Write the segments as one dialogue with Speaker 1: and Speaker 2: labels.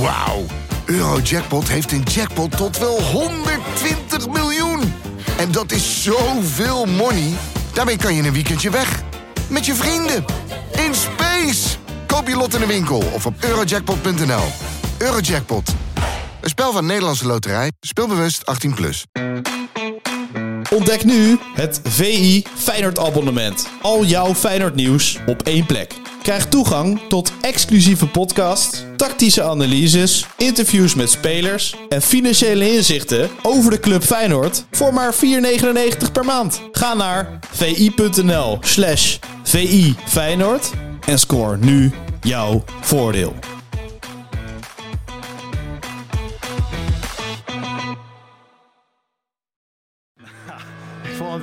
Speaker 1: Wauw. Eurojackpot heeft een jackpot tot wel 120 miljoen. En dat is zoveel money. Daarmee kan je in een weekendje weg. Met je vrienden. In space. Koop je lot in de winkel of op eurojackpot.nl. Eurojackpot. Een spel van Nederlandse Loterij. Speelbewust 18+. Plus.
Speaker 2: Ontdek nu het VI Feyenoord abonnement. Al jouw Feyenoord nieuws op één plek. Krijg toegang tot exclusieve podcasts, tactische analyses, interviews met spelers en financiële inzichten over de club Feyenoord voor maar 4,99 per maand. Ga naar vi.nl slash vi Feyenoord en score nu jouw voordeel.
Speaker 3: Ik vond het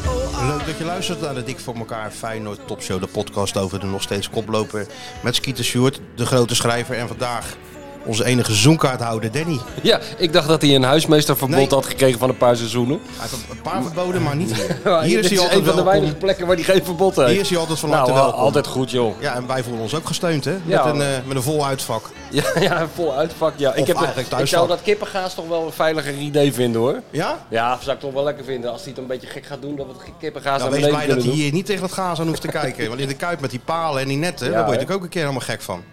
Speaker 4: Oh,
Speaker 5: Leuk dat je luistert naar de Dik voor elkaar Feyenoord Topshow, de podcast over de nog steeds koploper met Skeeter Stewart, de grote schrijver en vandaag onze enige zoomkaarthouder Danny. Hij
Speaker 6: Ja, ik dacht dat hij een huismeesterverbod
Speaker 5: Nee.
Speaker 6: had gekregen van een paar seizoenen.
Speaker 5: heeft een paar verboden, maar niet hier.
Speaker 6: Maar
Speaker 5: Nou, Hier is
Speaker 6: dit
Speaker 5: hij
Speaker 6: een
Speaker 5: altijd
Speaker 6: van de
Speaker 5: welkom.
Speaker 6: weinige plekken waar hij geen verbod heeft.
Speaker 5: Hier is hij altijd van
Speaker 6: nou,
Speaker 5: harte welkom.
Speaker 6: altijd goed, joh.
Speaker 5: Ja, en wij voelen ons ook gesteund hè, met,
Speaker 6: Ja.
Speaker 5: een, eh, met een vol uitvak.
Speaker 6: Ja, ja vol uitvak. Ja. Ik, heb,
Speaker 5: eigenlijk
Speaker 6: ik
Speaker 5: thuis
Speaker 6: zou
Speaker 5: dan.
Speaker 6: dat kippengaas toch wel een veiliger idee vinden, hoor.
Speaker 5: Ja?
Speaker 6: Ja, zou ik toch wel lekker vinden. Als hij het een beetje gek gaat doen, dat we het kippengaas
Speaker 5: Nou,
Speaker 6: naar
Speaker 5: wees
Speaker 6: beneden
Speaker 5: blij dat
Speaker 6: kunnen
Speaker 5: hij
Speaker 6: doen.
Speaker 5: hier niet tegen dat gaas aan hoeft te kijken. Want in de Kuip met die palen en die netten,
Speaker 6: Ja,
Speaker 5: daar word je
Speaker 6: hè?
Speaker 5: natuurlijk ook een keer helemaal gek van.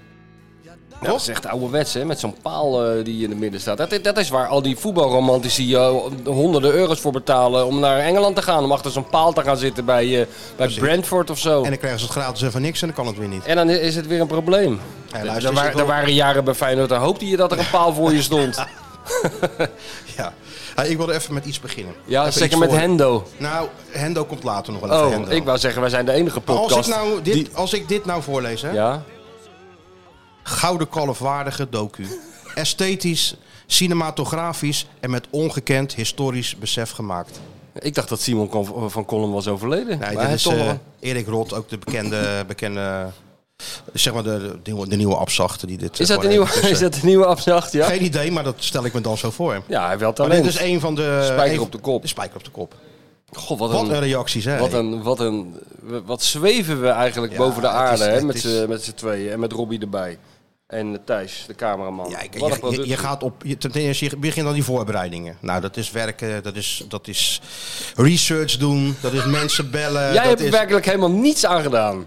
Speaker 6: Nou, dat is echt ouderwets, hè, met zo'n paal eh, die in het midden staat. Dat, dat is waar al die voetbalromantici eh, honderden euro's voor betalen om naar Engeland te gaan. Om achter zo'n paal te gaan zitten bij, eh, bij Brentford of zo.
Speaker 5: En dan krijgen ze het gratis even niks en dan kan het weer niet.
Speaker 6: En dan is het weer een probleem.
Speaker 5: Hey,
Speaker 6: Er-
Speaker 5: luister,
Speaker 6: er,
Speaker 5: is
Speaker 6: wa-
Speaker 5: dit wel-
Speaker 6: er waren jaren bij Feyenoord, daar hoopte je dat er een paal voor je stond.
Speaker 5: Ja. Hey, ik wilde even met iets beginnen.
Speaker 6: Ja,
Speaker 5: Even
Speaker 6: zeker
Speaker 5: iets
Speaker 6: met
Speaker 5: voor-
Speaker 6: Hendo.
Speaker 5: Nou, Hendo komt later nog wel even.
Speaker 6: Oh,
Speaker 5: Hendo.
Speaker 6: ik wou zeggen, wij zijn de enige
Speaker 5: Maar
Speaker 6: podcast.
Speaker 5: Als ik, nou dit,
Speaker 6: die-
Speaker 5: als ik dit nou voorlees, hè?
Speaker 6: Ja?
Speaker 5: Gouden kalfwaardige docu. Esthetisch, cinematografisch en met ongekend historisch besef gemaakt.
Speaker 6: Ik dacht dat Simon Kon- van Kolm was overleden.
Speaker 5: Nee,
Speaker 6: maar
Speaker 5: dit
Speaker 6: hij
Speaker 5: is
Speaker 6: toch
Speaker 5: eh,
Speaker 6: wel-
Speaker 5: Erik Rot, ook de bekende, bekende zeg maar de, de, nieuwe- de nieuwe abzachte die dit... eh,
Speaker 6: is, dat de
Speaker 5: gewoon
Speaker 6: nieuwe,
Speaker 5: eventjes,
Speaker 6: is dat de nieuwe afzacht?
Speaker 5: eh,
Speaker 6: Ja?
Speaker 5: Geen idee, maar dat stel ik me dan zo voor.
Speaker 6: ja, hij heeft wel
Speaker 5: Maar dit
Speaker 6: talent.
Speaker 5: is een van de...
Speaker 6: Spijker
Speaker 5: een-
Speaker 6: op de kop.
Speaker 5: de spijker op de kop.
Speaker 6: God, wat,
Speaker 5: Wat een
Speaker 6: een,
Speaker 5: reacties, hè?
Speaker 6: wat, een, wat, een, wat zweven we eigenlijk
Speaker 5: Ja,
Speaker 6: boven de
Speaker 5: het is-
Speaker 6: aarde hè,
Speaker 5: het
Speaker 6: met
Speaker 5: is-
Speaker 6: z'n- met z'n tweeën. En met Robbie erbij. En Thijs, de cameraman.
Speaker 5: Ja, ik-
Speaker 6: Oh, Wat een
Speaker 5: je, je,
Speaker 6: productie.
Speaker 5: je gaat op. Je, ten eerste, je begint aan die voorbereidingen. Nou, dat is werken, dat is, dat is research doen, dat is mensen bellen.
Speaker 6: Jij
Speaker 5: Eh, dat
Speaker 6: hebt
Speaker 5: is,
Speaker 6: werkelijk helemaal niets aan gedaan.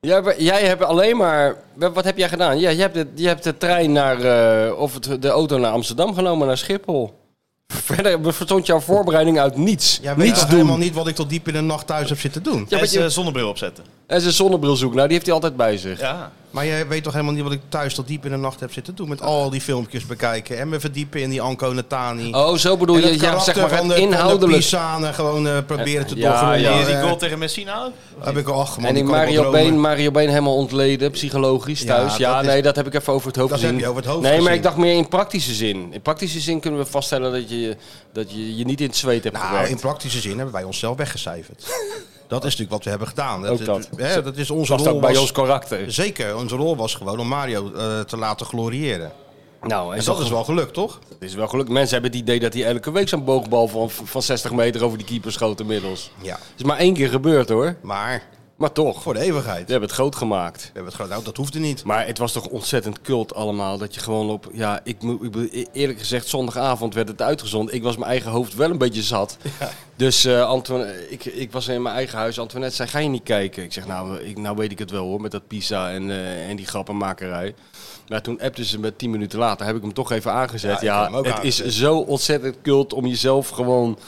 Speaker 6: Jij, hebt- jij hebt alleen maar. wa- Wat heb jij gedaan? Ja, je, hebt de, je hebt de trein naar. eh, of het, de auto naar Amsterdam genomen, naar Schiphol. Verder bestond jouw voorbereiding uit niets.
Speaker 5: Jij weet
Speaker 6: niets
Speaker 5: toch
Speaker 6: doen.
Speaker 5: helemaal niet wat ik tot diep in de nacht thuis heb zitten doen.
Speaker 6: Ja,
Speaker 7: en
Speaker 6: maar
Speaker 7: zijn
Speaker 6: je,
Speaker 7: zonnebril opzetten.
Speaker 5: eh,
Speaker 6: en zijn zonnebril zoeken. Nou, die heeft hij altijd bij zich.
Speaker 7: Ja.
Speaker 5: Maar jij weet toch helemaal niet wat ik thuis tot diep in de nacht heb zitten doen. Met al die filmpjes bekijken en me verdiepen in die Anko Natani.
Speaker 6: Oh, zo bedoel
Speaker 5: En
Speaker 6: je.
Speaker 5: het
Speaker 6: Ja, zeg
Speaker 5: karakter
Speaker 6: maar
Speaker 5: van
Speaker 6: het
Speaker 5: de, van de
Speaker 6: inhoudelijk.
Speaker 5: Pisanen gewoon eh, proberen te
Speaker 6: Ja,
Speaker 5: doffen.
Speaker 6: ja.
Speaker 7: En die
Speaker 5: Eh,
Speaker 7: goal tegen Messina?
Speaker 5: heb ik al man,
Speaker 6: en die
Speaker 5: kan ik wel
Speaker 6: Mario
Speaker 5: dromen.
Speaker 6: Been, Mario Been helemaal ontleden, psychologisch thuis. Ja,
Speaker 5: dat is-
Speaker 6: nee, dat heb ik even over het hoofd
Speaker 5: Dat
Speaker 6: gezien.
Speaker 5: heb je over het hoofd
Speaker 6: nee, maar
Speaker 5: gezien.
Speaker 6: ik dacht meer in praktische zin. In praktische zin kunnen we vaststellen dat je dat je, je niet in het zweet hebt
Speaker 5: Nou,
Speaker 6: gewerkt.
Speaker 5: in praktische zin hebben wij onszelf weggecijferd. dat is natuurlijk wat we hebben gedaan.
Speaker 6: Ook dat.
Speaker 5: hè, dat is onze
Speaker 6: Dat past
Speaker 5: rol.
Speaker 6: ook bij
Speaker 5: was-
Speaker 6: ons karakter.
Speaker 5: Zeker, onze rol was gewoon om Mario eh, te laten gloriëren.
Speaker 6: Nou, en
Speaker 5: En
Speaker 6: zo-
Speaker 5: dat is wel gelukt, toch?
Speaker 6: het is wel gelukkig. Mensen hebben het idee dat hij elke week zo'n boogbal van, van 60 meter over die keeper schoot inmiddels.
Speaker 5: Ja.
Speaker 6: is maar één keer gebeurd hoor.
Speaker 5: Maar
Speaker 6: Maar toch,
Speaker 5: voor
Speaker 6: we
Speaker 5: de eeuwigheid.
Speaker 6: hebben het groot gemaakt.
Speaker 5: We hebben het gedaan. Nou, dat hoefde niet.
Speaker 6: Maar het was toch ontzettend cult allemaal. Dat je gewoon op. Ja, ik, moet- ik, bedoel, e- eerlijk gezegd, zondagavond werd het uitgezonden. Ik was mijn eigen hoofd wel een beetje zat. Dus eh Antoine, ik, ik was in mijn eigen huis. Antoinette zei: Ga je niet kijken? Ik zeg: Nou, ik, nou weet ik het wel hoor. Met dat pizza en, eh, en die grappenmakerij. Maar toen appte ze me tien minuten later. Heb ik hem toch even aangezet.
Speaker 5: Ja, ik
Speaker 6: Ja,
Speaker 5: heb hem ook
Speaker 6: het
Speaker 5: aangezet.
Speaker 6: is zo ontzettend cult om jezelf gewoon.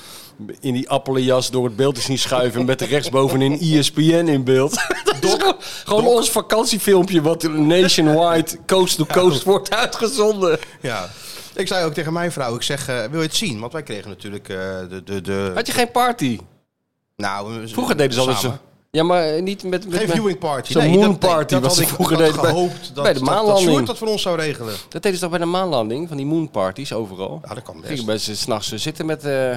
Speaker 6: in die appelenjas door het beeld te zien schuiven met rechtsbovenin ESPN in E beeld. Dat is gewoon, gewoon ons vakantiefilmpje wat nationwide coast to coast wordt uitgezonden.
Speaker 5: Ja. Ik zei ook tegen mijn vrouw, ik zeg, eh, wil je het zien? Want wij kregen natuurlijk eh, de, de, de...
Speaker 6: Had je geen party?
Speaker 5: Nou, we-
Speaker 6: Vroeger deden ze altijd
Speaker 5: samen.
Speaker 6: zo. Ja, maar eh, niet met... met
Speaker 5: Geen
Speaker 6: met-
Speaker 5: viewing party.
Speaker 6: Zo'n
Speaker 5: Nee, dat-
Speaker 6: moon party
Speaker 5: dat
Speaker 6: wat
Speaker 5: had
Speaker 6: ze
Speaker 5: ik-
Speaker 6: vroeger
Speaker 5: ik had
Speaker 6: deden bij-
Speaker 5: gehoopt dat,
Speaker 6: bij de
Speaker 5: dat- dat
Speaker 6: maanlanding.
Speaker 5: Sjoerd dat voor ons zou regelen.
Speaker 6: Dat deden ze toch bij de maanlanding, van die moonparties overal?
Speaker 5: Ja, dat kan best.
Speaker 6: Gingen mensen s'nachts zitten met... eh,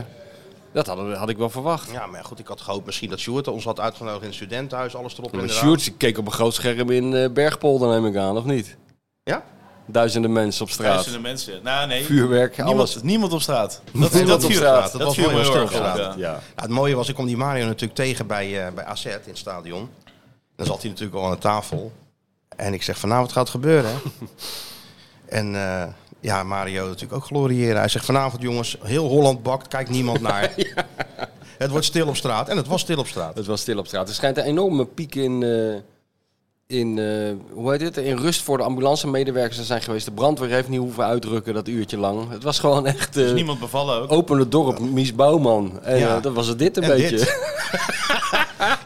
Speaker 6: dat hadden we- had ik wel verwacht.
Speaker 5: Ja, maar goed, ik had gehoopt misschien dat Sjoerd ons had uitgenodigd in het studentenhuis, alles erop en
Speaker 6: Maar
Speaker 5: eraan.
Speaker 6: Sjoerd die keek op een groot scherm in eh Bergpolder, neem ik aan, of niet?
Speaker 5: Ja?
Speaker 6: Duizenden mensen op straat.
Speaker 2: Duizenden mensen. Nou, nee.
Speaker 6: Vuurwerk, alles.
Speaker 2: Niemand, niemand op straat.
Speaker 6: Niemand
Speaker 2: dat,
Speaker 6: op
Speaker 2: dat, viel-
Speaker 6: straat.
Speaker 2: Dat,
Speaker 5: Dat was
Speaker 2: viel
Speaker 5: wel
Speaker 2: me
Speaker 5: heel
Speaker 2: heel erg
Speaker 5: stil
Speaker 2: op,
Speaker 5: op
Speaker 2: ja.
Speaker 5: straat. Nou, het mooie was, ik kwam die Mario natuurlijk tegen bij, eh, bij AZ in het stadion. Dan zat hij natuurlijk al aan de tafel. En ik zeg, vanavond gaat het gebeuren. hè? en eh, ja, Mario natuurlijk ook gloriëren. Hij zegt, vanavond jongens, heel Holland bakt, kijkt niemand naar. Het wordt stil op straat. En het was stil op straat.
Speaker 6: Het was stil op straat. Er schijnt een enorme piek in, eh, in, eh, hoe heet het? in rust voor de ambulancemedewerkers te zijn geweest. De brandweer heeft niet hoeven uitdrukken dat uurtje lang. Het was gewoon echt eh,
Speaker 2: Is niemand bevallen ook.
Speaker 6: open het dorp, Mies Bouwman. En
Speaker 5: Ja.
Speaker 6: eh, dat was het dit een
Speaker 5: En
Speaker 6: beetje.
Speaker 5: dit.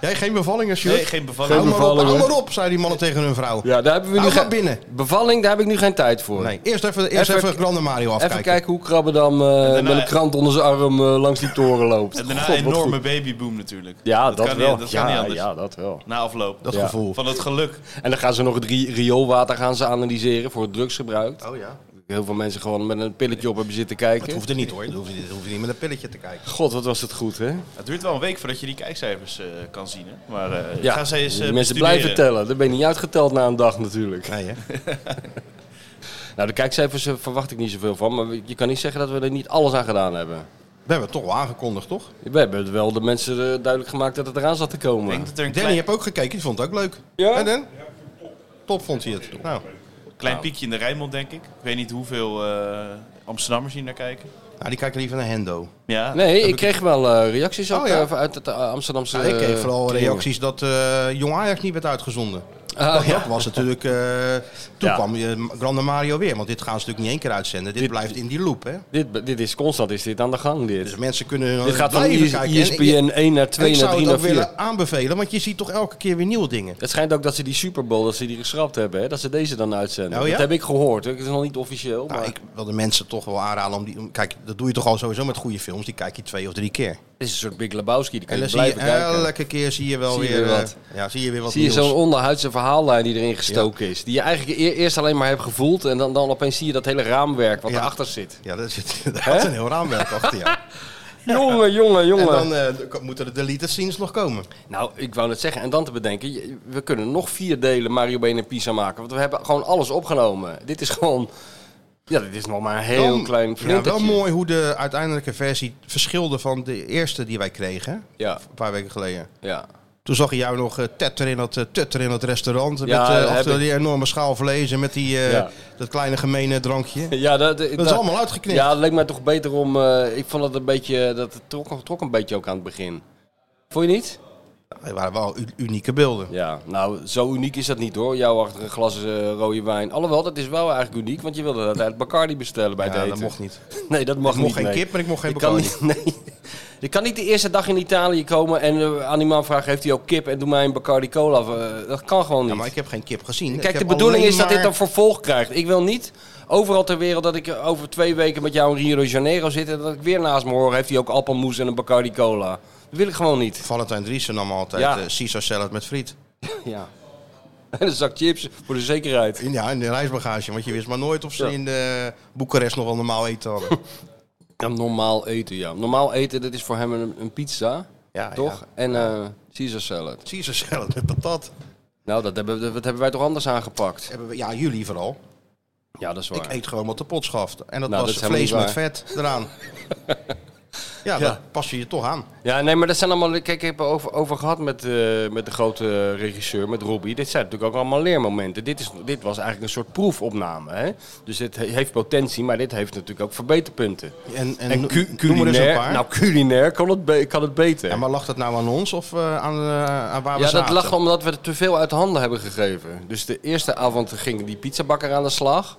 Speaker 5: Jij, geen bevallingen, Sjoerd?
Speaker 2: Nee, geen bevallen.
Speaker 5: Hou maar op,
Speaker 6: bevalling,
Speaker 5: hou
Speaker 6: hoor.
Speaker 5: maar op, zei die mannen tegen hun vrouw.
Speaker 6: Ja, daar hebben we nu
Speaker 5: Hou maar
Speaker 6: geen-
Speaker 5: binnen.
Speaker 6: Bevalling, daar heb ik nu geen tijd voor.
Speaker 5: Nee, eerst even, eerst
Speaker 6: Even-
Speaker 5: even, Grande Mario afkijken.
Speaker 6: Even kijken hoe Krabbedam eh,
Speaker 2: daarna-
Speaker 6: met een krant onder zijn arm eh, langs die toren loopt.
Speaker 2: En daarna
Speaker 6: God,
Speaker 2: een
Speaker 6: wat
Speaker 2: enorme
Speaker 6: goed.
Speaker 2: babyboom natuurlijk.
Speaker 6: Ja, dat,
Speaker 2: kan
Speaker 6: wel.
Speaker 2: Niet, dat kan
Speaker 6: ja,
Speaker 2: niet anders.
Speaker 6: ja, dat wel.
Speaker 2: Na afloop.
Speaker 5: Dat
Speaker 6: Ja.
Speaker 5: gevoel.
Speaker 2: Van het geluk.
Speaker 6: En dan gaan ze nog het ri- rioolwater gaan ze analyseren voor het drugsgebruik.
Speaker 5: Oh ja.
Speaker 6: Heel veel mensen gewoon met een pilletje op hebben zitten
Speaker 5: Het
Speaker 6: kijken.
Speaker 5: hoeft er niet hoor. Het hoeft, het hoeft niet met een pilletje te kijken.
Speaker 6: God, wat was het goed, hè?
Speaker 2: Het duurt wel een week voordat je die kijkcijfers eh, kan zien. Hè? Maar eh
Speaker 6: Ja,
Speaker 2: ga ze eens
Speaker 6: die
Speaker 2: eh,
Speaker 6: mensen
Speaker 2: bestuderen.
Speaker 6: blijven tellen. Dan ben je niet uitgeteld na een dag natuurlijk.
Speaker 5: Nee, hè?
Speaker 6: Nou, de kijkcijfers eh, verwacht ik niet zoveel van. Maar je kan niet zeggen dat we er niet alles aan gedaan hebben.
Speaker 5: We hebben het toch wel aangekondigd, toch?
Speaker 6: We hebben wel de mensen eh, duidelijk gemaakt dat het eraan zat te
Speaker 2: Ik
Speaker 6: komen.
Speaker 2: denk dat er een
Speaker 5: Danny
Speaker 2: klein,
Speaker 5: heb ook gekeken, die vond het ook leuk.
Speaker 6: Ja?
Speaker 5: En dan? Top vond hij het. Nou,
Speaker 2: klein piekje in de Rijnmond, denk ik. Ik weet niet hoeveel eh, Amsterdammers hier naar kijken.
Speaker 5: nou, die kijken liever naar Hendo.
Speaker 2: Ja,
Speaker 6: Nee, ik kreeg wel eh, reacties ook,
Speaker 5: Oh, ja.
Speaker 6: eh, uit het eh, Amsterdamse...
Speaker 5: Ja, ik kreeg
Speaker 6: eh,
Speaker 5: vooral
Speaker 6: tribune.
Speaker 5: reacties dat eh, Jong Ajax niet werd uitgezonden.
Speaker 6: Ah,
Speaker 5: Dat was natuurlijk... eh, toen
Speaker 6: Ja.
Speaker 5: kwam eh, Grande Mario weer, want dit gaan ze natuurlijk niet één keer uitzenden. Dit,
Speaker 6: Dit-
Speaker 5: blijft in die loop, hè?
Speaker 6: dit, dit is constant, is dit aan de gang, dit.
Speaker 5: Dus mensen kunnen
Speaker 6: dit gaat van E
Speaker 5: blijven
Speaker 6: IS-
Speaker 5: kijken. En-
Speaker 6: ESPN 1 naar
Speaker 5: en
Speaker 6: 2
Speaker 5: ik
Speaker 6: naar
Speaker 5: zou het
Speaker 6: 3 naar
Speaker 5: ook
Speaker 6: 4.
Speaker 5: willen aanbevelen, want je ziet toch elke keer weer nieuwe dingen.
Speaker 6: Het schijnt ook dat ze die Super Bowl dat ze die geschrapt hebben, hè? dat ze deze dan uitzenden.
Speaker 5: Oh ja?
Speaker 6: Dat heb ik gehoord. hè. Het is nog niet officieel.
Speaker 5: Nou,
Speaker 6: maar
Speaker 5: ik wil de mensen toch wel aanraden om die... om- Kijk, dat doe je toch al sowieso met goede films. Die kijk je twee of drie keer.
Speaker 6: Het is een soort Big Lebowski. Die kan
Speaker 5: En
Speaker 6: je
Speaker 5: dan zie je
Speaker 6: blijven kijken.
Speaker 5: elke keer zie je wel
Speaker 6: Zie je
Speaker 5: weer,
Speaker 6: weer
Speaker 5: eh,
Speaker 6: wat.
Speaker 5: Ja, zie je weer wat
Speaker 6: Zie je
Speaker 5: nieuws.
Speaker 6: zo'n onderhuidse verhaallijn die erin gestoken is. Die je eigenlijk e- eerst alleen maar hebt gevoeld. En dan, dan opeens zie je dat hele raamwerk wat
Speaker 5: Ja.
Speaker 6: erachter zit.
Speaker 5: Ja, daar zit inderdaad een heel raamwerk achter. Ja.
Speaker 6: Jongen, jongen,
Speaker 5: En
Speaker 6: jongen.
Speaker 5: dan eh, k- moeten de deleted scenes nog komen.
Speaker 6: Nou, ik wou net zeggen. En dan te bedenken. je- We kunnen nog vier delen Mario Been en Pisa maken. Want we hebben gewoon alles opgenomen. Dit is gewoon... Ja, dit is nog maar een heel
Speaker 5: Dan-
Speaker 6: klein
Speaker 5: ja, Wel
Speaker 6: flintertje.
Speaker 5: mooi hoe de uiteindelijke versie verschilde van de eerste die wij kregen.
Speaker 6: Ja,
Speaker 5: Een paar weken geleden.
Speaker 6: ja.
Speaker 5: Toen zag je jou nog eh, tetter in dat, eh, tutter in dat restaurant.
Speaker 6: Ja,
Speaker 5: met, eh,
Speaker 6: dat heb
Speaker 5: achter
Speaker 6: ik.
Speaker 5: die enorme schaal vlees en met die, eh,
Speaker 6: Ja.
Speaker 5: dat kleine gemene drankje.
Speaker 6: Ja, dat,
Speaker 5: Dat is allemaal uitgeknipt.
Speaker 6: Ja, het leek mij toch beter om. eh, ik vond dat een beetje. Dat het trok, trok een beetje ook aan het begin. Vond je niet?
Speaker 5: Het waren wel u- unieke beelden.
Speaker 6: Ja, nou, zo uniek is dat niet hoor. Jou achter een glas eh, rode wijn. Alhoewel, dat is wel eigenlijk uniek, want je wilde dat uit Bacardi bestellen bij
Speaker 5: Ja,
Speaker 6: het eten.
Speaker 5: dat mocht niet.
Speaker 6: Nee, dat mag
Speaker 5: ik mocht
Speaker 6: niet.
Speaker 5: geen
Speaker 6: nee.
Speaker 5: kip, maar ik mocht geen
Speaker 6: Je kan,
Speaker 5: Bacardi.
Speaker 6: niet, nee. je kan niet de eerste dag in Italië komen en eh, aan die man vragen: heeft hij ook kip en doe mij een Bacardi Cola? Eh, dat kan gewoon niet.
Speaker 5: Ja, maar ik heb geen kip gezien. Ik
Speaker 6: Kijk, de
Speaker 5: heb
Speaker 6: bedoeling
Speaker 5: alleen
Speaker 6: is dat dit
Speaker 5: maar-
Speaker 6: een vervolg krijgt. Ik wil niet overal ter wereld dat ik eh, over twee weken met jou in Rio de Janeiro zit... en dat ik weer naast me hoor, heeft hij ook appelmoes en een Bacardi Cola. Dat wil ik gewoon niet.
Speaker 5: Valentijn Driessen nam altijd
Speaker 6: Ja.
Speaker 5: eh Caesar salad met friet.
Speaker 6: Ja. En een zak chips voor de zekerheid.
Speaker 5: In, ja, in de reisbagage, want je wist maar nooit of ze
Speaker 6: Ja.
Speaker 5: in de Boekarest nog wel normaal eten hadden.
Speaker 6: Ja, normaal eten, ja. Normaal eten, dat is voor hem een, een pizza,
Speaker 5: Ja,
Speaker 6: toch? En eh Caesar salad.
Speaker 5: ja. Caesar salad met patat.
Speaker 6: Nou, dat hebben, dat hebben wij toch anders aangepakt?
Speaker 5: Hebben we, ja, jullie vooral.
Speaker 6: Ja, dat is
Speaker 5: Ik
Speaker 6: waar.
Speaker 5: eet gewoon wat de pot schaft. En dat
Speaker 6: Nou,
Speaker 5: was
Speaker 6: dat is
Speaker 5: vlees
Speaker 6: helemaal
Speaker 5: met
Speaker 6: niet
Speaker 5: vet eraan. ja, dat pas je je toch aan.
Speaker 6: Ja, nee, maar dat zijn allemaal... Kijk, ik heb er over, over gehad met, eh, met de grote regisseur, met Robbie. Dit zijn natuurlijk ook allemaal leermomenten. Dit, is, dit was eigenlijk een soort proefopname. Hè? Dus dit he- heeft potentie, maar dit heeft natuurlijk ook verbeterpunten.
Speaker 5: En, en,
Speaker 6: En,
Speaker 5: no-
Speaker 6: cu-
Speaker 5: noem er eens een
Speaker 6: culinair,
Speaker 5: paar.
Speaker 6: nou, culinair kan het, be- kan het beter.
Speaker 5: ja, maar lag dat nou aan ons of eh, aan, eh, aan waar we
Speaker 6: Ja, dat
Speaker 5: zaten?
Speaker 6: lag omdat we er te veel uit de handen hebben gegeven. Dus de eerste avond ging die pizzabakker aan de slag.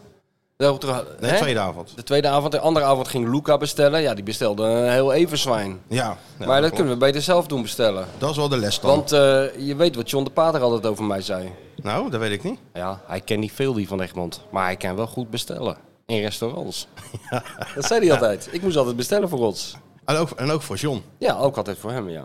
Speaker 6: Daarop terug-
Speaker 5: Nee,
Speaker 6: hè?
Speaker 5: tweede avond.
Speaker 6: De tweede avond. De andere avond ging Luca bestellen. Ja, die bestelde een heel everzwijn.
Speaker 5: Ja, nou,
Speaker 6: maar dat
Speaker 5: klopt.
Speaker 6: kunnen we beter zelf doen bestellen.
Speaker 5: Dat is wel de les dan.
Speaker 6: Want eh, je weet wat John de Pater altijd over mij zei.
Speaker 5: Nou, dat weet ik niet.
Speaker 6: Ja, hij kent niet veel die van Egmond. Maar hij kan wel goed bestellen. In restaurants. Dat zei hij altijd. Ik moest altijd bestellen voor ons.
Speaker 5: En ook, en ook voor John.
Speaker 6: Ja, ook altijd voor hem, ja.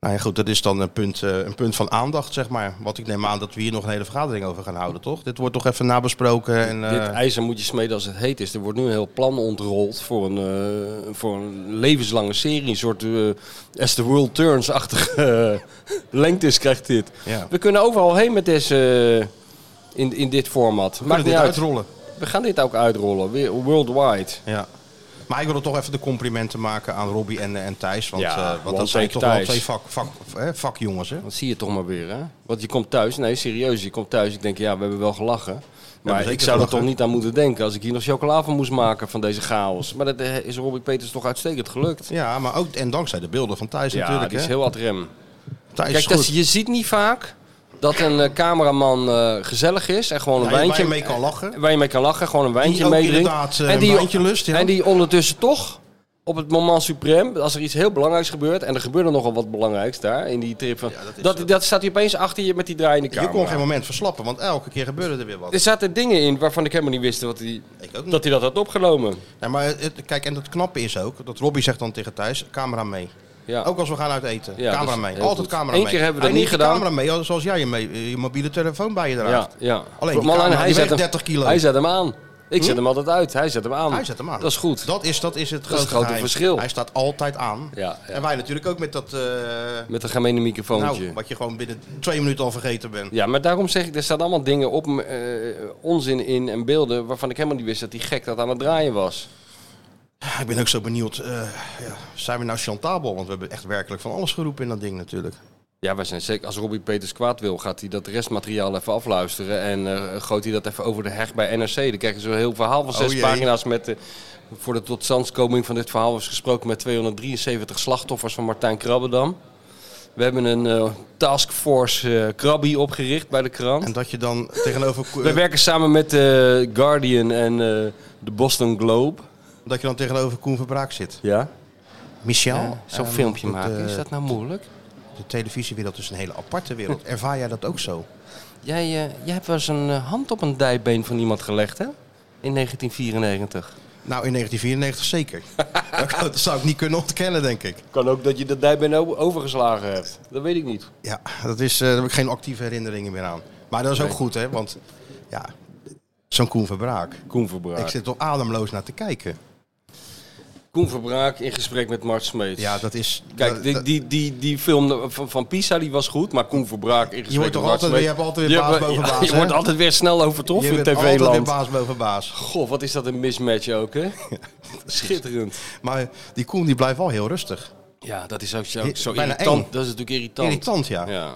Speaker 5: Nou ja, goed, dat is dan een punt, eh, een punt van aandacht, zeg maar. Want ik neem aan dat we hier nog een hele vergadering over gaan houden, toch? Dit wordt toch even nabesproken. En, eh,
Speaker 6: Dit ijzer moet je smeden als het heet is. Er wordt nu een heel plan ontrold voor een, eh, voor een levenslange serie. Een soort eh, As the World Turns-achtige eh, lengtes krijgt dit.
Speaker 5: Ja.
Speaker 6: We kunnen overal heen met deze... eh, in, in dit format.
Speaker 5: we kunnen
Speaker 6: Maakt
Speaker 5: dit
Speaker 6: niet uit.
Speaker 5: uitrollen.
Speaker 6: We gaan dit ook uitrollen. weer Worldwide.
Speaker 5: Ja. Maar ik wil toch even de complimenten maken aan Robbie en, en Thijs. Want,
Speaker 6: Ja,
Speaker 5: eh, want
Speaker 6: want
Speaker 5: dat zijn
Speaker 6: zeker
Speaker 5: toch wel
Speaker 6: Thijs.
Speaker 5: twee vak, vak, eh, vakjongens, hè?
Speaker 6: Dat zie je toch maar weer, hè? Want je komt thuis, nee, serieus, je komt thuis. Ik denk, ja, we hebben wel gelachen. Maar
Speaker 5: zeker
Speaker 6: ik zou er
Speaker 5: gelachen.
Speaker 6: toch niet aan moeten denken als ik hier nog chocola van moest maken van deze chaos. Maar dat eh, is Robbie Peters toch uitstekend gelukt.
Speaker 5: Ja, maar ook en dankzij de beelden van Thijs
Speaker 6: Ja,
Speaker 5: natuurlijk.
Speaker 6: die is
Speaker 5: hè?
Speaker 6: heel ad rem.
Speaker 5: Thijs
Speaker 6: Kijk,
Speaker 5: is goed.
Speaker 6: dat, je ziet niet vaak dat een eh, cameraman eh, gezellig is en gewoon een
Speaker 5: Ja, waar je
Speaker 6: wijntje...
Speaker 5: mee kan lachen.
Speaker 6: Waar je mee kan lachen, gewoon een wijntje
Speaker 5: ook
Speaker 6: meedrinkt.
Speaker 5: inderdaad, eh, een wijntje lust, ja.
Speaker 6: En die ondertussen toch... Op het moment suprem, als er iets heel belangrijks gebeurt, en er gebeurde nogal wat belangrijks daar in die trip, van, dat, dat, staat hij opeens achter je met die draaiende
Speaker 5: Je
Speaker 6: camera.
Speaker 5: kon geen moment verslappen, want elke keer gebeurde er weer wat.
Speaker 6: Er zaten dingen in waarvan ik helemaal niet wist dat hij
Speaker 5: Ik ook niet.
Speaker 6: Dus dat, hij dat had opgenomen.
Speaker 5: Ja, maar het, kijk, en het knappe is ook, dat Robbie zegt dan tegen Thijs, camera mee.
Speaker 6: Ja.
Speaker 5: Ook als we gaan uit eten,
Speaker 6: Ja,
Speaker 5: camera
Speaker 6: dat is
Speaker 5: mee.
Speaker 6: heel
Speaker 5: Altijd
Speaker 6: goed.
Speaker 5: camera
Speaker 6: Eén
Speaker 5: mee.
Speaker 6: keer hebben
Speaker 5: Hij
Speaker 6: we dat
Speaker 5: neemt
Speaker 6: niet
Speaker 5: de
Speaker 6: gedaan.
Speaker 5: camera mee, zoals jij je, mee- je mobiele telefoon bij je
Speaker 6: ja,
Speaker 5: draagt.
Speaker 6: ja.
Speaker 5: Alleen die
Speaker 6: Maar
Speaker 5: camera, die
Speaker 6: hij zet
Speaker 5: weegt
Speaker 6: hem,
Speaker 5: 30 kilo. Hm?
Speaker 6: Hij zet hem aan. Ik zet hem altijd uit. Hij zet hem aan.
Speaker 5: Hij zet hem aan.
Speaker 6: Dat is goed.
Speaker 5: Dat is, dat is het grote,
Speaker 6: het grote
Speaker 5: geheim.
Speaker 6: verschil.
Speaker 5: Hij staat altijd aan.
Speaker 6: Ja, ja.
Speaker 5: En wij natuurlijk ook met dat, eh,
Speaker 6: Met een gemene microfoontje.
Speaker 5: nou, wat je gewoon binnen twee minuten al vergeten bent.
Speaker 6: ja, maar daarom zeg ik, er staan allemaal dingen op, m- eh, onzin in en beelden waarvan ik helemaal niet wist dat die gek dat aan het draaien was.
Speaker 5: Ik ben ook zo benieuwd, eh, ja, zijn we nou chantabel? Want we hebben echt werkelijk van alles geroepen in dat ding natuurlijk.
Speaker 6: Ja, wij zijn zeker. Als Robbie Peters kwaad wil, gaat hij dat restmateriaal even afluisteren. En eh, gooit hij dat even over de heg bij NRC. Dan krijg je zo'n heel verhaal van zes
Speaker 5: Oh jee.
Speaker 6: pagina's. Met, eh, voor de totstandskoming van dit verhaal was gesproken met 273 slachtoffers van Martijn Krabbedam. We hebben een eh, taskforce eh Krabby opgericht bij de krant.
Speaker 5: En dat je dan tegenover... eh,
Speaker 6: We werken samen met The Guardian en eh, de Boston Globe.
Speaker 5: Dat je dan tegenover Koen Verbraak zit.
Speaker 6: Ja.
Speaker 5: Michel,
Speaker 6: Oh, Zo'n
Speaker 5: eh,
Speaker 6: filmpje
Speaker 5: dat,
Speaker 6: maken,
Speaker 5: eh,
Speaker 6: is dat nou moeilijk?
Speaker 5: De televisiewereld is een hele aparte wereld. Ervaar jij dat ook zo?
Speaker 6: Jij, eh, jij hebt wel eens een eh, hand op een dijbeen van iemand gelegd, hè? In 1994.
Speaker 5: Nou, in 1994 zeker. dat, kan- dat zou ik niet kunnen ontkennen, denk ik.
Speaker 6: Kan ook dat je dat dijbeen overgeslagen hebt. Dat weet ik niet.
Speaker 5: Ja, dat is, eh, daar heb ik geen actieve herinneringen meer aan. Maar dat is ook goed, hè? Want ja, zo'n Koen Verbraak.
Speaker 6: Koen
Speaker 5: Ik
Speaker 6: Verbraak.
Speaker 5: zit er ademloos naar te kijken.
Speaker 6: Koen Verbraak in gesprek met Mart Smeets.
Speaker 5: Ja, dat is...
Speaker 6: Kijk,
Speaker 5: dat-
Speaker 6: die,
Speaker 5: dat-
Speaker 6: die, die, die film van, van Pisa die was goed, maar Koen Verbraak in gesprek
Speaker 5: wordt toch
Speaker 6: met Mart
Speaker 5: altijd weer- je
Speaker 6: Smeets-
Speaker 5: hebt altijd weer
Speaker 6: Je
Speaker 5: baas
Speaker 6: hebt-
Speaker 5: boven
Speaker 6: ja,
Speaker 5: baas,
Speaker 6: Je
Speaker 5: hè?
Speaker 6: wordt altijd weer snel overtroffen
Speaker 5: je
Speaker 6: in
Speaker 5: bent altijd weer
Speaker 6: TV-land.
Speaker 5: baas boven baas.
Speaker 6: Goh, wat is dat een mismatch ook, hè? Schitterend.
Speaker 5: Maar die Koen die blijft wel heel rustig.
Speaker 6: Ja, dat is ook zo, ook zo
Speaker 5: Bijna
Speaker 6: irritant.
Speaker 5: eng.
Speaker 6: Dat is natuurlijk irritant.
Speaker 5: Irritant, ja.
Speaker 6: Ja.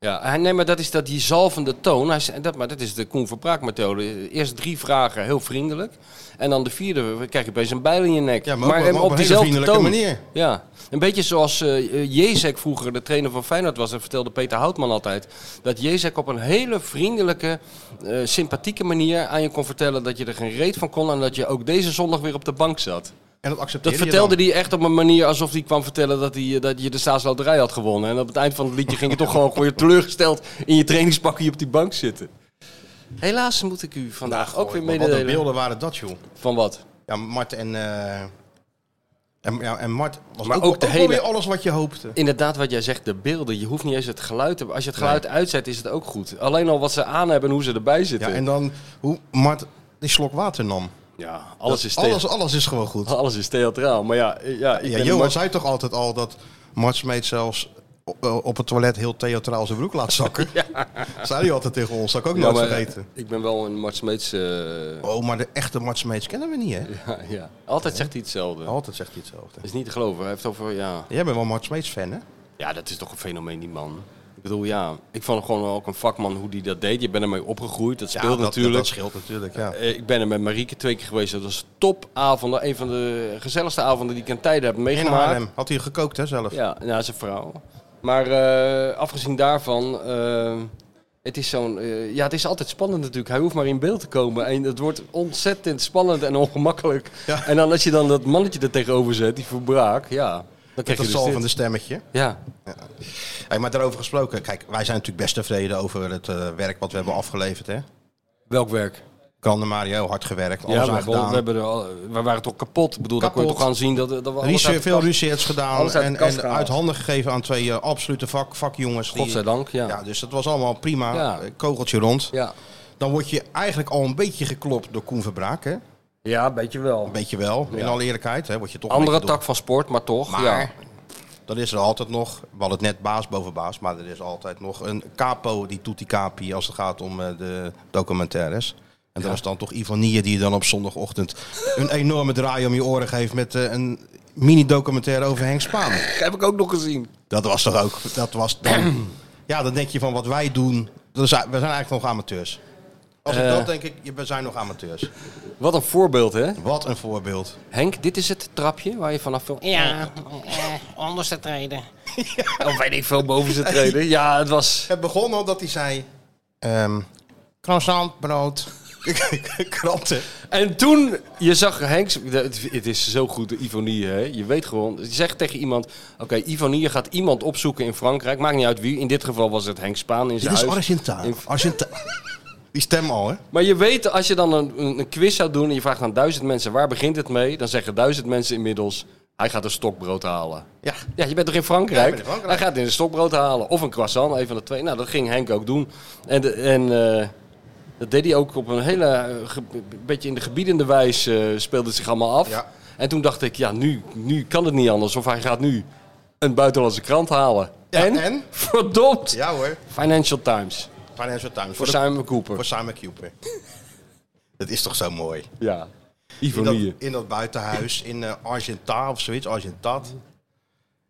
Speaker 6: Ja, hij- nee, maar dat is dat die zalvende toon. Hij, zei- dat, maar dat is de Koen Verbraak methode. Eerst drie vragen heel vriendelijk. En dan de vierde krijg je opeens een bijl in je nek.
Speaker 5: Ja, maar ook op- maar op een hele vriendelijke manier.
Speaker 6: Ja, een beetje zoals eh, eh, Jezek vroeger de trainer van Feyenoord was. Dat vertelde Peter Houtman altijd. Dat Jezek op een hele vriendelijke, eh, sympathieke manier aan je kon vertellen... dat je er geen reet van kon en dat je ook deze zondag weer op de bank zat.
Speaker 5: En dat accepteer
Speaker 6: Dat
Speaker 5: je
Speaker 6: vertelde
Speaker 5: dan.
Speaker 6: hij echt op een manier alsof hij kwam vertellen dat, hij, eh, dat je de staatsloterij had gewonnen. En op het eind van het liedje ging je toch gewoon voor je teleurgesteld in je trainingspakje op die bank zitten. Helaas moet ik u vandaag ook weer
Speaker 5: Maar Wat een
Speaker 6: mededelen.
Speaker 5: beelden waren dat, joh.
Speaker 6: Van wat?
Speaker 5: Ja, Mart en... eh, en, ja, en Mart was
Speaker 6: Maar
Speaker 5: ook,
Speaker 6: ook
Speaker 5: ook
Speaker 6: de
Speaker 5: wel
Speaker 6: hele-
Speaker 5: weer alles wat je hoopte.
Speaker 6: Inderdaad, wat jij zegt, de beelden. Je hoeft niet eens het geluid te... Als je het geluid uitzet, is het ook goed. Alleen al wat ze aan hebben en hoe ze erbij
Speaker 5: Ja,
Speaker 6: zitten. Ja,
Speaker 5: en dan hoe Mart die slok water nam.
Speaker 6: alles, is thea-
Speaker 5: Alles, alles is gewoon goed.
Speaker 6: alles is theatraal. Maar ja, eh, ja, ik
Speaker 5: Ja,
Speaker 6: ben
Speaker 5: Johan
Speaker 6: Mart-
Speaker 5: zei toch altijd al dat Mart Smeet zelfs op, eh, op het toilet heel theatraal zijn broek laat zakken. Zei hij altijd tegen ons, dat kan ik ook
Speaker 6: Ja,
Speaker 5: nooit
Speaker 6: maar, eh,
Speaker 5: vergeten.
Speaker 6: Ik ben wel een Mart Smeets... eh,
Speaker 5: Oh, maar de echte Mart Smeets kennen we niet, hè?
Speaker 6: ja, ja. Altijd zegt hij hetzelfde.
Speaker 5: Altijd zegt hij hetzelfde.
Speaker 6: is niet te geloven. Hij heeft het over... Ja.
Speaker 5: Jij bent wel Mart Smeets fan, hè?
Speaker 6: Ja, dat is toch een fenomeen, die man. Ik bedoel, ja, ik vond hem gewoon ook een vakman hoe die dat deed. Je bent ermee opgegroeid, dat speelt
Speaker 5: dat,
Speaker 6: natuurlijk.
Speaker 5: Dat scheelt natuurlijk, ja.
Speaker 6: Eh, ik ben er met Marieke twee keer geweest. Dat was topavonden. Een van de gezelligste avonden die ik in tijden heb
Speaker 5: In
Speaker 6: meegemaakt. nou,
Speaker 5: Haarlem. Had hij gekookt, hè, zelf?
Speaker 6: Ja, ja, zijn vrouw. Maar eh, afgezien daarvan, eh, Het is, zo'n, eh, ja, het is altijd spannend natuurlijk. Hij hoeft maar in beeld te komen. En het wordt ontzettend spannend en ongemakkelijk. En dan als je dan dat mannetje er tegenover zet, die verbraak, ja. Dan krijg
Speaker 5: Dat
Speaker 6: je dus
Speaker 5: zal
Speaker 6: dit.
Speaker 5: van de stemmetje.
Speaker 6: Ja,
Speaker 5: Hey, maar daarover gesproken, kijk, wij zijn natuurlijk best tevreden over het eh, werk wat we hebben afgeleverd. Hè?
Speaker 6: welk werk?
Speaker 5: Kan de Mario hard gewerkt, alles
Speaker 6: Ja, we,
Speaker 5: aan
Speaker 6: hebben, al-
Speaker 5: gedaan.
Speaker 6: we, hebben er al- we waren toch kapot. Ik bedoel, dat kon je
Speaker 5: Kapot.
Speaker 6: toch aan zien. Dat, dat we alles uit
Speaker 5: Research,
Speaker 6: de
Speaker 5: veel
Speaker 6: kast-
Speaker 5: research gedaan
Speaker 6: alles uit de
Speaker 5: en,
Speaker 6: kast
Speaker 5: en
Speaker 6: gehaald.
Speaker 5: uit handen gegeven aan twee eh, absolute vak, vakjongens. die-
Speaker 6: Godzijdank, ja.
Speaker 5: Ja,
Speaker 6: ja.
Speaker 5: dus dat was allemaal prima.
Speaker 6: Ja.
Speaker 5: Eh, Kogeltje rond.
Speaker 6: Ja.
Speaker 5: Dan word je eigenlijk al een beetje geklopt door Koen Verbraak. Hè? Een
Speaker 6: weet je wel.
Speaker 5: beetje wel, in alle eerlijkheid. Hè? Word je toch een
Speaker 6: Andere
Speaker 5: beetje door-
Speaker 6: tak van sport, maar toch.
Speaker 5: Maar
Speaker 6: ja.
Speaker 5: dan is er altijd nog, we hadden het net baas boven baas, maar er is altijd nog een capo die toet die capi als het gaat om eh, de documentaires. En dat is dan toch Ivanier die je dan op zondagochtend een enorme draai om je oren geeft met eh, een mini-documentaire over Henk Spaan.
Speaker 6: Heb ik ook nog gezien.
Speaker 5: Dat was toch ook, dat was dan, ja dan denk je van wat wij doen, dat is- we zijn eigenlijk nog amateurs. Als ik
Speaker 6: Eh.
Speaker 5: dat denk ik, je- we zijn nog amateurs.
Speaker 6: Wat een voorbeeld, hè?
Speaker 5: Wat een voorbeeld.
Speaker 6: Henk, dit is het trapje waar je vanaf wil.
Speaker 8: Ja, eh, onderste treden.
Speaker 6: Of weet ik veel, boven zijn treden. Ja, het was...
Speaker 5: Het begon al dat hij zei, ehm croissant, brood, kranten.
Speaker 6: En toen, je zag Henk... Het het is zo goed, de Ivonie, hè? Je weet gewoon... Je zegt tegen iemand... Oké, Ivonie, je gaat iemand opzoeken in Frankrijk. Maakt niet uit wie. In dit geval was het Henk Spaan in
Speaker 5: Dit
Speaker 6: zijn
Speaker 5: is
Speaker 6: huis.
Speaker 5: Argentijn. Die stem al, hè?
Speaker 6: Maar je weet, als je dan een, een een quiz zou doen... en je vraagt aan duizend mensen, waar begint het mee? Dan zeggen duizend mensen inmiddels... Hij gaat een stokbrood halen.
Speaker 5: Ja.
Speaker 6: Ja, je bent toch in Frankrijk?
Speaker 5: Ja, ik ben in Frankrijk.
Speaker 6: Hij gaat in een stokbrood halen. Of een croissant, een van de twee. Nou, dat ging Henk ook doen. En, de- en eh, dat deed hij ook op een hele... eh, ge- beetje in de gebiedende wijs eh, speelde het zich allemaal af.
Speaker 5: Ja.
Speaker 6: En toen dacht ik, ja, nu, nu kan het niet anders. Of hij gaat nu een buitenlandse krant halen.
Speaker 5: Ja,
Speaker 6: en?
Speaker 5: en?
Speaker 6: Verdomd!
Speaker 5: Ja hoor.
Speaker 6: Financial Times.
Speaker 5: Financial Times.
Speaker 6: Voor
Speaker 5: de-
Speaker 6: Simon Cooper.
Speaker 5: voor Simon Cooper. Dat is toch zo mooi.
Speaker 6: Ja.
Speaker 5: In dat,
Speaker 6: Ivonie.
Speaker 5: in dat buitenhuis, in eh, Argenta of zoiets, Argentat.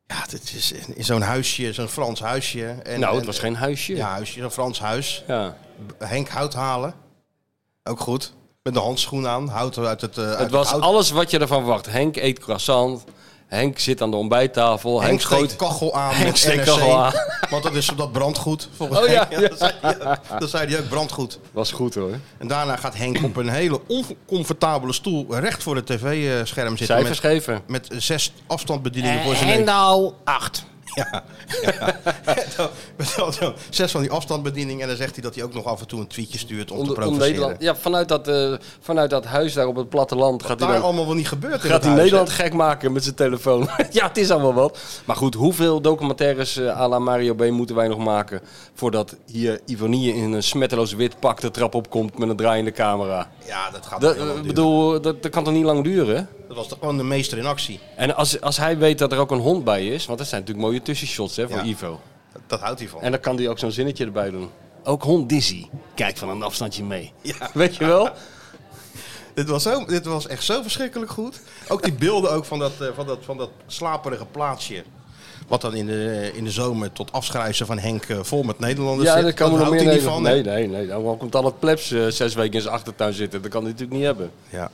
Speaker 5: Ja, dit is in in zo'n huisje, zo'n Frans huisje. En,
Speaker 6: Nou, het
Speaker 5: en- eh,
Speaker 6: was geen huisje.
Speaker 5: Ja, huisje, zo'n Frans huis.
Speaker 6: Ja.
Speaker 5: Henk hout halen. Ook goed. Met de handschoen aan. Hout uit het, eh, uit
Speaker 6: Het was
Speaker 5: hout.
Speaker 6: alles wat je ervan verwacht. Henk eet croissant. Henk zit aan de ontbijttafel. Henk,
Speaker 5: Henk steekt
Speaker 6: schoot...
Speaker 5: kachel aan
Speaker 6: Henk
Speaker 5: met
Speaker 6: steekt
Speaker 5: NRC.
Speaker 6: kachel aan.
Speaker 5: Want dat is dat brandgoed. Volgens
Speaker 6: Oh ja,
Speaker 5: Henk. Dat,
Speaker 6: ja.
Speaker 5: zei, ja, dat zei hij ook, brandgoed.
Speaker 6: Was goed hoor.
Speaker 5: En daarna gaat Henk op een hele oncomfortabele stoel recht voor het tv-scherm zitten.
Speaker 6: Cijfers
Speaker 5: Met,
Speaker 6: geven.
Speaker 5: met zes afstandsbedieningen voor
Speaker 8: Eh,
Speaker 5: zijn neus.
Speaker 8: Hendo 8.
Speaker 5: Met al zo zes van die afstandsbedieningen. En dan zegt hij dat hij ook nog af en toe een tweetje stuurt om, te
Speaker 6: Om, om
Speaker 5: provoceren.
Speaker 6: Nederland. Ja, vanuit dat, eh, vanuit dat huis daar op het platteland gaat hij
Speaker 5: Daar
Speaker 6: dan...
Speaker 5: allemaal wel niet gebeurd in
Speaker 6: Gaat
Speaker 5: dat
Speaker 6: hij
Speaker 5: huis,
Speaker 6: Nederland
Speaker 5: hè?
Speaker 6: gek maken met zijn telefoon? ja, het is allemaal wat. Maar goed, hoeveel documentaires eh, à la Mario B moeten wij nog maken... voordat hier Ivonie in een smetteloos wit pak de trap opkomt met een draaiende camera?
Speaker 5: Ja, Ah, dat gaat
Speaker 6: Dat,
Speaker 5: heel lang
Speaker 6: eh,
Speaker 5: duren.
Speaker 6: bedoel, dat, dat kan toch niet lang duren? hè?
Speaker 5: Dat was toch gewoon de meester in actie.
Speaker 6: En als, als hij weet dat er ook een hond bij is... want dat zijn natuurlijk mooie tussenshots hè, voor
Speaker 5: Ja.
Speaker 6: Ivo.
Speaker 5: Dat, dat houdt hij van.
Speaker 6: En dan kan hij ook zo'n zinnetje erbij doen. Ook hond Dizzy. Kijk van een afstandje mee. Weet je wel?
Speaker 5: Dit was, zo, dit was echt zo verschrikkelijk goed. Ook die beelden ook van, dat, eh, van, dat, van dat slaperige plaatsje. Wat dan in de, eh, in de zomer tot afschrijzen van Henk eh, vol met Nederlanders
Speaker 6: ja,
Speaker 5: zit.
Speaker 6: daar kan we nog
Speaker 5: houdt
Speaker 6: meer
Speaker 5: hij
Speaker 6: nee,
Speaker 5: niet van. hè?
Speaker 6: nee, nee, nee. Dan komt al het plebs eh, zes weken in zijn achtertuin zitten. Dat kan hij natuurlijk niet hebben.
Speaker 5: Ja.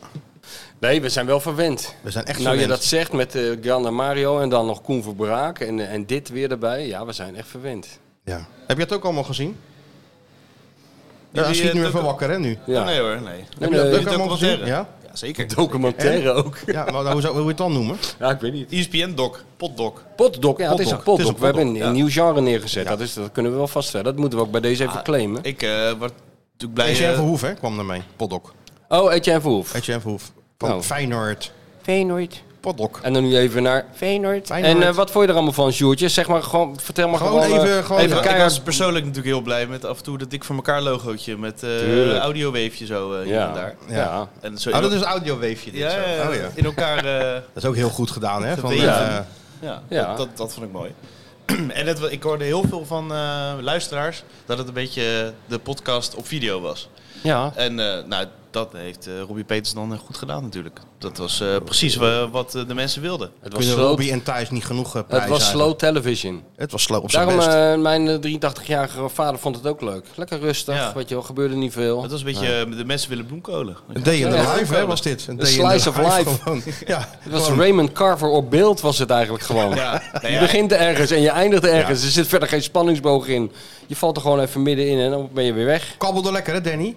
Speaker 6: Nee, we zijn wel verwend.
Speaker 5: We zijn echt
Speaker 6: nou, je
Speaker 5: verwend.
Speaker 6: dat zegt met eh Gran en Mario en dan nog Koen Verbraak en, eh, en dit weer erbij. Ja, we zijn echt verwend.
Speaker 5: Ja. Heb je dat ook allemaal gezien?
Speaker 7: Die-
Speaker 5: Ja,
Speaker 7: die,
Speaker 5: schiet nu
Speaker 7: eh,
Speaker 5: even
Speaker 7: docu-
Speaker 5: wakker hè nu.
Speaker 6: Ja,
Speaker 7: Nee hoor, nee.
Speaker 6: Nee,
Speaker 5: Heb je dat
Speaker 6: nee,
Speaker 5: ook allemaal gezien?
Speaker 7: documentaire.
Speaker 5: Ja?
Speaker 7: Ja, zeker.
Speaker 6: documentaire ook.
Speaker 5: Ja, maar hoe zou hoe wil je het dan noemen?
Speaker 6: Ja, ik weet niet.
Speaker 5: E
Speaker 7: ESPN-doc, potdoc.
Speaker 6: Potdoc, ja, het is een
Speaker 7: Potdoc.
Speaker 6: potdoc.
Speaker 7: Het is
Speaker 6: We
Speaker 7: een
Speaker 6: hebben een,
Speaker 7: potdoc,
Speaker 6: een
Speaker 7: ja.
Speaker 6: nieuw genre neergezet. Dat, is, dat kunnen we wel vaststellen. Dat moeten we ook bij deze
Speaker 5: Ah,
Speaker 6: even claimen.
Speaker 7: Ik eh word natuurlijk blij...
Speaker 5: Etienne
Speaker 7: eh,
Speaker 5: Verhoef hè, kwam ermee. Poddock.
Speaker 6: Oh, Etienne Verhoef.
Speaker 5: Etienne Verhoef. Van
Speaker 6: Nou. Eh,
Speaker 5: Feyenoord.
Speaker 8: Feyenoord.
Speaker 5: Poddock.
Speaker 6: En dan nu even naar
Speaker 8: Feyenoord.
Speaker 6: En
Speaker 5: Feyenoord.
Speaker 6: eh, wat vond je er allemaal van, Sjoerdje? Zeg maar gewoon, vertel maar
Speaker 5: Gewoon
Speaker 6: gewoon.
Speaker 5: even-
Speaker 6: eh,
Speaker 5: gewoon-
Speaker 7: ik
Speaker 6: even
Speaker 7: was- ik
Speaker 6: keihard.
Speaker 7: was persoonlijk natuurlijk heel blij met af en toe dat ik voor elkaar logootje met eh
Speaker 6: Tuurlijk.
Speaker 7: audioweefje zo eh, hier
Speaker 6: Ja.
Speaker 7: en daar.
Speaker 6: Ja.
Speaker 5: Ja.
Speaker 7: En zo
Speaker 5: Oh, dat
Speaker 7: in,
Speaker 5: is een audioweefje dit
Speaker 7: ja,
Speaker 5: zo.
Speaker 7: ja, ja.
Speaker 5: Oh, ja.
Speaker 7: in elkaar... eh,
Speaker 5: Dat is ook heel goed gedaan hè. Van,
Speaker 7: Te weven.
Speaker 5: eh,
Speaker 7: Ja,
Speaker 6: Ja.
Speaker 7: Dat, dat, dat vond ik mooi. en het, wa- ik hoorde heel veel van eh, luisteraars dat het een beetje de podcast op video was.
Speaker 6: Ja,
Speaker 7: En eh, nou, dat heeft eh Robbie Peters dan eh, goed gedaan natuurlijk. Dat was eh, precies wa- wat eh, de mensen wilden.
Speaker 6: Het was
Speaker 5: Kunnen
Speaker 6: slow,
Speaker 5: Robbie en Thijs niet genoeg eh,
Speaker 6: het
Speaker 5: prijzen
Speaker 6: was
Speaker 5: eigenlijk.
Speaker 6: slow television.
Speaker 5: Het was slow op zijn
Speaker 6: Daarom,
Speaker 5: best.
Speaker 6: eh, mijn eh, 83-jarige vader vond het ook leuk. Lekker rustig,
Speaker 7: Ja.
Speaker 6: weet je wel, gebeurde niet veel.
Speaker 7: Het was een beetje, eh, de mensen willen bloemkolen.
Speaker 5: Een day in the
Speaker 6: eh, Ja,
Speaker 5: life, hè,
Speaker 6: ja.
Speaker 5: was dit. Een
Speaker 6: Een
Speaker 5: day in
Speaker 6: slice
Speaker 5: the
Speaker 6: of
Speaker 5: life
Speaker 6: life.
Speaker 5: gewoon. Ja,
Speaker 6: Het was
Speaker 5: gewoon.
Speaker 6: Raymond Carver op beeld was het eigenlijk gewoon.
Speaker 7: Ja, nou
Speaker 6: Je
Speaker 7: ja,
Speaker 6: begint ergens en je eindigt ergens. Er zit verder geen spanningsboog in. Je valt er gewoon even middenin en dan ben je weer weg.
Speaker 5: Kabbelde lekker, hè, Danny?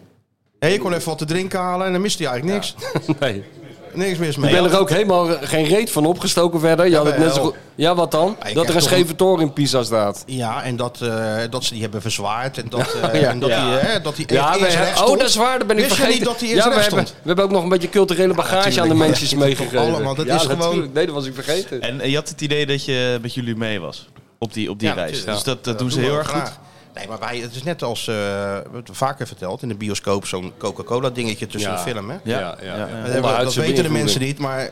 Speaker 5: Hé, je kon even wat te drinken halen en dan miste hij eigenlijk niks.
Speaker 6: Nee.
Speaker 5: Niks mis
Speaker 6: Ik
Speaker 5: mee.
Speaker 6: ben er ook helemaal geen reet van opgestoken verder. Je had het net zo
Speaker 5: Jawel.
Speaker 6: goed- Ja, wat dan?
Speaker 5: Ja, je
Speaker 6: Dat er een
Speaker 5: krijgt
Speaker 6: scheve toren in Pisa staat.
Speaker 5: Ja, en dat, eh, dat ze die hebben verzwaard. En dat, eh, en dat,
Speaker 7: Ja.
Speaker 5: hij, hè, dat hij
Speaker 6: Ja,
Speaker 5: eerst
Speaker 6: we
Speaker 5: eerst
Speaker 6: hebben,
Speaker 5: recht
Speaker 6: oh,
Speaker 5: stond.
Speaker 6: dat is waar, dat ben ik
Speaker 5: Wist je
Speaker 6: vergeten.
Speaker 5: niet dat hij
Speaker 6: ja,
Speaker 5: eerst
Speaker 6: we
Speaker 5: recht
Speaker 6: hebben, we
Speaker 5: stond?
Speaker 6: hebben ook nog een beetje culturele bagage aan de
Speaker 5: tuurlijk,
Speaker 6: mensjes
Speaker 5: maar dat zit er toch
Speaker 6: meegegeven.
Speaker 5: allemaal, dat
Speaker 6: ja,
Speaker 5: is gewoon-
Speaker 6: natuurlijk. Nee, dat was ik vergeten.
Speaker 7: En eh, je had het idee dat je met jullie mee was op die, op die
Speaker 5: Ja,
Speaker 7: reis.
Speaker 5: natuurlijk.
Speaker 7: Dus dat, dat
Speaker 5: Dat
Speaker 7: doen ze
Speaker 5: we
Speaker 7: heel
Speaker 5: ook
Speaker 7: erg
Speaker 5: graag.
Speaker 7: goed.
Speaker 5: Nee, maar wij, het is net als, eh, we hebben het vaker verteld, in de bioscoop zo'n Coca-Cola dingetje tussen
Speaker 6: Ja.
Speaker 5: de film. Hè?
Speaker 7: Ja.
Speaker 5: Dat, hebben- dat
Speaker 6: Onderhuidse
Speaker 5: weten de
Speaker 6: beïnvloeding.
Speaker 5: mensen niet, maar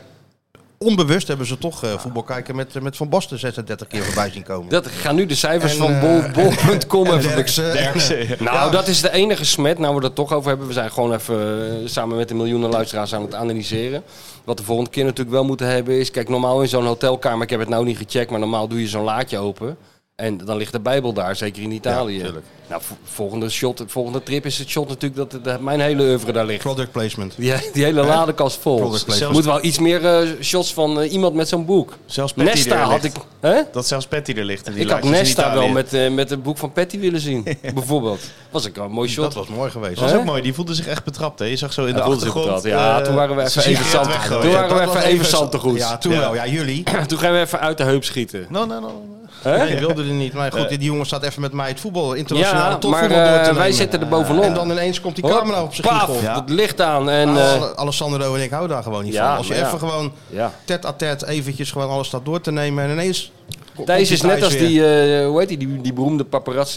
Speaker 5: onbewust hebben ze toch eh, voetbal kijken met, met Van Basten 36 keer voorbij zien komen.
Speaker 6: Dat gaan nu de cijfers
Speaker 5: En,
Speaker 6: van
Speaker 5: eh,
Speaker 6: bol- bol.com
Speaker 5: en
Speaker 6: even
Speaker 5: Derksen. eh,
Speaker 6: Nou, dat is de enige smet. Nou, we het toch over hebben. We zijn gewoon even eh, samen met de miljoenen luisteraars aan het analyseren. Wat de volgende keer natuurlijk wel moeten hebben is... Kijk, normaal in zo'n hotelkamer, ik heb het nou niet gecheckt... maar normaal doe je zo'n laadje open. En dan ligt de Bijbel daar, zeker in Italië. nou, vo- volgende, shot, volgende trip is het shot natuurlijk dat, het- dat mijn hele oeuvre daar ligt.
Speaker 5: Product placement.
Speaker 6: Die, die hele ladenkast vol.
Speaker 5: Product
Speaker 6: Er
Speaker 5: placement.
Speaker 6: moet wel iets meer eh, shots van eh, iemand met zo'n boek.
Speaker 7: Zelfs Patty
Speaker 6: Nesta
Speaker 7: er
Speaker 6: had ik...
Speaker 7: ligt.
Speaker 6: Hè?
Speaker 7: Dat zelfs Patty er ligt. En die
Speaker 6: Ik had
Speaker 7: laatjes in
Speaker 6: Nesta
Speaker 7: Italië.
Speaker 6: wel met, eh, met het boek van Patty willen zien, bijvoorbeeld. Was ik wel een mooi shot.
Speaker 5: Dat was mooi geweest.
Speaker 7: Dat was
Speaker 6: Hè?
Speaker 7: ook mooi. Die voelde zich echt betrapt. Hè? Je zag zo in de
Speaker 6: Hij voelde zich
Speaker 7: achtergrond.
Speaker 6: betrapt. Ja,
Speaker 7: eh,
Speaker 6: toen waren we even
Speaker 7: zijn
Speaker 6: even
Speaker 7: sigaret
Speaker 6: zand.
Speaker 7: weggooien.
Speaker 6: Toen waren we
Speaker 5: Dat was
Speaker 6: even even zand te goed.
Speaker 5: Ja, toen
Speaker 7: Ja.
Speaker 5: wel. Oh Ja, jullie.
Speaker 6: Toen gaan we even uit de heup schieten.
Speaker 7: No, no, no.
Speaker 6: Hè?
Speaker 5: Ik wilde er niet. Maar
Speaker 7: Eh.
Speaker 5: goed, die jongen staat even met mij het voetbal, internationaal
Speaker 6: Ja, maar
Speaker 5: topvoetbal door te
Speaker 6: eh,
Speaker 5: nemen.
Speaker 6: wij zitten er bovenop.
Speaker 5: En dan ineens komt die camera op zijn
Speaker 6: Paaf,
Speaker 5: giegel.
Speaker 6: het licht aan. En, eh,
Speaker 5: Alle- Alessandro en ik houden daar gewoon niet
Speaker 6: Ja,
Speaker 5: van. Als je
Speaker 6: maar ja.
Speaker 5: even gewoon
Speaker 6: eh, ja.
Speaker 5: tet à tet eventjes gewoon alles staat door te nemen en ineens... komt
Speaker 6: Thijs
Speaker 5: die
Speaker 6: is net als
Speaker 5: weer.
Speaker 6: die, eh, hoe heet die, die, die beroemde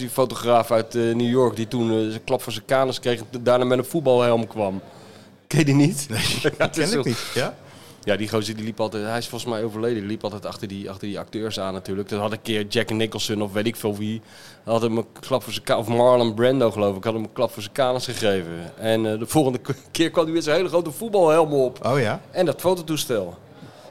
Speaker 6: paparazzi-fotograaf uit eh, New York... die toen eh, zijn klap voor zijn kanus kreeg en daarna met een voetbalhelm kwam. Ken je die niet? Nee, dat
Speaker 5: Ken ik niet. Ja?
Speaker 6: Ja, die gozer die liep altijd, hij is volgens mij overleden, die liep altijd achter die, achter die acteurs aan natuurlijk. Dat had een keer Jack Nicholson of weet ik veel wie, had hem een klap voor zijn ka- of Marlon Brando geloof ik, had hem een klap voor zijn kanus gegeven. En eh, de volgende k- keer kwam hij weer zijn hele grote voetbalhelm op
Speaker 5: Oh ja.
Speaker 6: en dat fototoestel.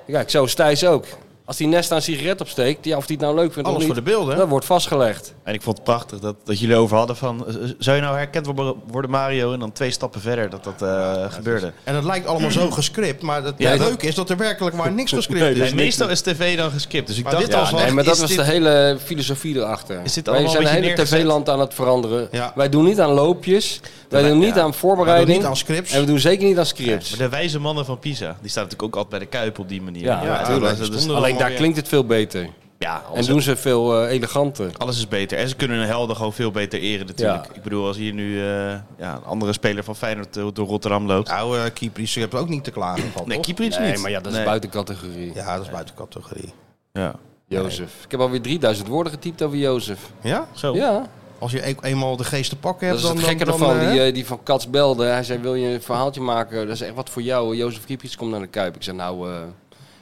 Speaker 6: Kijk, zo is Thijs ook. Als die nest aan een sigaret opsteekt, ja, of die het nou leuk vindt
Speaker 5: Alles
Speaker 6: of
Speaker 5: voor
Speaker 6: niet,
Speaker 5: de beelden.
Speaker 6: dat wordt vastgelegd.
Speaker 7: En ik vond het prachtig dat, dat jullie over hadden van... eh, Zou je nou herkend worden- worden Mario? En dan twee stappen verder dat dat eh, gebeurde.
Speaker 5: En het lijkt allemaal zo gescript, maar het
Speaker 6: Ja, dat-
Speaker 5: leuke is dat er werkelijk maar niks gescript
Speaker 6: Nee,
Speaker 5: is.
Speaker 7: en meestal is tv dan geskipt. Dus ik
Speaker 5: Maar
Speaker 7: dacht
Speaker 5: dit
Speaker 7: al
Speaker 5: was
Speaker 7: van...
Speaker 5: wel-
Speaker 6: Nee, maar dat
Speaker 5: is
Speaker 6: was de
Speaker 5: dit-
Speaker 6: hele filosofie erachter.
Speaker 7: Is dit
Speaker 6: Wij
Speaker 7: allemaal
Speaker 6: zijn de
Speaker 7: een
Speaker 6: hele
Speaker 7: beetje neergezet?
Speaker 6: tv-land aan het veranderen.
Speaker 5: Ja.
Speaker 6: Wij doen niet aan loopjes, wij doen niet aan
Speaker 5: Maar doe
Speaker 6: voorbereiding.
Speaker 5: niet aan scripts.
Speaker 6: En we doen zeker niet aan scripts.
Speaker 7: Maar de wijze mannen van Pisa, die staan natuurlijk ook altijd bij de Kuip op die manier.
Speaker 6: Ja,
Speaker 7: dat-
Speaker 6: natuurlijk.
Speaker 7: dat is-
Speaker 6: Alleen daar klinkt het veel beter.
Speaker 7: Ja,
Speaker 6: En
Speaker 7: alles,
Speaker 6: doen ze veel eh, eleganter.
Speaker 7: alles is beter. En ze kunnen hun helden gewoon veel beter eren natuurlijk.
Speaker 6: Ja.
Speaker 7: Ik bedoel, als hier nu eh, ja, een andere speler van Feyenoord eh, door Rotterdam loopt...
Speaker 5: Nou, eh Kypris, je hebt ook niet te klagen van,
Speaker 7: nee,
Speaker 5: toch?
Speaker 7: Kieprits
Speaker 6: Nee,
Speaker 7: niet.
Speaker 6: maar ja, dat is
Speaker 7: Nee.
Speaker 6: buiten categorie.
Speaker 5: Ja, dat is buiten categorie.
Speaker 7: Ja.
Speaker 6: Jozef. Ik heb alweer 3000 woorden getypt over Jozef.
Speaker 5: Ja?
Speaker 7: Zo.
Speaker 6: Ja,
Speaker 5: Als je e- eenmaal de geest te pakken
Speaker 6: dat
Speaker 5: hebt,
Speaker 6: is
Speaker 5: dan...
Speaker 6: het gekke
Speaker 5: dan,
Speaker 6: ervan.
Speaker 5: dan, eh,
Speaker 6: die, eh, die van Kats belde. Hij zei, wil je een verhaaltje maken? Dat is echt wat voor jou. Jozef Kriepjes komt naar de Kuip. Ik zei, nou, eh,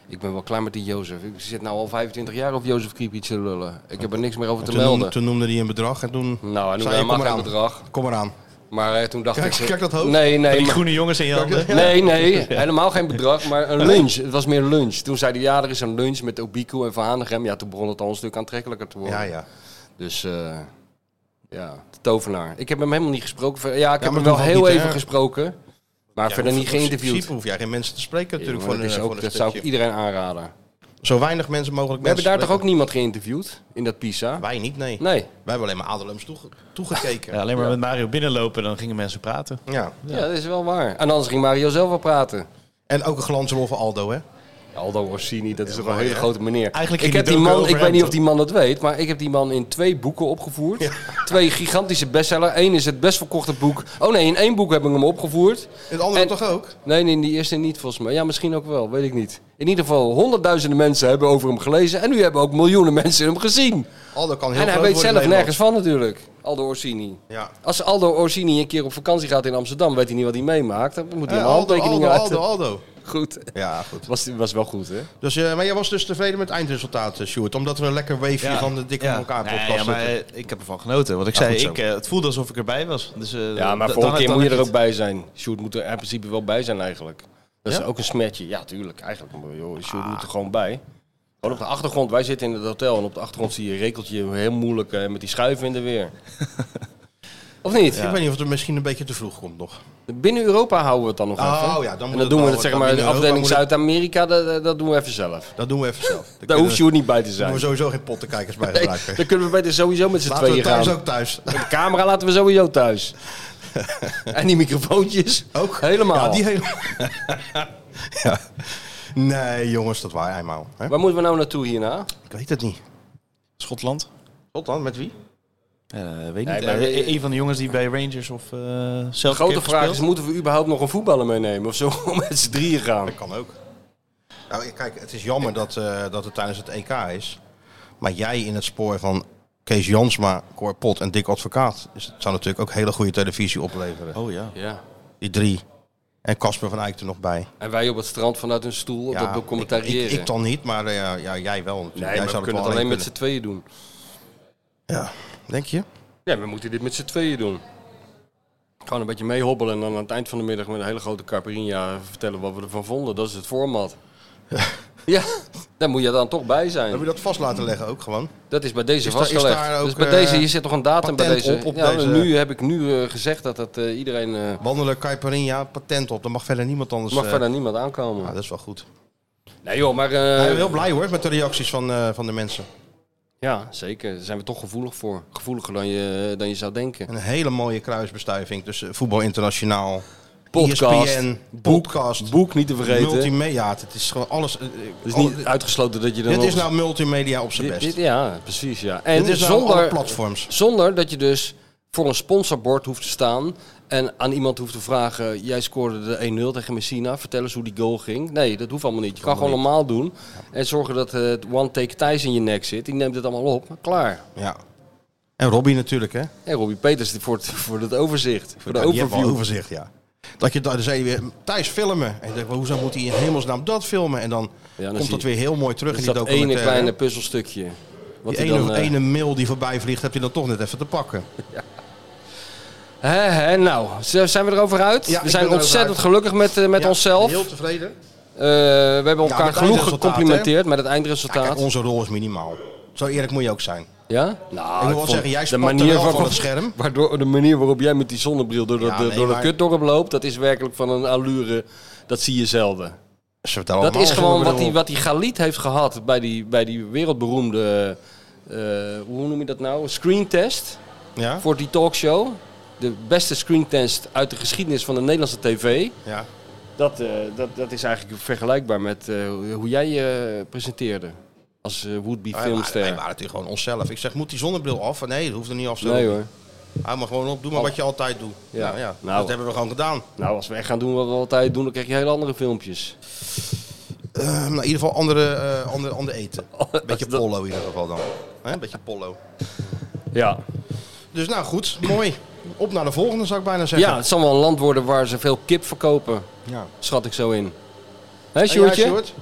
Speaker 6: ik ben wel klaar met die Jozef. Ik zit nou al 25 jaar over Jozef Kriepjes te lullen. Ik heb er niks meer over te
Speaker 5: toen, noemde,
Speaker 6: melden.
Speaker 5: toen noemde hij een bedrag en toen...
Speaker 6: Nou, hij
Speaker 5: Zei
Speaker 6: noemde
Speaker 5: je, kom
Speaker 6: helemaal geen
Speaker 5: maar aan.
Speaker 6: bedrag.
Speaker 5: Kom maar aan.
Speaker 6: Maar eh, toen dacht
Speaker 5: Kijk,
Speaker 6: ik...
Speaker 5: kijk dat hoofd.
Speaker 6: Nee, nee.
Speaker 7: Die
Speaker 6: maar-
Speaker 7: groene jongens in je handen.
Speaker 6: Nee, nee, helemaal geen bedrag, maar een lunch. Het was meer lunch. Toen zei hij, ja, er is een lunch met Obiku en Van Hanegem. Ja, toen begon het al een stuk aantrekkelijker te worden.
Speaker 5: Ja, ja.
Speaker 6: Dus, eh, ja, de tovenaar. Ik heb hem helemaal niet gesproken. Ver- Ja, ik heb
Speaker 5: maar
Speaker 6: hem wel
Speaker 5: dat hoeft
Speaker 6: heel
Speaker 5: niet, hè?
Speaker 6: even gesproken, maar verder niet
Speaker 5: In
Speaker 6: geïnterviewd.
Speaker 5: principe hoef jij geen mensen te spreken
Speaker 6: Ja,
Speaker 5: natuurlijk
Speaker 6: maar
Speaker 5: voor,
Speaker 6: dat
Speaker 5: een,
Speaker 6: is
Speaker 5: voor
Speaker 6: ook,
Speaker 5: een
Speaker 6: dat zou ik
Speaker 5: stukje.
Speaker 6: iedereen aanraden.
Speaker 5: Zo weinig mensen mogelijk
Speaker 6: We hebben
Speaker 5: mensen
Speaker 6: daar toch ook
Speaker 5: spreken.
Speaker 6: niemand geïnterviewd in dat PISA?
Speaker 5: Wij niet, nee.
Speaker 6: Nee.
Speaker 5: Wij hebben alleen maar Adelums toege- toegekeken.
Speaker 7: Ja, alleen maar met Mario binnenlopen, dan gingen mensen praten.
Speaker 5: ja.
Speaker 6: Ja. dat is wel waar. En anders ging Mario zelf wel praten.
Speaker 5: En ook een glansrol voor Aldo, hè?
Speaker 6: Aldo Rossini, dat is toch wel
Speaker 5: mooi,
Speaker 6: een hele
Speaker 5: hè?
Speaker 6: grote meneer.
Speaker 7: Eigenlijk
Speaker 6: ik
Speaker 7: in
Speaker 6: heb
Speaker 7: de
Speaker 6: die
Speaker 7: docu
Speaker 6: man,
Speaker 7: over
Speaker 6: ik weet
Speaker 7: hem,
Speaker 6: niet of
Speaker 7: toch?
Speaker 6: die man dat weet, maar ik heb die man in twee boeken opgevoerd. Twee gigantische bestsellers. Eén is het best verkochte boek. Oh nee, in één boek heb ik hem opgevoerd.
Speaker 5: Het andere
Speaker 6: En-
Speaker 5: toch ook?
Speaker 6: Nee, nee, in die eerste niet volgens mij. Ja, misschien ook wel, weet ik niet. In ieder geval, honderdduizenden mensen hebben over hem gelezen. En nu hebben ook miljoenen mensen hem gezien.
Speaker 5: Aldo kan heel
Speaker 6: En hij
Speaker 5: groot
Speaker 6: weet
Speaker 5: worden in
Speaker 6: zelf
Speaker 5: Nederland.
Speaker 6: nergens van natuurlijk, Aldo Orsini.
Speaker 5: Ja.
Speaker 6: Als Aldo Orsini een keer op vakantie gaat in Amsterdam, weet hij niet wat hij meemaakt. Dan moet hij
Speaker 5: Eh,
Speaker 6: een
Speaker 5: Aldo,
Speaker 6: handtekening
Speaker 5: Aldo,
Speaker 6: uit.
Speaker 5: Aldo, Aldo.
Speaker 6: Goed.
Speaker 5: Ja, goed.
Speaker 6: Was, was wel goed, hè?
Speaker 5: Dus, eh, maar jij was dus tevreden met het eindresultaat, eh, Sjoerd. Omdat we een lekker weefje
Speaker 7: Ja.
Speaker 5: van de dikke
Speaker 7: Ja.
Speaker 5: van elkaar
Speaker 7: Nee,
Speaker 5: podcast
Speaker 7: ja, maar
Speaker 5: zitten.
Speaker 7: eh, ik heb ervan genoten. Want ik
Speaker 5: Ja,
Speaker 7: zei,
Speaker 5: goed zo.
Speaker 7: ik, eh, het voelde alsof ik erbij was. Dus, eh,
Speaker 6: Ja, maar
Speaker 7: d-
Speaker 6: volgende
Speaker 7: dan-
Speaker 6: keer
Speaker 7: dan
Speaker 6: moet je
Speaker 7: heb
Speaker 6: er ook
Speaker 7: het.
Speaker 6: bij zijn. Sjoerd moet er in principe wel bij zijn eigenlijk. Dat is
Speaker 7: Ja?
Speaker 6: ook een smetje. Ja, tuurlijk. Eigenlijk, maar joh,
Speaker 5: Ah.
Speaker 6: Sjoerd moet er gewoon bij. Gewoon op de achtergrond. Wij zitten in het hotel en op de achtergrond zie je rekeltje heel moeilijk eh, met die schuiven in de weer. of niet?
Speaker 5: Ik weet niet of het misschien een beetje te vroeg komt nog.
Speaker 6: Binnen Europa houden we het dan nog
Speaker 5: Oh, ja,
Speaker 6: even.
Speaker 5: dan moet
Speaker 6: en
Speaker 5: het
Speaker 6: dan doen
Speaker 5: wel,
Speaker 6: we het, zeg
Speaker 5: dan
Speaker 6: maar, de
Speaker 5: binnen Europa
Speaker 6: afdeling
Speaker 5: moet het-
Speaker 6: Zuid-Amerika, dat, dat- dat doen we even zelf.
Speaker 5: Dat doen we even zelf. Dan
Speaker 6: Daar
Speaker 5: kunnen-
Speaker 6: hoeft Sjoerd niet bij te
Speaker 5: Daar
Speaker 6: zijn.
Speaker 5: moeten we sowieso geen pottenkijkers bij
Speaker 6: Nee,
Speaker 5: gebruiken.
Speaker 6: dan kunnen we beter sowieso met z'n
Speaker 5: Laten we
Speaker 6: tweeën
Speaker 5: thuis
Speaker 6: gaan.
Speaker 5: ook thuis.
Speaker 6: De camera laten we sowieso thuis. en die microfoontjes.
Speaker 5: Ook?
Speaker 6: Helemaal.
Speaker 5: Ja, die helemaal. ja. Nee, jongens, dat waar eenmaal. Hè?
Speaker 6: Waar moeten we nou naartoe hierna?
Speaker 5: Ik weet het niet.
Speaker 7: Schotland?
Speaker 5: Tot dan, met wie?
Speaker 7: Eh, weet
Speaker 6: Nee,
Speaker 7: niet.
Speaker 6: maar-
Speaker 7: Eh, een van de jongens die bij Rangers of eh
Speaker 6: De
Speaker 7: zelf
Speaker 6: grote vraag is, moeten we überhaupt nog een voetballer meenemen? Of zo met z'n drieën gaan?
Speaker 5: Dat kan ook. Nou, kijk, het is jammer dat, eh, dat het tijdens het EK is. Maar jij in het spoor van Kees Jansma, Cor Pot en Dick Advocaat... Dus het zou natuurlijk ook hele goede televisie opleveren.
Speaker 7: Oh ja.
Speaker 6: Ja.
Speaker 5: Die drie. En Casper van Eyck er nog bij.
Speaker 6: En wij op het strand vanuit een stoel dat wil
Speaker 5: ik,
Speaker 6: commentariëren.
Speaker 5: ik, ik dan niet, maar eh, ja, ja, jij wel. natuurlijk.
Speaker 6: Nee,
Speaker 5: jij
Speaker 6: maar we kunnen het alleen met z'n tweeën doen.
Speaker 5: Ja, denk je?
Speaker 6: Nee, we moeten dit met z'n tweeën doen. Gewoon een beetje meehobbelen en dan aan het eind van de middag met een hele grote carperinha vertellen wat we ervan vonden. Dat is het format. Ja, daar moet je dan toch bij
Speaker 5: Heb je
Speaker 6: zijn.
Speaker 5: dat vast laten leggen ook gewoon?
Speaker 6: Dat is bij deze
Speaker 5: Is daar- is
Speaker 6: vastgelegd.
Speaker 5: daar ook,
Speaker 6: dus bij deze,
Speaker 5: eh,
Speaker 6: hier zit toch een datum bij
Speaker 5: patent
Speaker 6: deze.
Speaker 5: op, op
Speaker 6: ja,
Speaker 5: deze-
Speaker 6: Nu heb ik nu eh, gezegd dat, dat eh, iedereen... eh,
Speaker 5: Wandelen, Caiparinha, patent op. Dan mag verder niemand anders...
Speaker 6: mag
Speaker 5: eh,
Speaker 6: verder niemand aankomen.
Speaker 5: Ja, dat is wel goed.
Speaker 6: nee joh, maar... eh,
Speaker 5: ik ben heel blij hoor met de reacties van, eh, van de mensen.
Speaker 6: Ja, zeker. Daar zijn we toch gevoelig voor. Gevoeliger dan je, dan je zou denken.
Speaker 5: Een hele mooie kruisbestuiving tussen voetbal internationaal, E
Speaker 6: Podcast,
Speaker 5: ESPN,
Speaker 6: boek,
Speaker 5: podcast,
Speaker 6: Boek niet te vergeten.
Speaker 5: multimedia. Ja, het is gewoon alles. eh,
Speaker 6: Het is
Speaker 5: al-
Speaker 6: niet uitgesloten dat je dan
Speaker 5: dit
Speaker 6: nog-
Speaker 5: is nou multimedia op zijn
Speaker 6: Dit-
Speaker 5: best.
Speaker 6: dit-
Speaker 5: Dit,
Speaker 6: ja, precies ja. En
Speaker 5: is nou alle
Speaker 6: zonder,
Speaker 5: platforms.
Speaker 6: zonder dat je dus voor een sponsorbord hoeft te staan en aan iemand hoeft te vragen, jij scoorde de 1-0 tegen Messina, vertel eens hoe die goal ging. Nee, dat hoeft allemaal niet. Je kan gewoon normaal doen en zorgen dat eh, het one take Thijs in je nek zit. Die neemt het allemaal op. Klaar.
Speaker 5: Ja. En Robbie natuurlijk, hè?
Speaker 6: En Robbie Peters voor het, voor het overzicht, voor de
Speaker 5: Ja, die heeft wel
Speaker 6: overview.
Speaker 5: overzicht, ja. Dat je daar zei je weer Thijs filmen. En je denkt, hoezo moet hij in hemelsnaam dat filmen? En dan,
Speaker 6: dan zie
Speaker 5: komt dat
Speaker 6: je-
Speaker 5: weer heel mooi terug
Speaker 6: Dat
Speaker 5: in
Speaker 6: is
Speaker 5: die
Speaker 6: dat ene
Speaker 5: documentaire.
Speaker 6: kleine puzzelstukje. Wat
Speaker 5: eh, die
Speaker 6: hij
Speaker 5: ene,
Speaker 6: dan, eh,
Speaker 5: ene mail die voorbij vliegt, heb je dan toch net even te pakken.
Speaker 6: Hè, hè, nou, z- zijn we erover uit?
Speaker 5: Ja,
Speaker 6: we
Speaker 5: ik
Speaker 6: zijn
Speaker 5: ben erover
Speaker 6: ontzettend
Speaker 5: uit.
Speaker 6: gelukkig met, eh, met
Speaker 5: Ja,
Speaker 6: onszelf.
Speaker 5: Heel tevreden.
Speaker 6: Eh, we hebben elkaar
Speaker 5: met het
Speaker 6: genoeg
Speaker 5: eindresultaat,
Speaker 6: gecomplimenteerd met het
Speaker 5: Ja,
Speaker 6: eindresultaat.
Speaker 5: kijk, onze rol is minimaal. Zo eerlijk moet je ook zijn.
Speaker 6: Ja? Nou,
Speaker 5: ik wil wel
Speaker 6: vond
Speaker 5: zeggen, jij spatte wel van het scherm.
Speaker 6: Waardoor, de manier waarop jij met die zonnebril door, dat
Speaker 5: Ja,
Speaker 6: door
Speaker 5: nee,
Speaker 6: dat
Speaker 5: maar-
Speaker 6: kutdorp loopt, dat is werkelijk van een allure, dat zie je zelden.
Speaker 5: Ze
Speaker 6: dat is gewoon wat die, wat die Galit heeft gehad bij die, bij die wereldberoemde, eh, hoe noem je dat nou, screentest
Speaker 5: Ja?
Speaker 6: voor die talkshow. De beste screentest uit de geschiedenis van de Nederlandse tv.
Speaker 5: ja.
Speaker 6: Dat, eh, dat, dat is eigenlijk vergelijkbaar met eh, hoe jij je presenteerde als eh, would-be
Speaker 5: Wij waren-
Speaker 6: filmster.
Speaker 5: Wij waren natuurlijk gewoon onszelf. Ik zeg, moet die zonnebril af? Nee, dat hoeft er niet af te
Speaker 6: nee
Speaker 5: doen.
Speaker 6: hoor.
Speaker 5: Hou maar gewoon op, doe maar wat je altijd doet.
Speaker 6: Ja.
Speaker 5: Ja. Nou, ja.
Speaker 6: Nou.
Speaker 5: Dat hebben we gewoon gedaan.
Speaker 6: Nou, als we echt gaan doen wat we altijd doen, dan krijg je hele andere filmpjes.
Speaker 5: Eh, nou, in ieder geval andere, eh andere, andere eten. Beetje
Speaker 6: Oh, Dat-
Speaker 5: pollo in ieder geval dan. Hè, beetje pollo.
Speaker 6: Ja.
Speaker 5: Dus nou goed, mooi. Op naar de volgende zou ik bijna zeggen.
Speaker 6: ja, het zal wel een land worden waar ze veel kip verkopen,
Speaker 5: ja.
Speaker 6: schat ik zo in. Hé,
Speaker 5: En jij,
Speaker 6: Sjoerdje?
Speaker 5: Oh Sjoerd?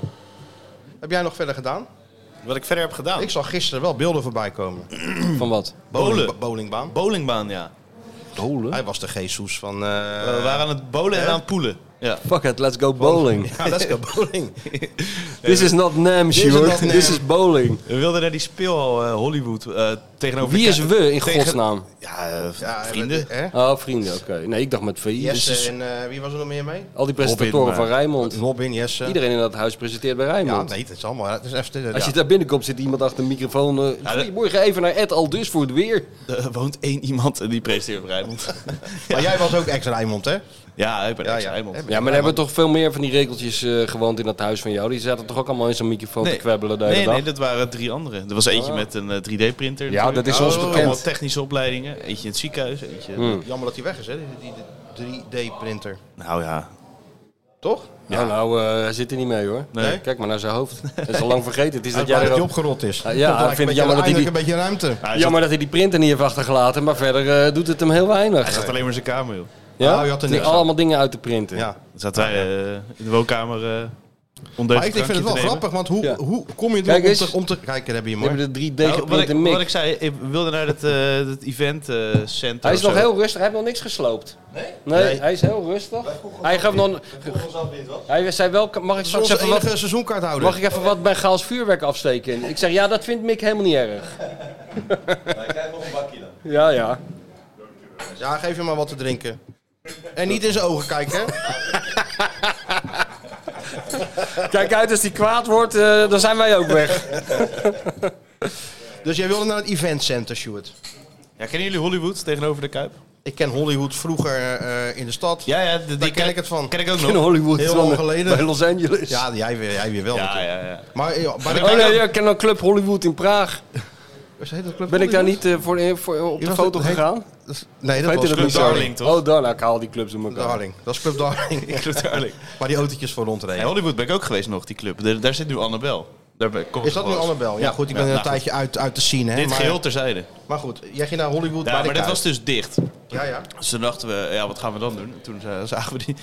Speaker 5: Heb jij nog verder gedaan?
Speaker 7: Wat ik verder heb gedaan.
Speaker 5: Ik zag gisteren wel beelden voorbij komen.
Speaker 6: Van wat?
Speaker 7: Bolen.
Speaker 5: bowlingbaan.
Speaker 7: Bowlingbaan, ja.
Speaker 6: Bolen?
Speaker 5: Hij was de Jesus van... eh
Speaker 7: we waren aan het bowlen en
Speaker 5: hè?
Speaker 7: aan het poelen. Ja.
Speaker 6: Fuck it, let's go bowling.
Speaker 5: Ja, let's go bowling.
Speaker 6: This is not Nam,
Speaker 5: is
Speaker 6: Sjoerd.
Speaker 5: not Nam.
Speaker 6: This is bowling.
Speaker 7: We wilden naar die speelhal eh, Hollywood eh, tegenover...
Speaker 6: Wie
Speaker 7: de-
Speaker 6: is we in
Speaker 7: tegen-
Speaker 6: godsnaam?
Speaker 7: Ja, eh,
Speaker 5: Ja,
Speaker 7: vrienden.
Speaker 5: Hè?
Speaker 6: Oh, vrienden, oké. Nee, ik dacht met VI.
Speaker 5: Jesse
Speaker 6: Dus
Speaker 5: en eh, wie was er nog meer mee?
Speaker 6: al die presentatoren
Speaker 7: Robin,
Speaker 6: van
Speaker 7: maar-
Speaker 6: Rijnmond.
Speaker 5: Robin, Jesse.
Speaker 6: Iedereen in dat huis presenteert bij
Speaker 5: Ja,
Speaker 6: Rijnmond.
Speaker 5: nee, het is allemaal. Het is even,
Speaker 6: Als
Speaker 5: ja.
Speaker 6: je daar binnenkomt, zit iemand achter de microfoon. eh, Goedemorgen, even naar Ed Aldus voor het weer.
Speaker 7: Er woont één iemand en die presenteert voor Rijnmond.
Speaker 5: Maar jij was ook ex-Rijmond, hè?
Speaker 6: Hm.
Speaker 7: ja, ik ben
Speaker 5: Ja,
Speaker 7: ex
Speaker 5: ja.
Speaker 7: Rijnmond.
Speaker 5: Heb-
Speaker 6: Ja, maar er hebben toch veel meer van die regeltjes eh, gewoond in dat huis van jou. Die zaten toch ook allemaal in zo'n microfoon te kwebbelen de hele
Speaker 7: nee,
Speaker 6: dag?
Speaker 7: nee, dat waren drie anderen. Er was eentje
Speaker 5: Oh.
Speaker 6: Ah.
Speaker 7: met een eh, 3D-printer.
Speaker 6: Ja,
Speaker 7: natuurlijk. Oh,
Speaker 6: dat is ons bekend.
Speaker 7: Allemaal technische opleidingen. Eentje in het ziekenhuis, eentje...
Speaker 6: Hmm.
Speaker 5: Jammer dat hij weg is, hè? Die, die 3D-printer.
Speaker 7: Nou ja.
Speaker 5: Toch?
Speaker 6: Ja, nou, eh, hij zit er niet mee hoor.
Speaker 7: Nee.
Speaker 6: Kijk maar naar zijn hoofd. Dat is al lang vergeten. Het is dat
Speaker 5: Blij
Speaker 6: jij
Speaker 5: dat
Speaker 6: er
Speaker 5: hij
Speaker 6: ook...
Speaker 5: opgerot is.
Speaker 6: Ah, ja,
Speaker 5: Dat
Speaker 6: ik
Speaker 5: lijkt
Speaker 6: vind
Speaker 5: een
Speaker 6: het jammer dat hij
Speaker 5: beetje-
Speaker 6: die-
Speaker 5: een beetje ruimte.
Speaker 7: Hij zat-
Speaker 6: Jammer dat hij die printer niet heeft achtergelaten, maar verder eh, doet het hem heel weinig.
Speaker 7: Hij zat alleen maar in zijn kamer, joh.
Speaker 6: Ja?
Speaker 5: Nou, je had er
Speaker 6: Die
Speaker 5: niks aan.
Speaker 6: allemaal dingen uit te printen.
Speaker 5: Ja.
Speaker 7: Dan zaten wij eh, in de woonkamer eh
Speaker 5: Maar ik, ik vind het wel grappig, want hoe,
Speaker 6: Ja.
Speaker 5: hoe kom je er
Speaker 6: Kijk
Speaker 5: om,
Speaker 6: eens.
Speaker 5: te, om te... Kijk, daar heb je hem
Speaker 6: We
Speaker 5: hoor.
Speaker 6: hebben de 3D
Speaker 7: Nou, wat, ik,
Speaker 6: geprinte mix.
Speaker 7: wat ik zei, ik wilde naar dat, eh dat event eh center.
Speaker 6: Hij is
Speaker 7: of
Speaker 6: nog
Speaker 7: zo.
Speaker 6: heel rustig, hij heeft nog niks gesloopt. Nee? Nee, hij is heel rustig. Hij gaf nog... Hij zei wel, mag ik
Speaker 5: Dat is
Speaker 6: straks
Speaker 5: onze
Speaker 6: even wat...
Speaker 5: enige seizoenkaarthouder.
Speaker 6: Mag ik even wat bij Gaals vuurwerk afsteken? Ik zeg, ja, dat vindt Mick helemaal niet erg. Ja, ja.
Speaker 5: Ja, geef je maar wat te drinken. En niet in zijn ogen kijken. hè?
Speaker 6: Kijk uit, als die kwaad wordt, eh, dan zijn wij ook weg.
Speaker 5: Dus jij wilde naar het eventcenter, Stuart.
Speaker 7: Ja, kennen jullie Hollywood tegenover de Kuip?
Speaker 5: Ik ken Hollywood vroeger eh, in de stad.
Speaker 7: Ja, ja, de- die
Speaker 5: Daar ken ik het van.
Speaker 7: Ken ik ook
Speaker 6: In
Speaker 7: nog.
Speaker 6: Hollywood.
Speaker 5: Heel
Speaker 6: dan,
Speaker 5: lang
Speaker 6: eh,
Speaker 5: geleden.
Speaker 6: Bij Los Angeles.
Speaker 5: Ja, jij weer, jij weer wel.
Speaker 7: Ja,
Speaker 5: natuurlijk.
Speaker 7: ja, ja.
Speaker 5: Maar, ja, maar
Speaker 6: Oh nee, ja, ik ken een club Hollywood in Praag.
Speaker 5: club
Speaker 6: Ben ik daar niet eh, voor, voor, op de
Speaker 5: was-
Speaker 6: foto
Speaker 5: heet-
Speaker 6: gegaan?
Speaker 5: Nee, dat
Speaker 6: Weet je
Speaker 5: was
Speaker 6: dat
Speaker 5: Club
Speaker 6: niet?
Speaker 7: Darling, toch?
Speaker 6: Oh, Darling. Ik haal die clubs in elkaar.
Speaker 5: Darling. Dat is Club Darling.
Speaker 7: Club Darling.
Speaker 5: Waar die autootjes voor
Speaker 7: Hey,
Speaker 5: rondreden.
Speaker 7: Hollywood ben ik ook geweest nog, die club. Daar, daar zit nu Annabel. Daar ben, kom ik
Speaker 5: Is dat nu
Speaker 7: gewoon eens.
Speaker 5: Annabel? Ja, goed, ik ben
Speaker 7: Ja,
Speaker 5: een
Speaker 7: nou,
Speaker 5: tijdje uit, uit de scene. Hè,
Speaker 7: Dit
Speaker 5: maar,
Speaker 7: geheel terzijde.
Speaker 5: maar goed, jij ging naar Hollywood. bij
Speaker 7: Ja, maar
Speaker 5: de
Speaker 7: dit
Speaker 5: Kuip.
Speaker 7: was dus dicht.
Speaker 5: Ja, ja.
Speaker 7: Dus toen dachten we, ja, wat gaan we dan doen? Toen eh, zagen we die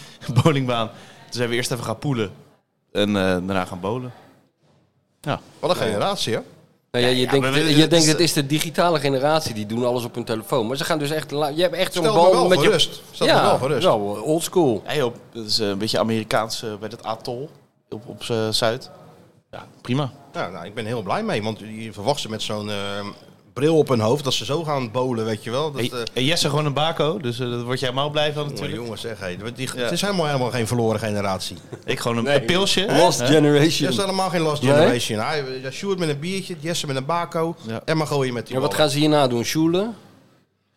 Speaker 7: bowlingbaan. Toen zijn we eerst even gaan poelen. En eh, daarna gaan bowlen.
Speaker 5: Wat een generatie, hè?
Speaker 6: Nou ja, je denkt,
Speaker 7: maar we-
Speaker 6: je
Speaker 7: het
Speaker 6: denkt
Speaker 7: is-
Speaker 6: het is de digitale generatie, die doen alles op hun telefoon. Maar ze gaan dus echt... la- Je hebt echt zo'n
Speaker 5: Stel me
Speaker 6: bal
Speaker 5: wel
Speaker 6: met je...
Speaker 5: gerust. Stel me wel gerust.
Speaker 6: wel, eh, old school.
Speaker 7: Hey, op, dat is eh, een beetje Amerikaans eh, bij dat atol op, op eh, Zuid. Ja, prima.
Speaker 5: Nou, nou, ik ben heel blij mee, want je verwacht ze met zo'n eh, bril op hun hoofd dat ze zo gaan bolen, weet je wel. Dat,
Speaker 7: Hey,
Speaker 5: eh,
Speaker 7: hey, Jesse gewoon een bako, dus eh, daar word jij helemaal blij van
Speaker 5: maar
Speaker 7: natuurlijk.
Speaker 5: jongens, zeg, hey, die- die-
Speaker 7: Ja.
Speaker 5: het is helemaal, helemaal geen verloren generatie.
Speaker 7: Ik gewoon een,
Speaker 6: Nee.
Speaker 7: een pilsje.
Speaker 6: Lost
Speaker 5: Het is
Speaker 6: generation.
Speaker 5: helemaal geen last
Speaker 6: Nee?
Speaker 5: generation. Hij, ja, Sjoerd met een biertje, Jesse met een bako,
Speaker 7: Ja.
Speaker 5: en maar gooien met die
Speaker 6: Ja, wat
Speaker 5: ballen.
Speaker 6: gaan ze hierna doen? Sjoelen?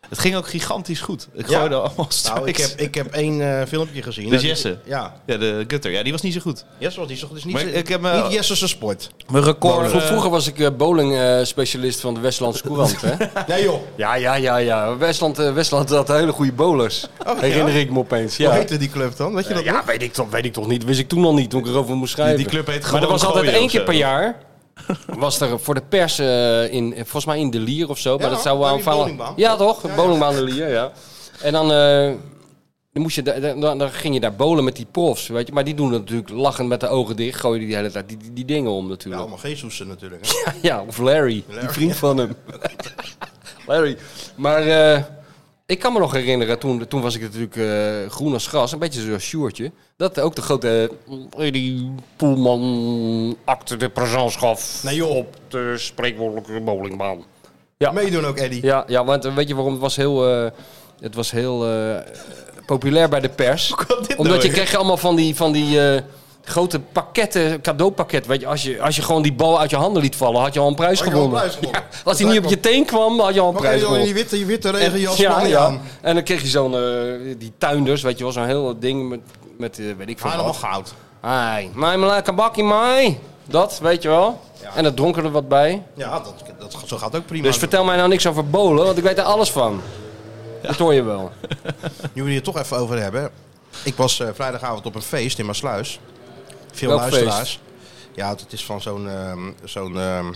Speaker 7: Het ging ook gigantisch goed. Ik
Speaker 5: Ja.
Speaker 7: gooide allemaal strikes.
Speaker 5: Nou, ik heb, ik heb één eh, filmpje gezien.
Speaker 7: Dus
Speaker 5: Eh, die-
Speaker 7: Jesse?
Speaker 5: Ja,
Speaker 7: Ja, de gutter. Ja, die was niet zo goed.
Speaker 5: Jesse was niet zo goed. Dus niet,
Speaker 7: Maar ik heb, eh,
Speaker 5: niet Jesse's sport.
Speaker 7: Mijn record...
Speaker 6: Vro- Vroeger was ik eh, bowling eh, specialist van de Westlandse Courant, hè?
Speaker 5: Nee joh,
Speaker 6: Ja, ja, ja, ja. Westland, eh, Westland had hele goede bowlers. Herinner ik me opeens.
Speaker 5: Oh, hoe
Speaker 6: Ja,
Speaker 5: heette die club dan? Weet je dat
Speaker 6: Eh, ja weet, ik toch, weet ik toch niet. Wist ik toen al niet, toen ik erover moest schrijven.
Speaker 7: die club heet
Speaker 6: maar er
Speaker 7: gewoon
Speaker 6: was altijd
Speaker 7: gooien
Speaker 6: één
Speaker 7: of
Speaker 6: keer
Speaker 7: zo.
Speaker 6: per jaar. Was er voor de pers eh, in, eh, volgens mij in De Lier of zo. maar dat
Speaker 5: hoor,
Speaker 6: zou wel
Speaker 5: bij die
Speaker 6: aanvallen.
Speaker 5: bowlingbaan.
Speaker 6: Ja, toch?
Speaker 5: Ja, ja.
Speaker 6: Bowlingbaan De Lier, ja. En dan, eh, dan, moest je, da- da- dan, dan ging je daar bowlen met die profs, weet je. Maar die doen dat natuurlijk lachend met de ogen dicht. Gooien die de hele tijd die, die, die dingen om
Speaker 5: Ja,
Speaker 6: natuurlijk.
Speaker 5: allemaal Jezusen natuurlijk. hè.
Speaker 6: Ja, of Larry, die vriend van hem. Larry. Maar eh, ik kan me nog herinneren, toen, toen was ik natuurlijk eh, groen als gras, een beetje zoals Sjoertje. Dat ook de grote eh, Eddie Poelman, acte de presentschap
Speaker 5: Nee joh,
Speaker 6: op de spreekwoordelijke bowlingbaan. Ja.
Speaker 5: meedoen ook Eddie.
Speaker 6: Ja, ja, want eh, weet je waarom? Het was heel, eh, het was heel eh, populair bij de pers.
Speaker 5: nou
Speaker 6: Omdat je kreeg allemaal van die, van die eh, grote pakketten, cadeaupakket. Weet je, als, je, als je gewoon die bal uit je handen liet vallen, had je al een prijs
Speaker 5: Had je al een
Speaker 6: gewonnen.
Speaker 5: prijs gewonnen.
Speaker 6: Ja, als hij niet op je teen kwam, had je al een
Speaker 5: Maar kun je
Speaker 6: prijs
Speaker 5: dan in die
Speaker 6: gewonnen.
Speaker 5: witte, je witte regenjas
Speaker 6: Ja,
Speaker 5: van die
Speaker 6: ja.
Speaker 5: aan?
Speaker 6: En dan kreeg je zo'n, eh, die tuinders, weet je wel, zo'n heel ding met, met eh, weet ik veel
Speaker 5: Helemaal
Speaker 6: wat.
Speaker 5: goud.
Speaker 6: Hai, mij maar lekker bakkie, mij. Dat, weet je wel.
Speaker 5: Ja.
Speaker 6: En dat dronken er wat bij.
Speaker 5: Ja, dat, dat, zo gaat het ook prima.
Speaker 6: Dus vertel mij nou niks over bolen, want ik weet er alles van. Dat hoor je wel.
Speaker 5: Nu we het toch even over hebben. Ik was eh, vrijdagavond op een feest in Maasluis. Veel
Speaker 6: Welk
Speaker 5: luisteraars. Ja, het het is van zo'n ehm, zo'n ehm,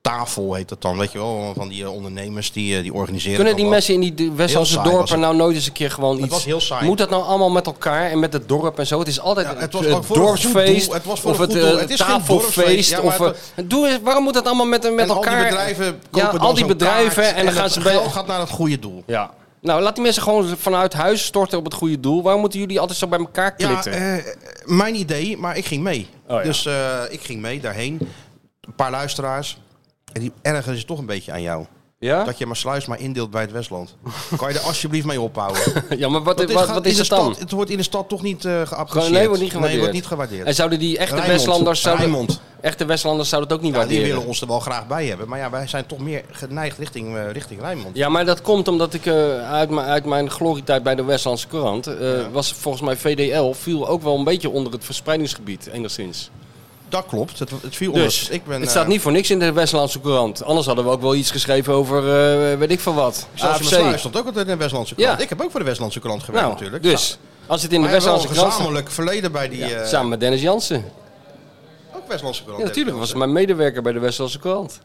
Speaker 5: tafel heet dat dan. Weet je wel, van die eh, ondernemers die, eh, die organiseren.
Speaker 6: Kunnen
Speaker 5: dan
Speaker 6: die
Speaker 5: wat.
Speaker 6: mensen in die d- Westlandse
Speaker 5: Heel saai was
Speaker 6: dorpen
Speaker 5: het.
Speaker 6: nou nooit eens een keer gewoon iets...
Speaker 5: was heel saai.
Speaker 6: Moet dat nou allemaal met elkaar en met het dorp en zo? Het is altijd
Speaker 5: Ja, het
Speaker 6: het,
Speaker 5: was
Speaker 6: het
Speaker 5: ook voor een goed
Speaker 6: dorpsfeest
Speaker 5: doel. Het was voor
Speaker 6: of
Speaker 5: een
Speaker 6: het,
Speaker 5: goed doel.
Speaker 6: eh,
Speaker 5: Het is geen dorpsfeest.
Speaker 6: tafelfeest.
Speaker 5: Ja,
Speaker 6: of,
Speaker 5: maar het-
Speaker 6: eh, doe eens- waarom moet dat allemaal met, met
Speaker 5: En
Speaker 6: elkaar...
Speaker 5: al die bedrijven kopen
Speaker 6: ja,
Speaker 5: dan
Speaker 6: al die
Speaker 5: zo'n
Speaker 6: bedrijven
Speaker 5: kaart
Speaker 6: en dan gaan
Speaker 5: het
Speaker 6: ze bij...
Speaker 5: geld gaat naar het goede doel.
Speaker 6: Ja. Nou, laat die mensen gewoon vanuit huis storten op het goede doel. Waarom moeten jullie altijd zo bij elkaar
Speaker 5: Ja,
Speaker 6: klitten?
Speaker 5: eh, mijn idee, maar ik ging mee.
Speaker 6: Oh, ja.
Speaker 5: Dus eh, ik ging mee daarheen. Een paar luisteraars. En die ergeren ze toch een beetje aan jou.
Speaker 6: ja?
Speaker 5: Dat je maar sluis maar indeelt bij het Westland. kan je er alsjeblieft mee ophouden?
Speaker 6: ja, maar wat,
Speaker 5: Want dit
Speaker 6: wat,
Speaker 5: gaat
Speaker 6: wat
Speaker 5: in
Speaker 6: is
Speaker 5: de
Speaker 6: het dan?
Speaker 5: Stad, het wordt in de stad toch niet eh geapprecieerd.
Speaker 6: Nee, wordt niet
Speaker 5: Nee,
Speaker 6: gewaardeerd.
Speaker 5: wordt niet gewaardeerd.
Speaker 6: En zouden die echte
Speaker 5: Rijnmond.
Speaker 6: Westlanders... Zouden,
Speaker 5: Rijnmond.
Speaker 6: echte Westlanders zouden het ook niet
Speaker 5: Ja, die
Speaker 6: waarderen.
Speaker 5: willen ons er wel graag bij hebben. Maar ja, wij zijn toch meer geneigd richting, eh, richting Rijnmond.
Speaker 6: Ja, maar dat komt omdat ik eh, uit, mijn- uit mijn glorietijd bij de Westlandse Courant... eh, was volgens mij VDL viel ook wel een beetje onder het verspreidingsgebied, enigszins.
Speaker 5: Dat klopt. Het, het viel
Speaker 6: Dus
Speaker 5: ons. Ik ben,
Speaker 6: het staat
Speaker 5: eh,
Speaker 6: niet voor niks in de Westlandse Courant. Anders hadden we ook wel iets geschreven over eh, weet ik van wat.
Speaker 5: Zoals je maar sluis
Speaker 6: AFC.
Speaker 5: stond ook altijd in de Westlandse krant.
Speaker 6: Ja.
Speaker 5: Ik heb ook voor de Westlandse krant gewerkt
Speaker 6: Nou,
Speaker 5: natuurlijk.
Speaker 6: dus als het in
Speaker 5: Nou,
Speaker 6: de
Speaker 5: wij hebben wel
Speaker 6: Westlandse
Speaker 5: een
Speaker 6: Courant... staat-
Speaker 5: gezamenlijk verleden bij die... eh,
Speaker 6: Samen met Dennis Jansen.
Speaker 5: Ook Westlandse krant.
Speaker 6: Ja, natuurlijk. was mijn medewerker bij de Westlandse Courant.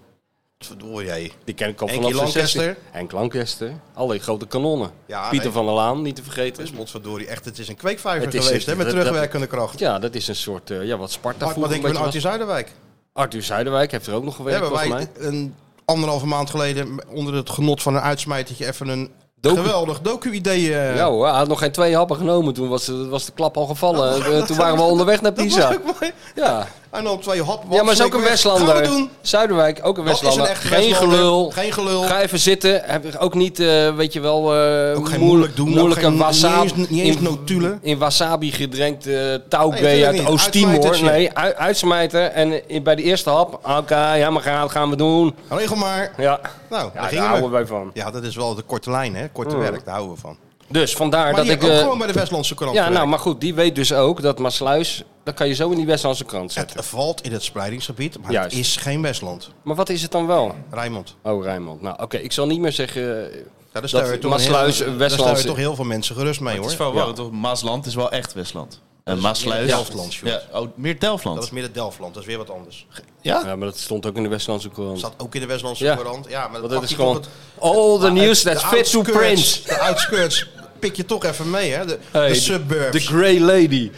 Speaker 5: Verdoor jij.
Speaker 6: Die ken ik al
Speaker 5: Henkie
Speaker 6: vanaf zijn
Speaker 5: Lancaster.
Speaker 6: 16. Henk Lancaster. Alle grote kanonnen.
Speaker 5: Ja,
Speaker 6: Pieter
Speaker 5: nee.
Speaker 6: van der Laan, niet te
Speaker 5: Het
Speaker 6: vergeten.
Speaker 5: is potverdorie echt, het is een kweekvijver
Speaker 6: Het is
Speaker 5: geweest
Speaker 6: echt-
Speaker 5: hè, met
Speaker 6: dat-
Speaker 5: terugwerkende kracht.
Speaker 6: Ja, dat is een soort, eh, ja, wat Sparta
Speaker 5: Hard, maar
Speaker 6: vroeger
Speaker 5: denk
Speaker 6: een
Speaker 5: ik van
Speaker 6: beetje
Speaker 5: Artie
Speaker 6: was.
Speaker 5: Zuiderwijk.
Speaker 6: Arthur Zuiderwijk heeft er ook nog gewerkt,
Speaker 5: Hebben
Speaker 6: volgens
Speaker 5: wij
Speaker 6: mij.
Speaker 5: een anderhalve maand geleden onder het genot van een uitsmijtertje even een
Speaker 6: Docu.
Speaker 5: geweldig docu-idee. eh,
Speaker 6: Ja hoor, hij had nog geen twee happen genomen. Toen was, de- was de klap al gevallen. Eh, toen waren we onderweg naar
Speaker 5: dat
Speaker 6: Pisa.
Speaker 5: was ook mooi.
Speaker 6: Ja.
Speaker 5: En dan twee hop.
Speaker 6: ja, maar is ook een
Speaker 5: Gaan we
Speaker 6: Westlander.
Speaker 5: doen.
Speaker 6: Zuiderwijk, ook een
Speaker 5: Dat is
Speaker 6: Westlander.
Speaker 5: een echte
Speaker 6: geen
Speaker 5: Westlander.
Speaker 6: gelul.
Speaker 5: Geen gelul.
Speaker 6: Ga even zitten. Heb ik ook niet, eh, weet je wel, eh,
Speaker 5: ook geen
Speaker 6: moe-
Speaker 5: moeilijk doen.
Speaker 6: moeilijke
Speaker 5: ook geen,
Speaker 6: wasabi.
Speaker 5: Niet eens, niet eens
Speaker 6: in-
Speaker 5: notulen.
Speaker 6: in wasabi gedrenkt eh
Speaker 5: Nee,
Speaker 6: touwgay
Speaker 5: natuurlijk
Speaker 6: uit
Speaker 5: niet.
Speaker 6: Oost-Timor.
Speaker 5: Uitsmijtertje.
Speaker 6: Nee, u- uitsmijter. En in- bij de eerste hap, oké, ja, maar gaan, gaan we doen.
Speaker 5: Regel maar.
Speaker 6: Ja,
Speaker 5: Nou, daar
Speaker 6: ja daar
Speaker 5: gingen we.
Speaker 6: houden wij van.
Speaker 5: Ja, dat is wel de korte lijn, hè? Korte werk, daar houden we van.
Speaker 6: Dus vandaar
Speaker 5: Maar
Speaker 6: Mm. dat
Speaker 5: die
Speaker 6: ik...
Speaker 5: heb ook
Speaker 6: eh,
Speaker 5: gewoon bij de Westlandse krant
Speaker 6: ja, nou,
Speaker 5: gewerkt.
Speaker 6: maar goed, die weet dus ook dat Maasluis, dat kan je zo in die Westlandse krant zetten.
Speaker 5: Het valt in het spreidingsgebied, maar
Speaker 6: Juist.
Speaker 5: het is geen Westland.
Speaker 6: Maar wat is het dan wel?
Speaker 5: Rijmond.
Speaker 6: Oh, Rijnmond. Nou, oké, ik zal niet meer zeggen... eh,
Speaker 5: Ja, daar
Speaker 6: Dat
Speaker 5: stel je toch een
Speaker 6: Maasluis,
Speaker 5: heel- daar
Speaker 6: Westlandse-
Speaker 5: stel je toch heel veel mensen gerust mee,
Speaker 7: Het
Speaker 5: hoor.
Speaker 7: is verwarrend, toch? Maasland is wel echt Westland. En Eh, Maasluis...
Speaker 5: meer Delftland,
Speaker 7: ja,
Speaker 5: jongens.
Speaker 7: oh, meer Delftland.
Speaker 5: Dat is meer het Delftland, dat is weer wat anders.
Speaker 7: Ja?
Speaker 6: Ja, maar dat stond ook in de Westlandse krant.
Speaker 5: Zat ook in de Westlandse
Speaker 6: Ja.
Speaker 5: krant. Ja, maar dat,
Speaker 6: Want dat
Speaker 5: pak
Speaker 6: is
Speaker 5: je
Speaker 6: gewoon...
Speaker 5: toch het-
Speaker 6: All the news
Speaker 5: de
Speaker 6: that's fit to
Speaker 5: outskirts-
Speaker 6: print.
Speaker 5: De outskirts pik je toch even mee, hè? De,
Speaker 6: Hey,
Speaker 5: de
Speaker 6: de-
Speaker 5: suburbs.
Speaker 6: De Grey Lady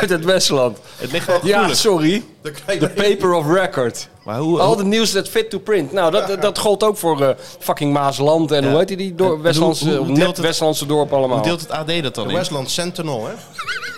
Speaker 6: uit het Westland.
Speaker 7: Het ligt wel
Speaker 6: Ja,
Speaker 7: gevoelig.
Speaker 6: sorry.
Speaker 5: De Grey
Speaker 6: The
Speaker 5: Lady.
Speaker 6: paper of record.
Speaker 7: Maar hoe...
Speaker 6: Al
Speaker 7: hoe-
Speaker 6: de nieuws dat fit to print. Nou, dat, dat- dat gold ook voor eh, fucking Maasland en
Speaker 7: Ja.
Speaker 6: hoe heet die, die
Speaker 7: En-
Speaker 6: door,
Speaker 7: en
Speaker 6: Westlandse,
Speaker 7: hoe- hoe- hoe
Speaker 6: net
Speaker 7: deelt het-
Speaker 6: Westlandse dorp allemaal.
Speaker 7: hoe deelt het AD dat dan
Speaker 5: de
Speaker 7: in?
Speaker 5: Westland Sentinel, hè?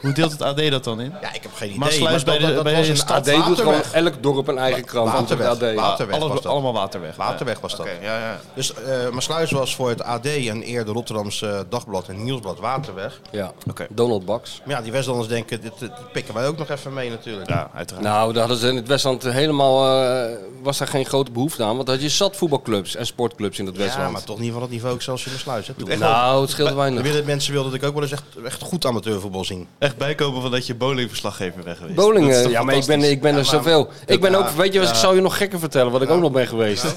Speaker 7: Hoe deelt het AD dat dan in?
Speaker 5: Ja, ik heb geen idee.
Speaker 7: Maasluis bij de- bij de stad.
Speaker 6: AD doet gewoon
Speaker 5: Waterweg.
Speaker 6: elk dorp een eigen krant. want het
Speaker 5: Waterweg.
Speaker 6: AD.
Speaker 5: Waterweg
Speaker 7: Alles-
Speaker 5: was dat.
Speaker 7: allemaal waterweg.
Speaker 5: Waterweg was dat.
Speaker 7: Oké, ja, ja.
Speaker 5: Dus eh Maasluis was voor het AD en eerder Rotterdamse Dagblad en Nieuwsblad Waterweg.
Speaker 6: Ja,
Speaker 7: Oké.
Speaker 6: Donald Baks.
Speaker 5: Maar ja, die Westlanders denken, dit, dit pikken wij ook nog even mee natuurlijk.
Speaker 7: Ja, uiteraard.
Speaker 6: Nou, daar hadden ze in het Westland helemaal, eh, was daar geen grote behoefte aan. Want dat je zat voetbalclubs en sportclubs in het
Speaker 5: Ja,
Speaker 6: Westland.
Speaker 5: maar toch niet van dat niveau zelfs in Maasluis. Hè, toen.
Speaker 6: nou, het scheelde
Speaker 5: Er
Speaker 6: weinig.
Speaker 5: willen- mensen wilden dat ik ook wel eens echt, echt goed amateurvoetbal zien.
Speaker 7: Echt bijkomen van dat je bowlingverslaggever bent geweest. Dat is
Speaker 6: Bowlingen,
Speaker 7: toch
Speaker 6: eh, ja, maar ik ben,
Speaker 7: fantastisch?
Speaker 6: ik ben er zoveel. Ik ben ook, weet je, wat, ik zal je nog gekker vertellen wat ik ook nog ben geweest.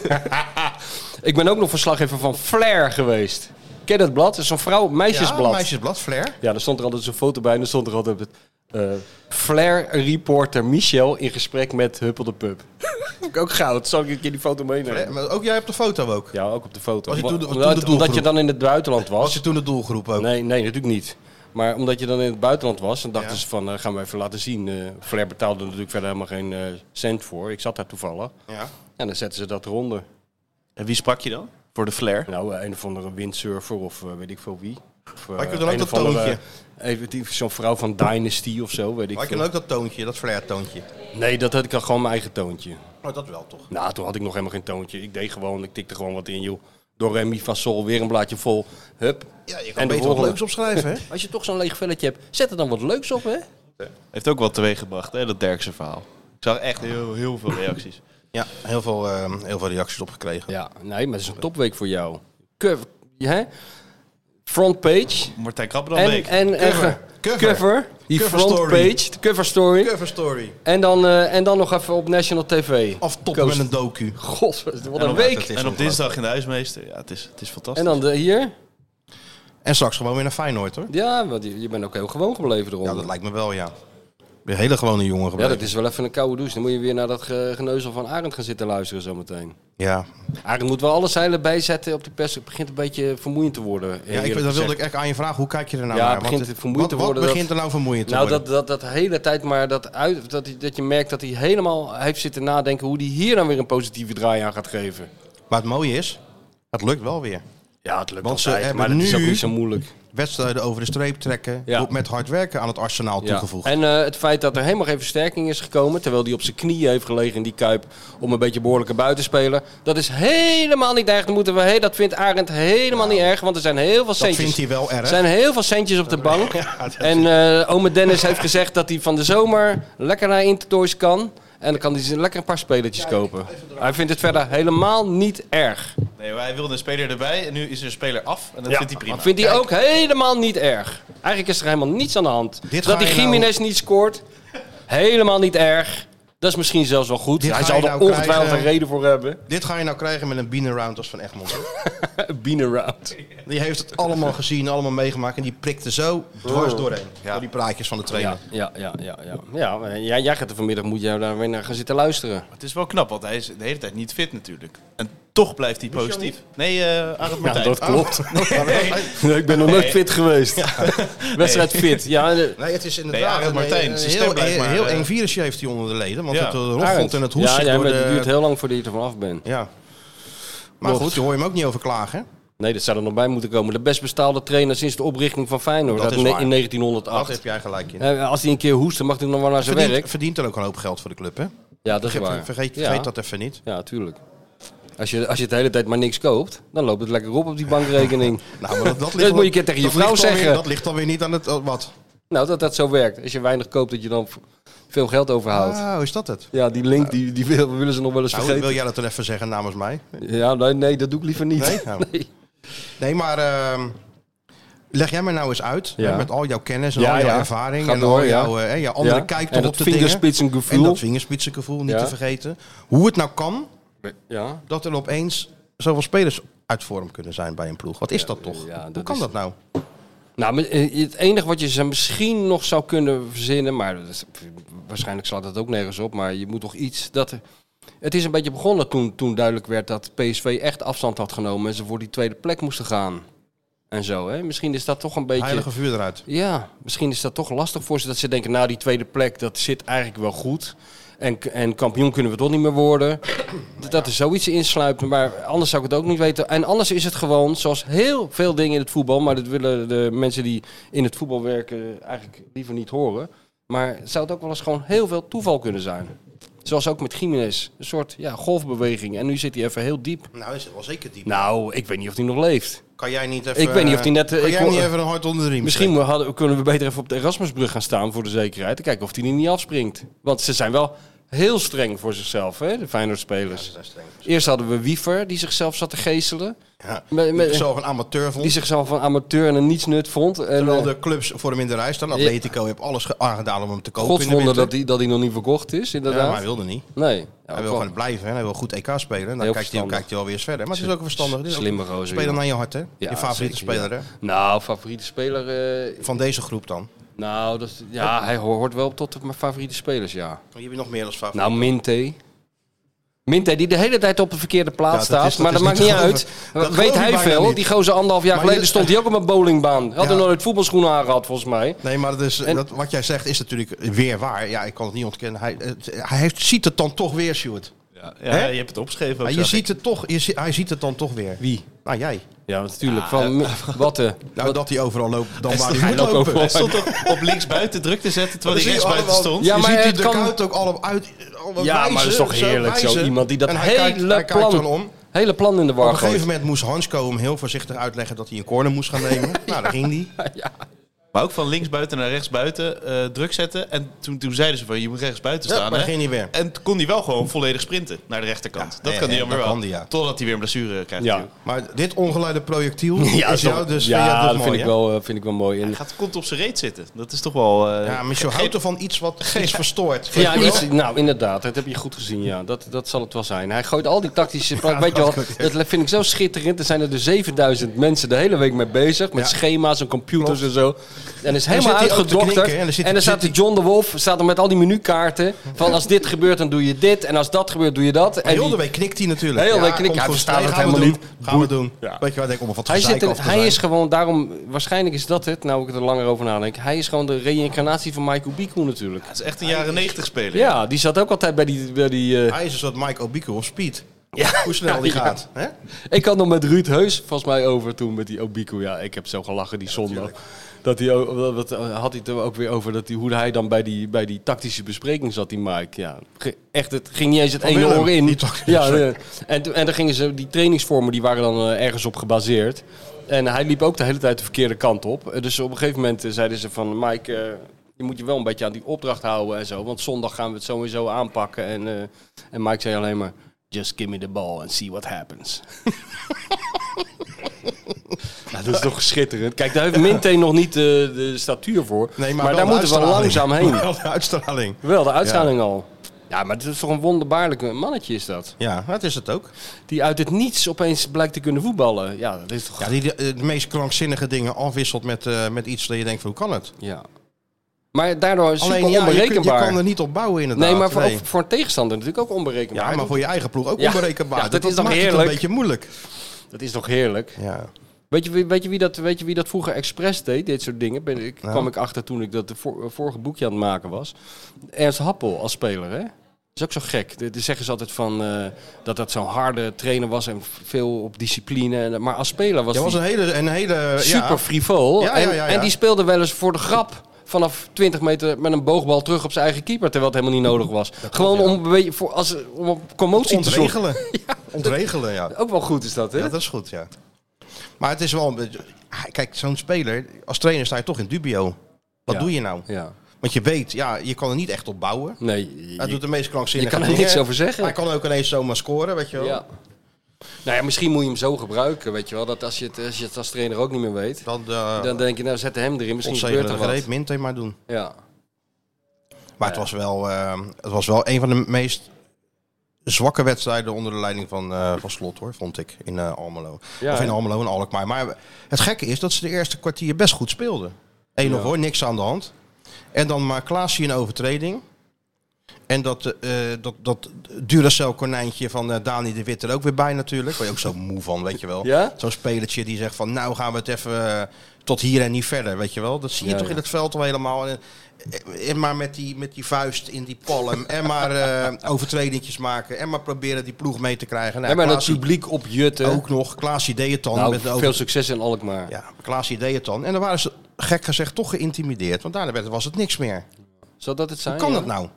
Speaker 6: ik ben ook nog verslaggever van Flair geweest. Ken je dat blad? Het is zo'n vrouw, meisjesblad.
Speaker 5: Ja,
Speaker 6: Ja,
Speaker 5: meisjesblad, flair.
Speaker 6: daar stond er altijd zo'n foto bij en daar stond er altijd... eh, Flair-reporter Michel in gesprek met Huppel de Pup. Vond ik ook goud. Zal ik een keer die foto
Speaker 5: Flair.
Speaker 6: meenemen?
Speaker 5: Maar ook jij op de foto ook.
Speaker 6: Ja, ook op de foto.
Speaker 5: Was je toen de-
Speaker 6: Omdat-
Speaker 5: toen de
Speaker 6: omdat je
Speaker 5: doelgroep?
Speaker 6: dan in het buitenland was.
Speaker 5: Was je toen de doelgroep ook?
Speaker 6: Nee, nee, natuurlijk niet. Maar omdat je dan in het buitenland was, dan dachten
Speaker 5: Ja.
Speaker 6: ze van, eh, gaan we even laten zien. Eh Flair betaalde er natuurlijk verder helemaal geen eh, cent voor. Ik zat daar toevallig.
Speaker 5: Ja.
Speaker 6: En dan zetten ze dat eronder.
Speaker 7: En wie sprak je dan? Voor de flair?
Speaker 6: Nou, eh, een of andere windsurfer of eh, weet ik veel wie. Of, eh,
Speaker 5: Had je dan ook
Speaker 6: een
Speaker 5: dat
Speaker 6: of andere,
Speaker 5: toontje?
Speaker 6: eh, even die- Zo'n vrouw van Dynasty of zo, weet ik
Speaker 5: Maar ik
Speaker 6: veel.
Speaker 5: ken ook dat toontje, dat flair toontje.
Speaker 6: Nee, dat had ik al gewoon mijn eigen toontje.
Speaker 5: Oh, dat wel toch.
Speaker 6: Nou, toen had ik nog helemaal geen toontje. Ik deed gewoon, ik tikte gewoon wat in, joh. Door Remy van Sol, weer een blaadje vol. Hup.
Speaker 5: Ja, je kan
Speaker 6: En de
Speaker 5: beter wat
Speaker 6: volgende.
Speaker 5: leuks opschrijven, hè?
Speaker 6: Als je toch zo'n leeg velletje hebt, zet er dan wat leuks op, hè?
Speaker 7: Heeft ook wat teweeg gebracht, hè, dat Derkse verhaal. Ik zag echt heel, heel veel reacties.
Speaker 5: Ja, heel veel, ehm, heel veel reacties opgekregen.
Speaker 6: Ja, nee, maar het is een topweek voor jou. Cover, hè? Front page.
Speaker 7: Martijn
Speaker 6: En,
Speaker 7: Krabbenambeek.
Speaker 6: en, en
Speaker 5: Cover.
Speaker 6: ge-
Speaker 5: Cover.
Speaker 6: cover. Die
Speaker 5: Cover
Speaker 6: front
Speaker 5: story.
Speaker 6: page, de cover story.
Speaker 5: Cover story.
Speaker 6: En, dan, eh, en dan nog even op National TV.
Speaker 5: Aftoppen
Speaker 6: Koos.
Speaker 5: met een docu.
Speaker 6: God, wat
Speaker 7: En
Speaker 6: een
Speaker 7: op-
Speaker 6: week.
Speaker 5: is
Speaker 7: En op
Speaker 5: ongelooflijk.
Speaker 7: dinsdag in de huismeester. Ja, het is, het is fantastisch.
Speaker 6: En dan de, hier.
Speaker 5: En straks gewoon weer naar Feyenoord, hoor.
Speaker 6: Ja, want je, je bent ook heel gewoon gebleven
Speaker 5: Ja,
Speaker 6: eronder.
Speaker 5: dat lijkt me wel, ja. Weer hele gewone jongen
Speaker 6: Ja,
Speaker 5: gebleven.
Speaker 6: dat is wel even een koude douche. Dan moet je weer naar dat ge- geneuzel van Arend gaan zitten luisteren zometeen.
Speaker 5: Ja,
Speaker 6: Arend moet wel alle zeilen bijzetten op de pers. Het begint een beetje vermoeiend te worden.
Speaker 5: ja
Speaker 6: eerlijk
Speaker 5: ik, dat
Speaker 6: gezegd.
Speaker 5: wilde ik echt aan je vragen. Hoe kijk je er nou
Speaker 6: Ja,
Speaker 5: naar?
Speaker 6: het begint
Speaker 5: Want
Speaker 6: vermoeiend te
Speaker 5: wat-
Speaker 6: worden
Speaker 5: Wat
Speaker 6: dat-
Speaker 5: begint er nou vermoeiend te
Speaker 6: Nou,
Speaker 5: worden?
Speaker 6: dat, dat, dat hele tijd maar dat, uit, dat, hij- dat je merkt dat hij helemaal heeft zitten nadenken hoe hij hier dan weer een positieve draai aan gaat geven.
Speaker 5: Maar het mooie is, het lukt wel weer.
Speaker 6: Ja, het lukt
Speaker 5: Want ze
Speaker 6: altijd,
Speaker 5: hebben
Speaker 6: maar dat is ook
Speaker 5: nu-
Speaker 6: niet zo moeilijk.
Speaker 5: Wedstrijden over de streep trekken.
Speaker 6: Ja.
Speaker 5: wordt Met hard werken aan het arsenaal toegevoegd.
Speaker 6: En eh, het feit dat er helemaal geen versterking is gekomen, terwijl hij op zijn knieën heeft gelegen in die kuip om een beetje behoorlijke buitenspeler, dat is helemaal niet erg. Dan moeten we, hey, dat vindt Arend helemaal niet erg, want er zijn heel veel
Speaker 5: dat
Speaker 6: centjes.
Speaker 5: vindt hij wel erg.
Speaker 6: Er zijn heel veel centjes op de bank. en eh ome Dennis heeft gezegd dat hij van de zomer lekker naar Intertoys kan. En dan kan hij ze lekker een paar spelertjes kopen. Hij vindt het verder helemaal niet erg.
Speaker 7: Nee, maar hij wilde een speler erbij en nu is er een speler af. En dat vindt hij prima.
Speaker 6: Dat vindt hij ook helemaal niet erg. Eigenlijk is er helemaal niets aan de hand.
Speaker 5: Dit
Speaker 6: dat
Speaker 5: ga
Speaker 6: die
Speaker 5: je nou-
Speaker 6: Jiménez niet scoort, helemaal niet erg. Dat is misschien zelfs wel goed.
Speaker 5: Dit
Speaker 6: Hij
Speaker 5: ga
Speaker 6: zal
Speaker 5: je
Speaker 6: er
Speaker 5: nou
Speaker 6: ongetwijfeld
Speaker 5: krijgen.
Speaker 6: een reden voor hebben.
Speaker 5: Dit ga je nou krijgen met een bienenround als van Egmond.
Speaker 6: Bienaround.
Speaker 5: Die heeft het allemaal gezien, allemaal meegemaakt. En die prikte zo dwars doorheen. Door die praatjes van de trainer.
Speaker 6: Ja, ja, ja, ja. ja. ja maar jij, jij gaat er vanmiddag, moet jij daar weer naar gaan zitten luisteren.
Speaker 7: Het is wel knap, want hij is de hele tijd niet fit natuurlijk. En toch blijft hij positief. Nee, eh Arend Martijn.
Speaker 5: Ah.
Speaker 6: klopt. ik ben nog nooit fit geweest. Wedstrijd fit. Ja, de-
Speaker 5: Nee, het is
Speaker 7: Nee,
Speaker 5: inderdaad
Speaker 7: Arend Martijn,
Speaker 5: een
Speaker 7: zijn stem
Speaker 5: heel,
Speaker 7: blijft
Speaker 5: heel,
Speaker 7: maar,
Speaker 5: heel
Speaker 7: eh,
Speaker 5: eng virusje heeft hij onder de leden. Want
Speaker 7: Ja.
Speaker 5: het eh, roffelt en het hoest
Speaker 6: ja,
Speaker 5: zit
Speaker 6: ja,
Speaker 5: door
Speaker 6: maar het
Speaker 5: de-
Speaker 6: duurt heel lang voordat je er vanaf bent.
Speaker 5: Ja. Maar
Speaker 6: Klopt.
Speaker 5: goed, je hoor je hem ook niet over klagen. hè?
Speaker 6: Nee, dat zou er nog bij moeten komen. De best bestaalde trainer sinds de oprichting van Feyenoord
Speaker 5: Dat
Speaker 6: uit
Speaker 5: is
Speaker 6: ne-
Speaker 5: waar.
Speaker 6: in
Speaker 5: Dat
Speaker 6: 1908.
Speaker 5: heb jij gelijk in.
Speaker 6: Eh, Als hij een keer hoest, dan mag hij nog wel naar zijn
Speaker 5: Verdient,
Speaker 6: werk.
Speaker 5: verdient er ook een hoop geld voor de club, hè?
Speaker 6: Ja, dat is
Speaker 5: Vergeet,
Speaker 6: waar.
Speaker 5: vergeet,
Speaker 6: ja.
Speaker 5: vergeet dat even niet.
Speaker 6: Ja, tuurlijk. Als je, als je de hele tijd maar niks koopt, dan loopt het lekker op op die bankrekening.
Speaker 5: Nou, maar dat, dat,
Speaker 6: moet je een keer tegen je
Speaker 5: dat ligt dan
Speaker 6: vrouw
Speaker 5: weer-
Speaker 6: zeggen.
Speaker 5: dat ligt dan weer niet aan het... oh, Wat?
Speaker 6: nou, dat dat zo werkt. Als je weinig koopt, dat je dan v- veel geld overhoudt.
Speaker 5: Oh, is dat het?
Speaker 6: Ja, die link die, die wil- willen ze nog wel eens
Speaker 5: Nou,
Speaker 6: vergeten.
Speaker 5: wil jij dat dan even zeggen namens mij?
Speaker 6: Ja, nee, nee, dat doe ik liever niet.
Speaker 5: Nee? Nou. Nee, maar ehm, leg jij mij nou eens uit.
Speaker 6: Ja.
Speaker 5: hè, met al jouw kennis en
Speaker 6: Ja,
Speaker 5: al jouw
Speaker 6: ja.
Speaker 5: ervaring.
Speaker 6: Ga
Speaker 5: en
Speaker 6: door,
Speaker 5: al
Speaker 6: ja.
Speaker 5: jouw eh, hè, je andere
Speaker 6: Ja.
Speaker 5: kijk
Speaker 6: En
Speaker 5: toch
Speaker 6: dat
Speaker 5: op de dingen.
Speaker 6: vingerspitsengevoel.
Speaker 5: En dat vingerspitsengevoel, niet
Speaker 6: Ja.
Speaker 5: te vergeten. Hoe het nou kan
Speaker 6: Ja.
Speaker 5: dat er opeens zoveel spelers uit vorm kunnen zijn bij een ploeg. Wat is dat toch?
Speaker 6: ja,
Speaker 5: Hoe
Speaker 6: dat
Speaker 5: kan
Speaker 6: is-
Speaker 5: dat nou?
Speaker 6: Nou, maar, eh, het enige wat je ze misschien nog zou kunnen verzinnen, maar dat is- waarschijnlijk slaat dat ook nergens op, maar je moet toch iets dat... er- Het is een beetje begonnen toen, toen duidelijk werd dat PSV echt afstand had genomen en ze voor die tweede plek moesten gaan. En zo, hè? Misschien is dat toch een beetje...
Speaker 5: Heilige vuur eruit.
Speaker 6: Ja, misschien is dat toch lastig voor ze dat ze denken, nou die tweede plek, dat zit eigenlijk wel goed. En, en kampioen kunnen we toch niet meer worden. Dat is zoiets insluipen, maar anders zou ik het ook niet weten. En anders is het gewoon, zoals heel veel dingen in het voetbal, maar dat willen de mensen die in het voetbal werken eigenlijk liever niet horen. Maar het zou het ook wel eens gewoon heel veel toeval kunnen zijn. Zoals ook met Jiménez. Een soort ja, golfbeweging. En nu zit hij even heel diep.
Speaker 5: Nou is het wel zeker diep.
Speaker 6: Nou, ik weet niet of hij nog leeft.
Speaker 5: kan jij niet even...
Speaker 6: ik weet niet of die net, eh,
Speaker 5: Kan
Speaker 6: ik
Speaker 5: jij
Speaker 6: hoor-
Speaker 5: niet even een hart onder de riem
Speaker 6: Misschien
Speaker 5: steken?
Speaker 6: we hadden, kunnen we beter even op de Erasmusbrug gaan staan voor de zekerheid. En kijken of die er niet afspringt. Want ze zijn wel heel streng voor zichzelf, hè, de Feyenoord-spelers. Eerst hadden we Wiefer, die zichzelf zat te geestelen.
Speaker 5: Ja.
Speaker 6: Met- met-
Speaker 5: Die Zo'n amateur vond.
Speaker 6: Die zichzelf een amateur en een nietsnut vond. En,
Speaker 5: Terwijl
Speaker 6: eh,
Speaker 5: de clubs voor hem in de rij staan. Atletico heeft alles ge- aangedaan om hem te kopen in de
Speaker 6: godswonder
Speaker 5: winter.
Speaker 6: dat hij dat die nog niet verkocht is,
Speaker 5: Ja, maar
Speaker 6: inderdaad.
Speaker 5: hij wilde niet.
Speaker 6: nee. Ja, ook
Speaker 5: Hij wil
Speaker 6: wel-
Speaker 5: gewoon blijven en hij wil goed EK spelen. En dan kijkt
Speaker 6: Heel
Speaker 5: hij,
Speaker 6: verstandig.
Speaker 5: kijkt hij alweer eens verder. Maar het is ook een verstandig. Het is ook
Speaker 6: Slimme
Speaker 5: een
Speaker 6: gozer,
Speaker 5: Speler
Speaker 6: joh.
Speaker 5: naar je hart, hè?
Speaker 6: Ja,
Speaker 5: je favoriete
Speaker 6: zeker,
Speaker 5: speler,
Speaker 6: ja.
Speaker 5: hè?
Speaker 6: Nou, favoriete speler... eh,
Speaker 5: Van deze groep dan.
Speaker 6: nou, dat, is- ja, hij hoort wel tot de- mijn favoriete spelers, ja.
Speaker 5: Je hebt je nog meer als favoriet.
Speaker 6: Nou, Minte. Minte, die de hele tijd op de verkeerde plaats
Speaker 5: Ja, dat
Speaker 6: staat.
Speaker 5: is- dat
Speaker 6: maar
Speaker 5: is
Speaker 6: dat maakt
Speaker 5: niet
Speaker 6: niet
Speaker 5: te
Speaker 6: uit.
Speaker 5: geloven. Dat
Speaker 6: Weet
Speaker 5: geloof ik
Speaker 6: hij
Speaker 5: bijna
Speaker 6: veel.
Speaker 5: niet.
Speaker 6: Die gozer anderhalf jaar
Speaker 5: Maar
Speaker 6: geleden
Speaker 5: je-
Speaker 6: stond hij ook op een bowlingbaan. Had
Speaker 5: Ja.
Speaker 6: er nooit voetbalschoenen aangehad, volgens mij.
Speaker 5: nee, maar dat is,
Speaker 6: Nou. En-
Speaker 5: dat, wat jij zegt is natuurlijk weer waar. Ja, ik kan het niet ontkennen. Hij, het- hij heeft, ziet het dan toch weer, Stuart.
Speaker 7: Ah, Ja, ja, Ah, je hebt het opgeschreven. ook,
Speaker 5: Maar je
Speaker 7: zag ik.
Speaker 5: ziet het toch, je, zie- hij ziet het dan toch weer.
Speaker 6: Wie?
Speaker 5: Nou, jij.
Speaker 6: Ja, natuurlijk. Van wat de.
Speaker 5: Nou, dat hij overal loopt, dan waar
Speaker 6: hij
Speaker 5: hij moet
Speaker 6: loopt
Speaker 5: lopen.
Speaker 7: Hij stond op, op links buiten druk te zetten, terwijl hij
Speaker 5: zie je
Speaker 7: rechts buiten
Speaker 5: allemaal.
Speaker 7: stond.
Speaker 6: Ja,
Speaker 5: je
Speaker 6: maar
Speaker 5: ziet die
Speaker 6: het kan-
Speaker 5: dugout ook allemaal uit. allemaal
Speaker 6: Ja, maar dat is
Speaker 5: wijzen,
Speaker 6: toch heerlijk, zo
Speaker 5: wijzen.
Speaker 6: iemand die dat
Speaker 5: En hij kijkt-
Speaker 6: hele
Speaker 5: hij kijkt
Speaker 6: plan-
Speaker 5: dan om.
Speaker 6: Hele plan in de
Speaker 5: Op
Speaker 6: war
Speaker 5: een
Speaker 6: gooit.
Speaker 5: gegeven moment moest Hansko hem heel voorzichtig uitleggen dat hij een corner moest gaan nemen. Nou, daar ging hij.
Speaker 7: Maar ook van links buiten naar rechts buiten eh, druk zetten. En toen, toen zeiden ze van je moet rechts buiten
Speaker 5: Ja,
Speaker 7: staan.
Speaker 5: maar
Speaker 7: hè?
Speaker 5: ging hij weer.
Speaker 7: En toen kon hij wel gewoon volledig sprinten naar de rechterkant. dat
Speaker 5: ja,
Speaker 7: kan hij
Speaker 5: ja,
Speaker 7: dan
Speaker 5: dat
Speaker 7: weer wel.
Speaker 5: kan hij, ja.
Speaker 7: Totdat hij weer een blessure krijgt.
Speaker 6: Ja.
Speaker 7: natuurlijk.
Speaker 5: Maar dit ongeleide projectiel is
Speaker 6: toch-
Speaker 5: jou dus,
Speaker 6: ja,
Speaker 5: vind jij dus
Speaker 6: dat
Speaker 5: mooi,
Speaker 6: vind, ik
Speaker 5: hè?
Speaker 6: wel, eh, vind ik wel mooi. En,
Speaker 7: Hij gaat kont op zijn reet zitten. Dat is toch wel... eh,
Speaker 5: Ja, maar je houdt ervan iets wat iets verstoort.
Speaker 6: ja, iets, nou inderdaad, dat heb je goed gezien. Ja. Dat, dat zal het wel zijn. Hij gooit al die tactische. weet je wel, dat vind ik zo schitterend. Er zijn er dus 7000 mensen de hele week mee bezig. Met schema's en computers en zo. En is helemaal
Speaker 5: zit hij ook te
Speaker 6: uitgedokterd.
Speaker 5: knikken, hè? En dan zit-
Speaker 6: En dan staat
Speaker 5: zit
Speaker 6: de John de Wolf staat er met al die menukaarten. Van als dit gebeurt, dan doe je dit. En als dat gebeurt, doe je dat. En
Speaker 5: En heel
Speaker 6: die-
Speaker 5: de week knikt hij natuurlijk.
Speaker 6: Heel de week
Speaker 5: Ja,
Speaker 6: knikt
Speaker 5: komt
Speaker 6: hij.
Speaker 5: goed.
Speaker 6: Hij verstaat
Speaker 5: Nee,
Speaker 6: het
Speaker 5: gaan we
Speaker 6: helemaal
Speaker 5: doen.
Speaker 6: niet.
Speaker 5: Gaan we doen.
Speaker 6: Ja.
Speaker 5: Weet je wat ik om wat
Speaker 6: hij,
Speaker 5: gezeik
Speaker 6: zit in-
Speaker 5: af te
Speaker 6: hij
Speaker 5: zijn.
Speaker 6: is gewoon, daarom, waarschijnlijk is dat het, nou ik er langer over nadenk. Hij is gewoon de reïncarnatie van Michael Biku natuurlijk.
Speaker 7: Het is echt een jaren negentig speler.
Speaker 6: Ja, die zat ook altijd bij die. Bij die eh,
Speaker 5: Hij is een soort Mike Obiko of Speed.
Speaker 6: Ja.
Speaker 5: Hoe snel die
Speaker 6: Ja.
Speaker 5: gaat. Hè?
Speaker 6: Ik had nog met Ruud Heus volgens mij over toen met die Obiku. Ja, ik heb zo gelachen die zondag. Dat hij, ook- wat, wat- had hij het er ook weer over dat hij, hoe hij dan bij die, bij die tactische bespreking zat, die Mike. Ja, ge- echt, het ging niet eens het ene
Speaker 5: Willem,
Speaker 6: oor in.
Speaker 5: die tactische
Speaker 6: Ja,
Speaker 5: bespreking.
Speaker 6: eh, en, toen- en dan gingen ze, die trainingsvormen die waren dan eh, ergens op gebaseerd. En hij liep ook de hele tijd de verkeerde kant op. Eh, Dus op een gegeven moment eh, zeiden ze van Mike, eh, je moet je wel een beetje aan die opdracht houden en zo. Want zondag gaan we het sowieso aanpakken. En, eh, en Mike zei alleen maar, just give me the ball and see what happens. Nou, dat is toch schitterend. Kijk, daar heeft Minte nog niet eh, de statuur voor.
Speaker 5: Nee,
Speaker 6: maar
Speaker 5: wel
Speaker 6: daar
Speaker 5: de
Speaker 6: moeten we
Speaker 5: uitstraling.
Speaker 6: langzaam heen.
Speaker 5: Wel de uitstraling.
Speaker 6: Wel, de uitstraling al. Ja, maar het is toch een wonderbaarlijk mannetje is dat.
Speaker 5: Ja, dat is het ook.
Speaker 6: Die uit het niets opeens blijkt te kunnen voetballen. Ja, dat is toch...
Speaker 5: Ja, die de, eh, de meest krankzinnige dingen afwisselt met, eh, met iets dat je denkt, van, hoe kan het?
Speaker 6: Ja. Maar daardoor is het super
Speaker 5: ja, je, kun- je
Speaker 6: onberekenbaar.
Speaker 5: kan er niet op bouwen inderdaad.
Speaker 6: nee, maar voor, ook voor een tegenstander natuurlijk ook onberekenbaar.
Speaker 5: Ja, maar voor je eigen ploeg ook
Speaker 6: Ja,
Speaker 5: onberekenbaar.
Speaker 6: ja, dat is dan
Speaker 5: maakt het
Speaker 6: heerlijk.
Speaker 5: een beetje moeilijk.
Speaker 6: Dat is toch heerlijk.
Speaker 5: Ja.
Speaker 6: Weet je, wie- weet, je wie dat, weet je wie dat vroeger expres deed, dit soort dingen? Ben, ik,
Speaker 5: Nou.
Speaker 6: kwam ik achter toen ik dat de vor- vorige boekje aan het maken was. Ernst Happel als speler, hè? Dat is ook zo gek. De- de zeggen ze altijd van, eh, dat dat zo'n harde trainer was en veel op discipline. en- Maar als speler was
Speaker 5: Dat
Speaker 6: hij
Speaker 5: was een hele... Een hele
Speaker 6: super
Speaker 5: ja.
Speaker 6: frivol.
Speaker 5: Ja, ja,
Speaker 6: En,
Speaker 5: ja, ja.
Speaker 6: en die speelde wel eens voor de grap vanaf 20 meter met een boogbal terug op zijn eigen keeper, terwijl het helemaal niet nodig was. Gewoon om, een beetje voor, als, om op commotie te zorgen.
Speaker 5: Ontregelen. Ontregelen, ja.
Speaker 6: Ook wel goed is dat, hè?
Speaker 5: Ja, dat is goed, ja. Maar het is wel een beetje... ah, Kijk, zo'n speler, als trainer sta je toch in dubio. Wat
Speaker 6: Ja.
Speaker 5: doe je nou?
Speaker 6: Ja.
Speaker 5: Want je weet, ja, je kan er niet echt op bouwen.
Speaker 6: Nee,
Speaker 5: Hij doet de meest
Speaker 6: je
Speaker 5: krankzinnige
Speaker 6: kan er
Speaker 5: dingen.
Speaker 6: niks over zeggen.
Speaker 5: Hij kan ook ineens zomaar scoren, weet je wel.
Speaker 6: Ja. Nou ja, misschien moet je hem zo gebruiken, weet je wel. Dat als je het als, je het als trainer ook niet meer weet,
Speaker 5: Dan, eh
Speaker 6: dan denk je, nou zet hem erin, misschien gebeurt
Speaker 5: ontzegelen
Speaker 6: er
Speaker 5: de
Speaker 6: wat.
Speaker 5: greep, Minte maar doen.
Speaker 6: Ja.
Speaker 5: Maar het, was wel, eh, het was wel een van de meest zwakke wedstrijden onder de leiding van, eh, van Slot, hoor, vond ik, in eh, Almelo.
Speaker 6: Ja,
Speaker 5: of in
Speaker 6: hè?
Speaker 5: Almelo en Alkmaar. Maar het gekke is dat ze de eerste kwartier best goed speelden. Eén nog hoor, niks aan de hand. En dan maakt Klaasje een overtreding. En dat, eh dat, dat Duracell konijntje van eh, Dani de Wit er ook weer bij natuurlijk. Waar je ook zo moe van, weet je wel.
Speaker 6: Ja?
Speaker 5: Zo'n spelertje die zegt van nou gaan we het even eh, tot hier en niet verder, weet je wel. Dat zie je
Speaker 6: Ja,
Speaker 5: toch
Speaker 6: ja.
Speaker 5: in het veld al helemaal. En, eh, en maar met die, met die vuist in die palm. en maar eh overtredingjes maken. En maar proberen die ploeg mee te krijgen. Nou,
Speaker 6: En maar dat
Speaker 5: Klaasie
Speaker 6: publiek opjutten.
Speaker 5: ook nog. Klaas deed het dan.
Speaker 6: nou,
Speaker 5: met de over-
Speaker 6: veel succes in Alkmaar.
Speaker 5: ja, Klaas deed het dan. En dan waren ze gek gezegd toch geïntimideerd. Want daarna werd, was het niks meer.
Speaker 6: Zou dat het zijn?
Speaker 5: Hoe kan
Speaker 6: ja?
Speaker 5: dat nou?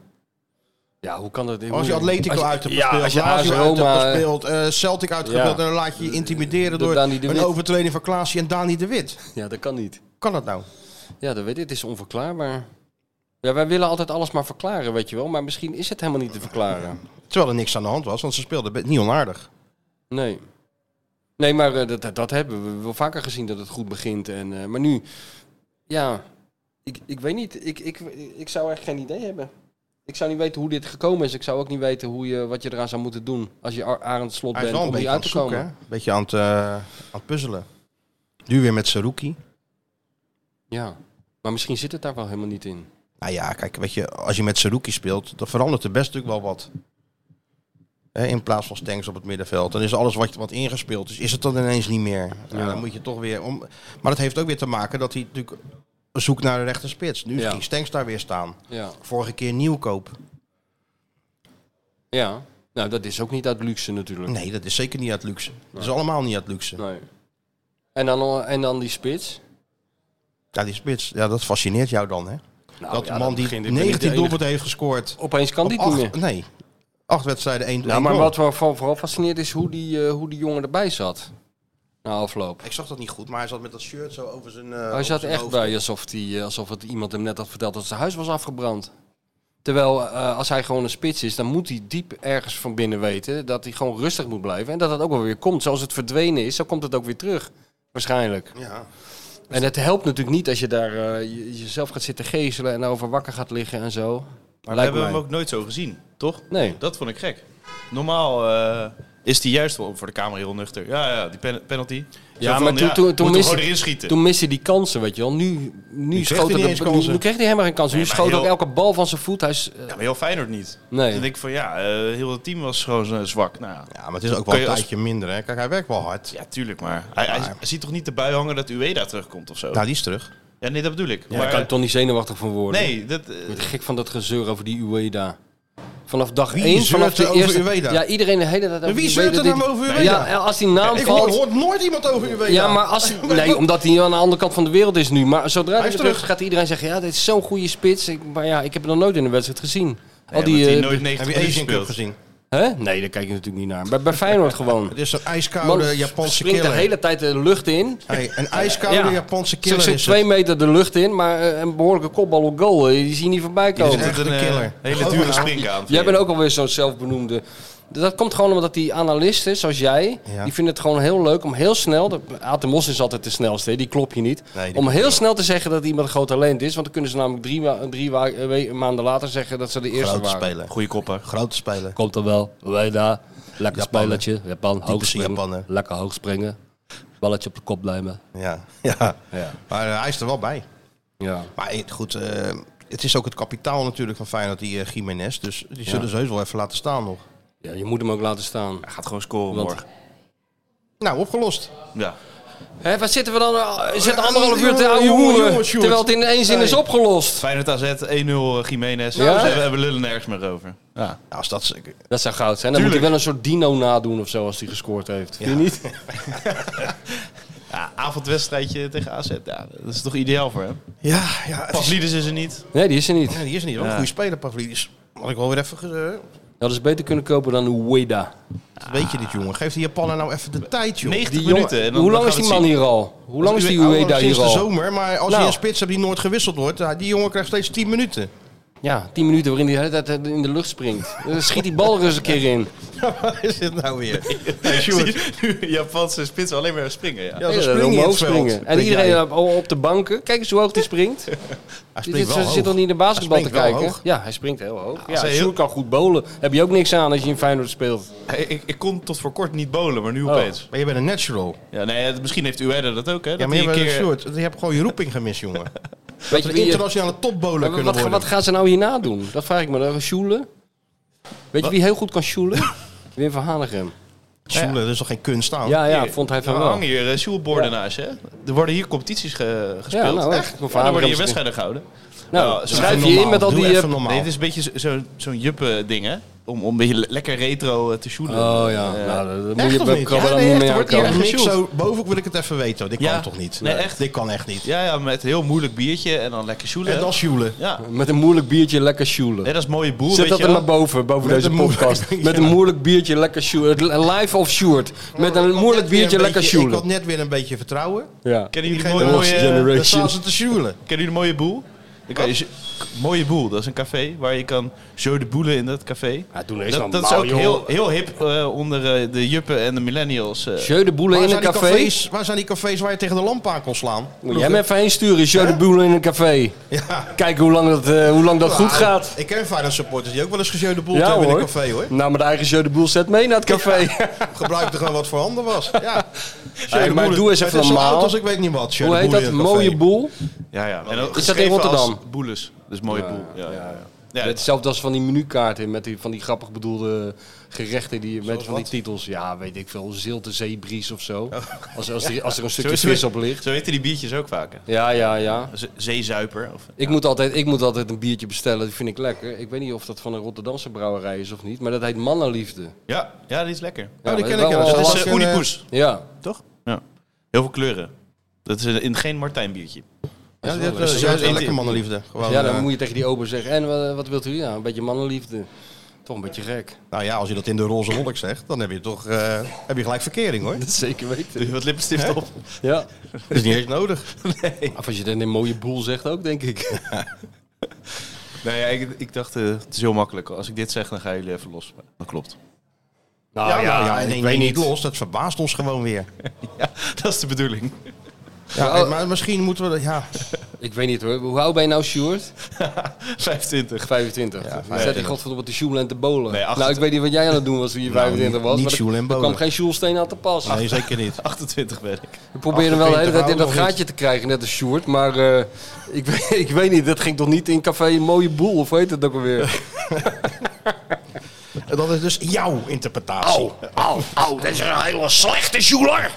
Speaker 6: Ja, hoe kan dat? hoe-
Speaker 5: Als je Atletico
Speaker 6: als je-
Speaker 5: uit hebt
Speaker 6: ja,
Speaker 5: gespeeld,
Speaker 6: als je AS
Speaker 5: Lazio uit
Speaker 6: Roma-
Speaker 5: hebt gespeeld, eh, Celtic uit hebt
Speaker 6: Ja.
Speaker 5: gespeeld, en dan laat je je intimideren
Speaker 6: De
Speaker 5: door
Speaker 6: Dani de
Speaker 5: een
Speaker 6: Wit.
Speaker 5: overtreding van Klaasje en Dani de Wit. Hoe
Speaker 6: Ja, dat kan niet.
Speaker 5: kan dat nou?
Speaker 6: Ja, dat weet ik. Het is onverklaarbaar. Ja, wij willen altijd alles maar verklaren, weet je wel. Maar misschien is het helemaal niet te verklaren.
Speaker 5: Terwijl er niks aan de hand was, want ze speelden be- niet onaardig.
Speaker 6: Nee. Nee, maar eh, dat, dat- dat hebben we wel vaker gezien dat het goed begint. En, eh, maar nu, ja, ik, ik weet niet. Ik, ik, ik zou echt geen idee hebben. Ik zou niet weten hoe dit gekomen is. Ik zou ook niet weten hoe je, wat je eraan zou moeten doen als je Ar- Arend Slot
Speaker 5: Hij is
Speaker 6: bent
Speaker 5: wel een
Speaker 6: om
Speaker 5: beetje
Speaker 6: hier
Speaker 5: aan
Speaker 6: uit
Speaker 5: het
Speaker 6: te
Speaker 5: zoeken, hè?
Speaker 6: komen.
Speaker 5: een beetje aan het, eh, aan het puzzelen. Nu weer met Saruki.
Speaker 6: Ja, maar misschien zit het daar wel helemaal niet in.
Speaker 5: Nou ja, kijk, weet je, als je met Saruki speelt, dan verandert er best natuurlijk wel wat. Hè, in plaats van Stengs op het middenveld. Dan is alles wat, wat ingespeeld is, is het dan ineens niet meer. Ja. dan moet je toch weer om. Maar dat heeft ook weer te maken dat hij natuurlijk zoekt naar de rechter spits. Nu
Speaker 6: Ja.
Speaker 5: ging Stengs daar weer staan.
Speaker 6: Ja,
Speaker 5: Vorige keer nieuwkoop.
Speaker 6: ja. nou dat is ook niet uit luxe natuurlijk.
Speaker 5: Nee, dat is zeker niet uit luxe. Dat is allemaal niet uit luxe.
Speaker 6: Nee. En, dan, en dan die spits.
Speaker 5: Ja, die spits, ja, dat fascineert jou dan, hè?
Speaker 6: Nou,
Speaker 5: dat
Speaker 6: ja,
Speaker 5: man
Speaker 6: begint-
Speaker 5: die
Speaker 6: ik ben niet de
Speaker 5: 19
Speaker 6: enige.
Speaker 5: doelpunten heeft gescoord.
Speaker 6: Opeens kan
Speaker 5: Op
Speaker 6: die niet meer.
Speaker 5: acht, nee, acht wedstrijden, één
Speaker 6: Nou,
Speaker 5: één
Speaker 6: maar
Speaker 5: goal.
Speaker 6: wat me van- vooral fascineert is hoe die, eh, hoe die jongen erbij zat. Na afloop.
Speaker 5: Ik zag dat niet goed, maar hij zat met dat shirt zo over zijn. eh,
Speaker 6: Hij
Speaker 5: over
Speaker 6: zat
Speaker 5: zijn
Speaker 6: echt
Speaker 5: hoofd.
Speaker 6: bij alsof, die, eh, alsof het iemand hem net had verteld dat zijn huis was afgebrand. Terwijl eh, als hij gewoon een spits is, dan moet hij diep ergens van binnen weten dat hij gewoon rustig moet blijven. En dat dat ook wel weer komt. Zoals het verdwenen is, zo komt het ook weer terug. Waarschijnlijk.
Speaker 5: Ja.
Speaker 6: En het helpt natuurlijk niet als je daar eh, je- jezelf gaat zitten geeselen en over wakker gaat liggen en zo.
Speaker 2: Maar we
Speaker 6: Lijkt
Speaker 2: hebben
Speaker 6: mij.
Speaker 2: hem ook nooit zo gezien, toch?
Speaker 6: Nee.
Speaker 2: Dat vond ik gek. Normaal eh, is die juist wel voor de camera heel nuchter. Ja, ja, die pen- penalty.
Speaker 6: Ja,
Speaker 2: Zo
Speaker 6: maar toen- toen- toen
Speaker 2: moet hem
Speaker 6: miste-
Speaker 2: gewoon erin schieten.
Speaker 6: Toen miste hij die kansen, weet je wel. Nu, nu,
Speaker 5: kreeg
Speaker 6: schoot
Speaker 5: hij niet
Speaker 6: hij
Speaker 5: eens
Speaker 6: de,
Speaker 5: kansen.
Speaker 6: nu, nu kreeg hij helemaal geen kans. nu
Speaker 2: maar
Speaker 6: schoot
Speaker 2: heel-
Speaker 6: ook elke bal van zijn voet. Hij is, eh,
Speaker 2: Ja, maar heel Feyenoord niet.
Speaker 6: nee.
Speaker 2: Toen denk ik van ja, eh, heel het team was gewoon
Speaker 7: eh,
Speaker 2: zo zwak. Nou, ja.
Speaker 5: ja, maar het is ook wel
Speaker 2: Kan
Speaker 5: een
Speaker 2: je als-
Speaker 5: tijdje minder. Hè. Kijk, hij werkt wel hard.
Speaker 2: ja, tuurlijk maar. Hij, hij, hij ziet toch niet de bui hangen dat Ueda terugkomt of zo?
Speaker 5: Nou, die is terug.
Speaker 2: ja, nee, dat bedoel ik.
Speaker 6: Daar
Speaker 2: maar,
Speaker 6: kan ik toch niet zenuwachtig van worden.
Speaker 2: nee, dat, eh,
Speaker 6: Ik word gek van dat gezeur over die Ueda. Vanaf dag
Speaker 5: Wie
Speaker 6: 1, vanaf
Speaker 5: zeurt er
Speaker 6: de
Speaker 5: over
Speaker 6: eerste...
Speaker 5: Ueda?
Speaker 6: Ja, iedereen de hele tijd over
Speaker 5: Wie
Speaker 6: die
Speaker 5: zeurt er
Speaker 6: Ueda,
Speaker 5: nou
Speaker 6: dit-
Speaker 5: over Ueda?
Speaker 6: Ja, als die naam
Speaker 5: ik hoor,
Speaker 6: valt...
Speaker 5: hoort nooit iemand over Uweda.
Speaker 6: ja, maar als... Nee, omdat hij aan de andere kant van de wereld is nu. Maar zodra hij
Speaker 5: is
Speaker 6: weer terug
Speaker 5: terug.
Speaker 6: gaat, iedereen zeggen... Ja, dit is zo'n goede spits. Ik- maar ja, ik heb hem nog nooit in een wedstrijd gezien. Al
Speaker 2: die,
Speaker 6: die... eh,
Speaker 2: nooit
Speaker 5: Heb
Speaker 2: 90
Speaker 5: je
Speaker 2: minuten
Speaker 5: Asian Cup
Speaker 2: gespeeld.
Speaker 5: gezien?
Speaker 6: hè? Nee, daar kijk je natuurlijk niet naar. Bij, bij Feyenoord gewoon.
Speaker 5: Het is een ijskoude
Speaker 6: Man
Speaker 5: Japanse
Speaker 6: springt
Speaker 5: killer.
Speaker 6: de hele tijd de lucht in.
Speaker 5: Hey, een ijskoude
Speaker 6: Ja.
Speaker 5: Japanse
Speaker 6: Ze
Speaker 5: killer
Speaker 6: zit
Speaker 5: is
Speaker 6: twee
Speaker 5: het.
Speaker 6: meter de lucht in, maar eh, een behoorlijke kopbal op goal. eh, Die zie je niet voorbij
Speaker 2: Er
Speaker 6: komen.
Speaker 5: echt
Speaker 2: zit een
Speaker 5: een
Speaker 2: eh,
Speaker 5: killer. Oh, nou.
Speaker 2: hele dure spring aan.
Speaker 6: Jij bent ook alweer zo'n zelfbenoemde Dat komt gewoon omdat die analisten, zoals jij,
Speaker 5: Ja.
Speaker 6: die vinden het gewoon heel leuk om heel snel... de- Aad de Mos is altijd de snelste, hè, die klop je niet.
Speaker 5: Nee, die
Speaker 6: om
Speaker 5: klop
Speaker 6: heel snel te zeggen dat iemand een groot talent is. Want dan kunnen ze namelijk drie, wa- drie wa- eh, we- maanden later zeggen dat ze de eerste
Speaker 5: Grote
Speaker 6: waren.
Speaker 5: spelen.
Speaker 7: Goeie koppen.
Speaker 5: Grote spelen.
Speaker 6: Komt er wel, wij daar. Lekker
Speaker 5: Japan,
Speaker 6: spelletje, Japan, hoog springen.
Speaker 5: Japaner.
Speaker 6: Lekker hoog springen. Balletje op de kop blijven.
Speaker 5: Ja. ja.
Speaker 6: Ja.
Speaker 5: Maar eh, hij is er wel bij.
Speaker 6: ja.
Speaker 5: Maar eh, goed, eh, het is ook het kapitaal natuurlijk van Feyenoord, die eh Jiménez. Dus die zullen ze heus wel even laten staan nog.
Speaker 6: Ja, je moet hem ook laten staan.
Speaker 7: Hij gaat gewoon scoren
Speaker 6: Want-
Speaker 7: morgen.
Speaker 5: Nou, opgelost.
Speaker 7: Ja.
Speaker 6: Hé, wat zitten we dan? eh, We zitten anderhalf uur
Speaker 5: jongen,
Speaker 6: te ouwe
Speaker 5: jongen,
Speaker 6: hoeren.
Speaker 5: jongen, Sjoerd.
Speaker 6: Terwijl het in één zin is opgelost.
Speaker 7: Feyenoord AZ 1-0 eh, Jiménez.
Speaker 6: Ja?
Speaker 7: Dus we hebben lullen nergens meer over. Ja.
Speaker 5: Nou, als dat is-
Speaker 6: Dat zou goud zijn. Dan moet hij
Speaker 7: Tuurlijk.
Speaker 6: wel een soort dino nadoen of zo als hij gescoord heeft. Vind je niet?
Speaker 7: ja, avondwedstrijdje tegen AZ. Ja, dat is toch ideaal voor hem?
Speaker 5: ja, ja, het is,
Speaker 7: Pavlidis is er niet.
Speaker 6: Nee, die is er niet.
Speaker 5: ja, die is niet wel een
Speaker 7: Ja.
Speaker 5: goede speler, Pavlidis. Had ik wel weer even... ge-
Speaker 6: Nou, Dat is beter kunnen kopen dan Ueda.
Speaker 5: eh, Weet je dit, jongen? Geef die Japaner nou even de tijd, joh.
Speaker 7: 90
Speaker 6: Die jongen-
Speaker 7: minuten. en dan-
Speaker 6: hoe
Speaker 7: dan
Speaker 6: lang is
Speaker 7: gaan
Speaker 6: die
Speaker 7: we het
Speaker 6: man
Speaker 7: zien.
Speaker 6: hier al? Hoe lang is die
Speaker 5: Uwe-
Speaker 6: Ueda
Speaker 5: oh, sinds
Speaker 6: hier
Speaker 5: de
Speaker 6: al?
Speaker 5: zomer, maar als
Speaker 6: Nou.
Speaker 5: je een spits hebt die nooit gewisseld wordt, eh, die jongen krijgt steeds 10 minuten.
Speaker 6: Ja, 10 minuten waarin hij de hele tijd eh, in de lucht springt. Dan schiet die bal er eens een keer in.
Speaker 5: Waar is dit nou weer?
Speaker 7: Zie je, Japanse spits alleen maar springen. Ja.
Speaker 5: Ja, zo
Speaker 6: Ja, dan
Speaker 5: spring je in
Speaker 6: omhoog
Speaker 5: het veld.
Speaker 6: springen. En
Speaker 5: Denk
Speaker 6: iedereen
Speaker 5: jij.
Speaker 6: op- op de banken. Kijk eens hoe hoog die springt.
Speaker 5: Hij
Speaker 6: Die
Speaker 5: springt
Speaker 6: zit-
Speaker 5: wel
Speaker 6: zit
Speaker 5: hoog.
Speaker 6: toch niet naar basketbal
Speaker 5: Hij
Speaker 6: te
Speaker 5: springt wel
Speaker 6: kijken?
Speaker 5: hoog.
Speaker 6: Ja, hij springt heel hoog. Ja,
Speaker 7: hij
Speaker 6: hij
Speaker 7: heel-
Speaker 6: kan goed bowlen. Heb je ook niks aan als je in Feyenoord speelt.
Speaker 7: Hey, ik, ik kon tot voor kort niet bowlen, maar nu
Speaker 6: Oh.
Speaker 7: opeens.
Speaker 5: Maar je bent een natural.
Speaker 7: Ja, nee, het- misschien heeft Ueda dat ook, hè?
Speaker 5: Ja,
Speaker 7: Dat
Speaker 5: maar je,
Speaker 7: hij
Speaker 5: bent
Speaker 7: een
Speaker 5: een
Speaker 7: keer...
Speaker 5: soort, je hebt gewoon je roeping gemist, jongen.
Speaker 6: Weet je
Speaker 5: Dat
Speaker 6: wie-
Speaker 5: we internationale topbowler
Speaker 6: wat,
Speaker 5: kunnen
Speaker 6: wat,
Speaker 5: worden.
Speaker 6: wat gaan ze nou hierna doen? Dat vraag ik me. dan. Sjoelen? Weet je wie heel goed kan sjoelen? Wim van Hanegem.
Speaker 5: Sjoelen, dat is toch geen kunst aan?
Speaker 6: Ja, ja,
Speaker 7: Hier,
Speaker 6: vond hij van
Speaker 7: nou,
Speaker 6: wel.
Speaker 7: hangen hier uh, sjoelborden naast je. hè? Er worden hier competities ge- gespeeld.
Speaker 6: Ja, nou, echt.
Speaker 7: echt?
Speaker 6: Voor
Speaker 7: En dan worden
Speaker 6: Hanegem
Speaker 7: hier wedstrijden gehouden. Nou,
Speaker 6: Nou,
Speaker 7: zo
Speaker 6: schrijf
Speaker 5: Even
Speaker 6: je in
Speaker 5: normaal.
Speaker 6: met al
Speaker 5: Doe
Speaker 6: die...
Speaker 5: even
Speaker 6: eh,
Speaker 5: normaal.
Speaker 7: Nee, het is een beetje zo- zo'n zo'n juppe ding, hè? Om, om een beetje le- lekker retro eh, te sjoelen.
Speaker 6: Oh ja,
Speaker 7: Eh,
Speaker 6: nou, dat moet
Speaker 5: Echt
Speaker 6: je
Speaker 5: of
Speaker 6: bij
Speaker 5: niet?
Speaker 6: Krabbe
Speaker 5: Ja,
Speaker 6: dan
Speaker 5: nee,
Speaker 6: niet
Speaker 5: echt,
Speaker 6: mee
Speaker 5: er wordt hier
Speaker 6: aankomen.
Speaker 5: een mix
Speaker 7: Gesjoeld.
Speaker 5: zo boven wil ik het even weten. want Dit
Speaker 7: Ja.
Speaker 5: kan toch niet?
Speaker 7: Nee, echt.
Speaker 5: Dit kan echt niet.
Speaker 7: ja, ja, met heel moeilijk biertje en dan lekker sjoelen.
Speaker 5: En dan sjoelen.
Speaker 7: Ja,
Speaker 6: Met een moeilijk biertje lekker sjoelen.
Speaker 7: nee, dat is mooie boer,
Speaker 6: Zet
Speaker 7: weet
Speaker 6: dat
Speaker 7: je
Speaker 6: er
Speaker 7: wel.
Speaker 6: maar boven, boven
Speaker 5: Met
Speaker 6: deze
Speaker 5: een moeilijk-
Speaker 6: podcast. Met een moeilijk biertje lekker sjoelen. Live of Sjoerd. Met
Speaker 5: Ik
Speaker 6: een
Speaker 5: had
Speaker 6: moeilijk
Speaker 5: net weer
Speaker 6: biertje
Speaker 5: een
Speaker 6: lekker
Speaker 5: beetje- Ik
Speaker 6: sjoelen.
Speaker 5: had net weer een beetje vertrouwen.
Speaker 6: Ja.
Speaker 7: Kennen jullie,
Speaker 5: Diegene
Speaker 7: mooie,
Speaker 5: Lost
Speaker 7: mooie, eh,
Speaker 6: Generation.
Speaker 5: Dan staan ze te sjoelen.
Speaker 7: kennen jullie de mooie boel? Dan kan je, z- mooie boel, dat is een café waar je kan zo de boelen in dat café.
Speaker 6: Ja, toen is
Speaker 7: Dat, dat is ook heel, heel hip eh, onder eh, de juppen en de millennials. eh.
Speaker 6: Jeu de boelen
Speaker 5: Waar
Speaker 6: in een
Speaker 5: zijn, die
Speaker 6: café.
Speaker 5: cafés, waar zijn die cafés waar je tegen de lamp aan kon slaan?
Speaker 6: Moet jij me even heen sturen, Jeu de boelen in een café.
Speaker 5: Ja.
Speaker 6: Kijken hoe lang dat, eh, hoe lang dat goed
Speaker 5: Ja,
Speaker 6: gaat.
Speaker 5: Nou, Ik ken Feyenoord supporters die ook wel eens gezeu de boel
Speaker 6: Ja
Speaker 5: hebben in
Speaker 6: hoor.
Speaker 5: een café hoor.
Speaker 6: Nou, met de eigen Jeu de boel zet mee naar het café.
Speaker 5: Gebruik er gewoon wat voor handen was. Ja. Jeu
Speaker 6: Hey,
Speaker 5: de
Speaker 6: maar
Speaker 5: boel-
Speaker 6: doe eens
Speaker 5: het
Speaker 6: even
Speaker 5: is zo
Speaker 6: normaal.
Speaker 5: oud als ik weet niet wat. Jeu
Speaker 6: hoe
Speaker 5: de
Speaker 6: heet
Speaker 5: boel
Speaker 6: dat?
Speaker 5: in een café.
Speaker 6: Mooie boel.
Speaker 7: Ja, ja. En
Speaker 6: Is dat in Rotterdam?
Speaker 7: Boeles. Dus mooie boel. Ja, ja, ja. Ja, dat-
Speaker 6: Hetzelfde als van die menukaarten met die, van die grappig bedoelde gerechten die, met van die titels. Ja, weet ik veel. Zilte zeebries of
Speaker 5: Oh.
Speaker 6: zo. Als, als, er, als er een stukje
Speaker 7: zo,
Speaker 6: vis
Speaker 7: zo,
Speaker 6: op ligt.
Speaker 7: zo heten die biertjes ook vaker.
Speaker 6: Ja, ja, ja.
Speaker 7: Z- Zeezuiper. Of,
Speaker 6: Ik, moet altijd, ik moet altijd een biertje bestellen, die vind ik lekker. Ik weet niet of dat van een Rotterdamse brouwerij is of niet, maar dat heet Mannenliefde.
Speaker 7: ja, ja, die is lekker.
Speaker 6: Ja,
Speaker 5: die
Speaker 6: dat
Speaker 5: ken
Speaker 6: is
Speaker 5: ik
Speaker 6: wel
Speaker 5: wel.
Speaker 6: een
Speaker 7: Dat
Speaker 5: was
Speaker 7: is
Speaker 5: een,
Speaker 7: eh, Oedipus,
Speaker 6: Ja,
Speaker 7: toch? Ja. Heel veel kleuren. Dat is eh, in geen Martijn biertje.
Speaker 5: Ja,
Speaker 6: wel
Speaker 5: dat
Speaker 6: leuk.
Speaker 5: is
Speaker 7: Zo
Speaker 5: ja, dat is
Speaker 7: eet
Speaker 5: een
Speaker 7: hij.
Speaker 5: lekker mannenliefde. Gewoon,
Speaker 6: ja, dan
Speaker 5: eh,
Speaker 6: moet je tegen die ober zeggen, en wat, wat wilt u? Ja, een beetje mannenliefde. Toch een beetje gek.
Speaker 5: Nou ja, als je dat in de roze wolk zegt, dan heb je toch eh, heb je gelijk verkering hoor.
Speaker 6: Dat zeker weten.
Speaker 7: Doe je wat lippenstift op?
Speaker 6: Ja.
Speaker 5: Dat is niet eens nodig.
Speaker 6: Of als je dan een mooie boel zegt ook, denk ik.
Speaker 7: Nee, ja, ik, ik dacht, eh, het is heel makkelijk. Als ik dit zeg, dan gaan jullie even los. Maar Dat klopt.
Speaker 6: Nou
Speaker 5: ja, ja, en ik weet niet los, dat verbaast ons gewoon weer.
Speaker 7: Ja, dat is de bedoeling.
Speaker 5: Ja, oh. maar misschien moeten we dat, ja.
Speaker 6: Ik weet niet hoor. Hoe oud ben je nou, Sjoerd?
Speaker 7: 25.
Speaker 6: 25. Ja, Zet die
Speaker 5: 25.
Speaker 6: godverdomme te sjoelen en te bolen.
Speaker 7: Nee, achter-
Speaker 6: nou, ik weet niet wat jij aan het doen was toen je
Speaker 5: Nou,
Speaker 6: 25 was.
Speaker 5: niet
Speaker 6: maar er-
Speaker 5: sjoelen en
Speaker 6: Er kwam
Speaker 5: bolen.
Speaker 6: geen sjoelsteen aan te pas.
Speaker 5: Nee, zeker niet.
Speaker 7: 28 ben ik.
Speaker 6: We proberen wel de hele
Speaker 5: 28
Speaker 6: tijd in dat
Speaker 5: houden nog
Speaker 6: gaatje te krijgen, net als Sjoerd. Maar eh, ik, weet, ik weet niet, dat ging toch niet in café een mooie boel, of hoe heet het ook alweer?
Speaker 5: Dat is dus jouw interpretatie. oh,
Speaker 4: Au, au, dat is een hele slechte joeler.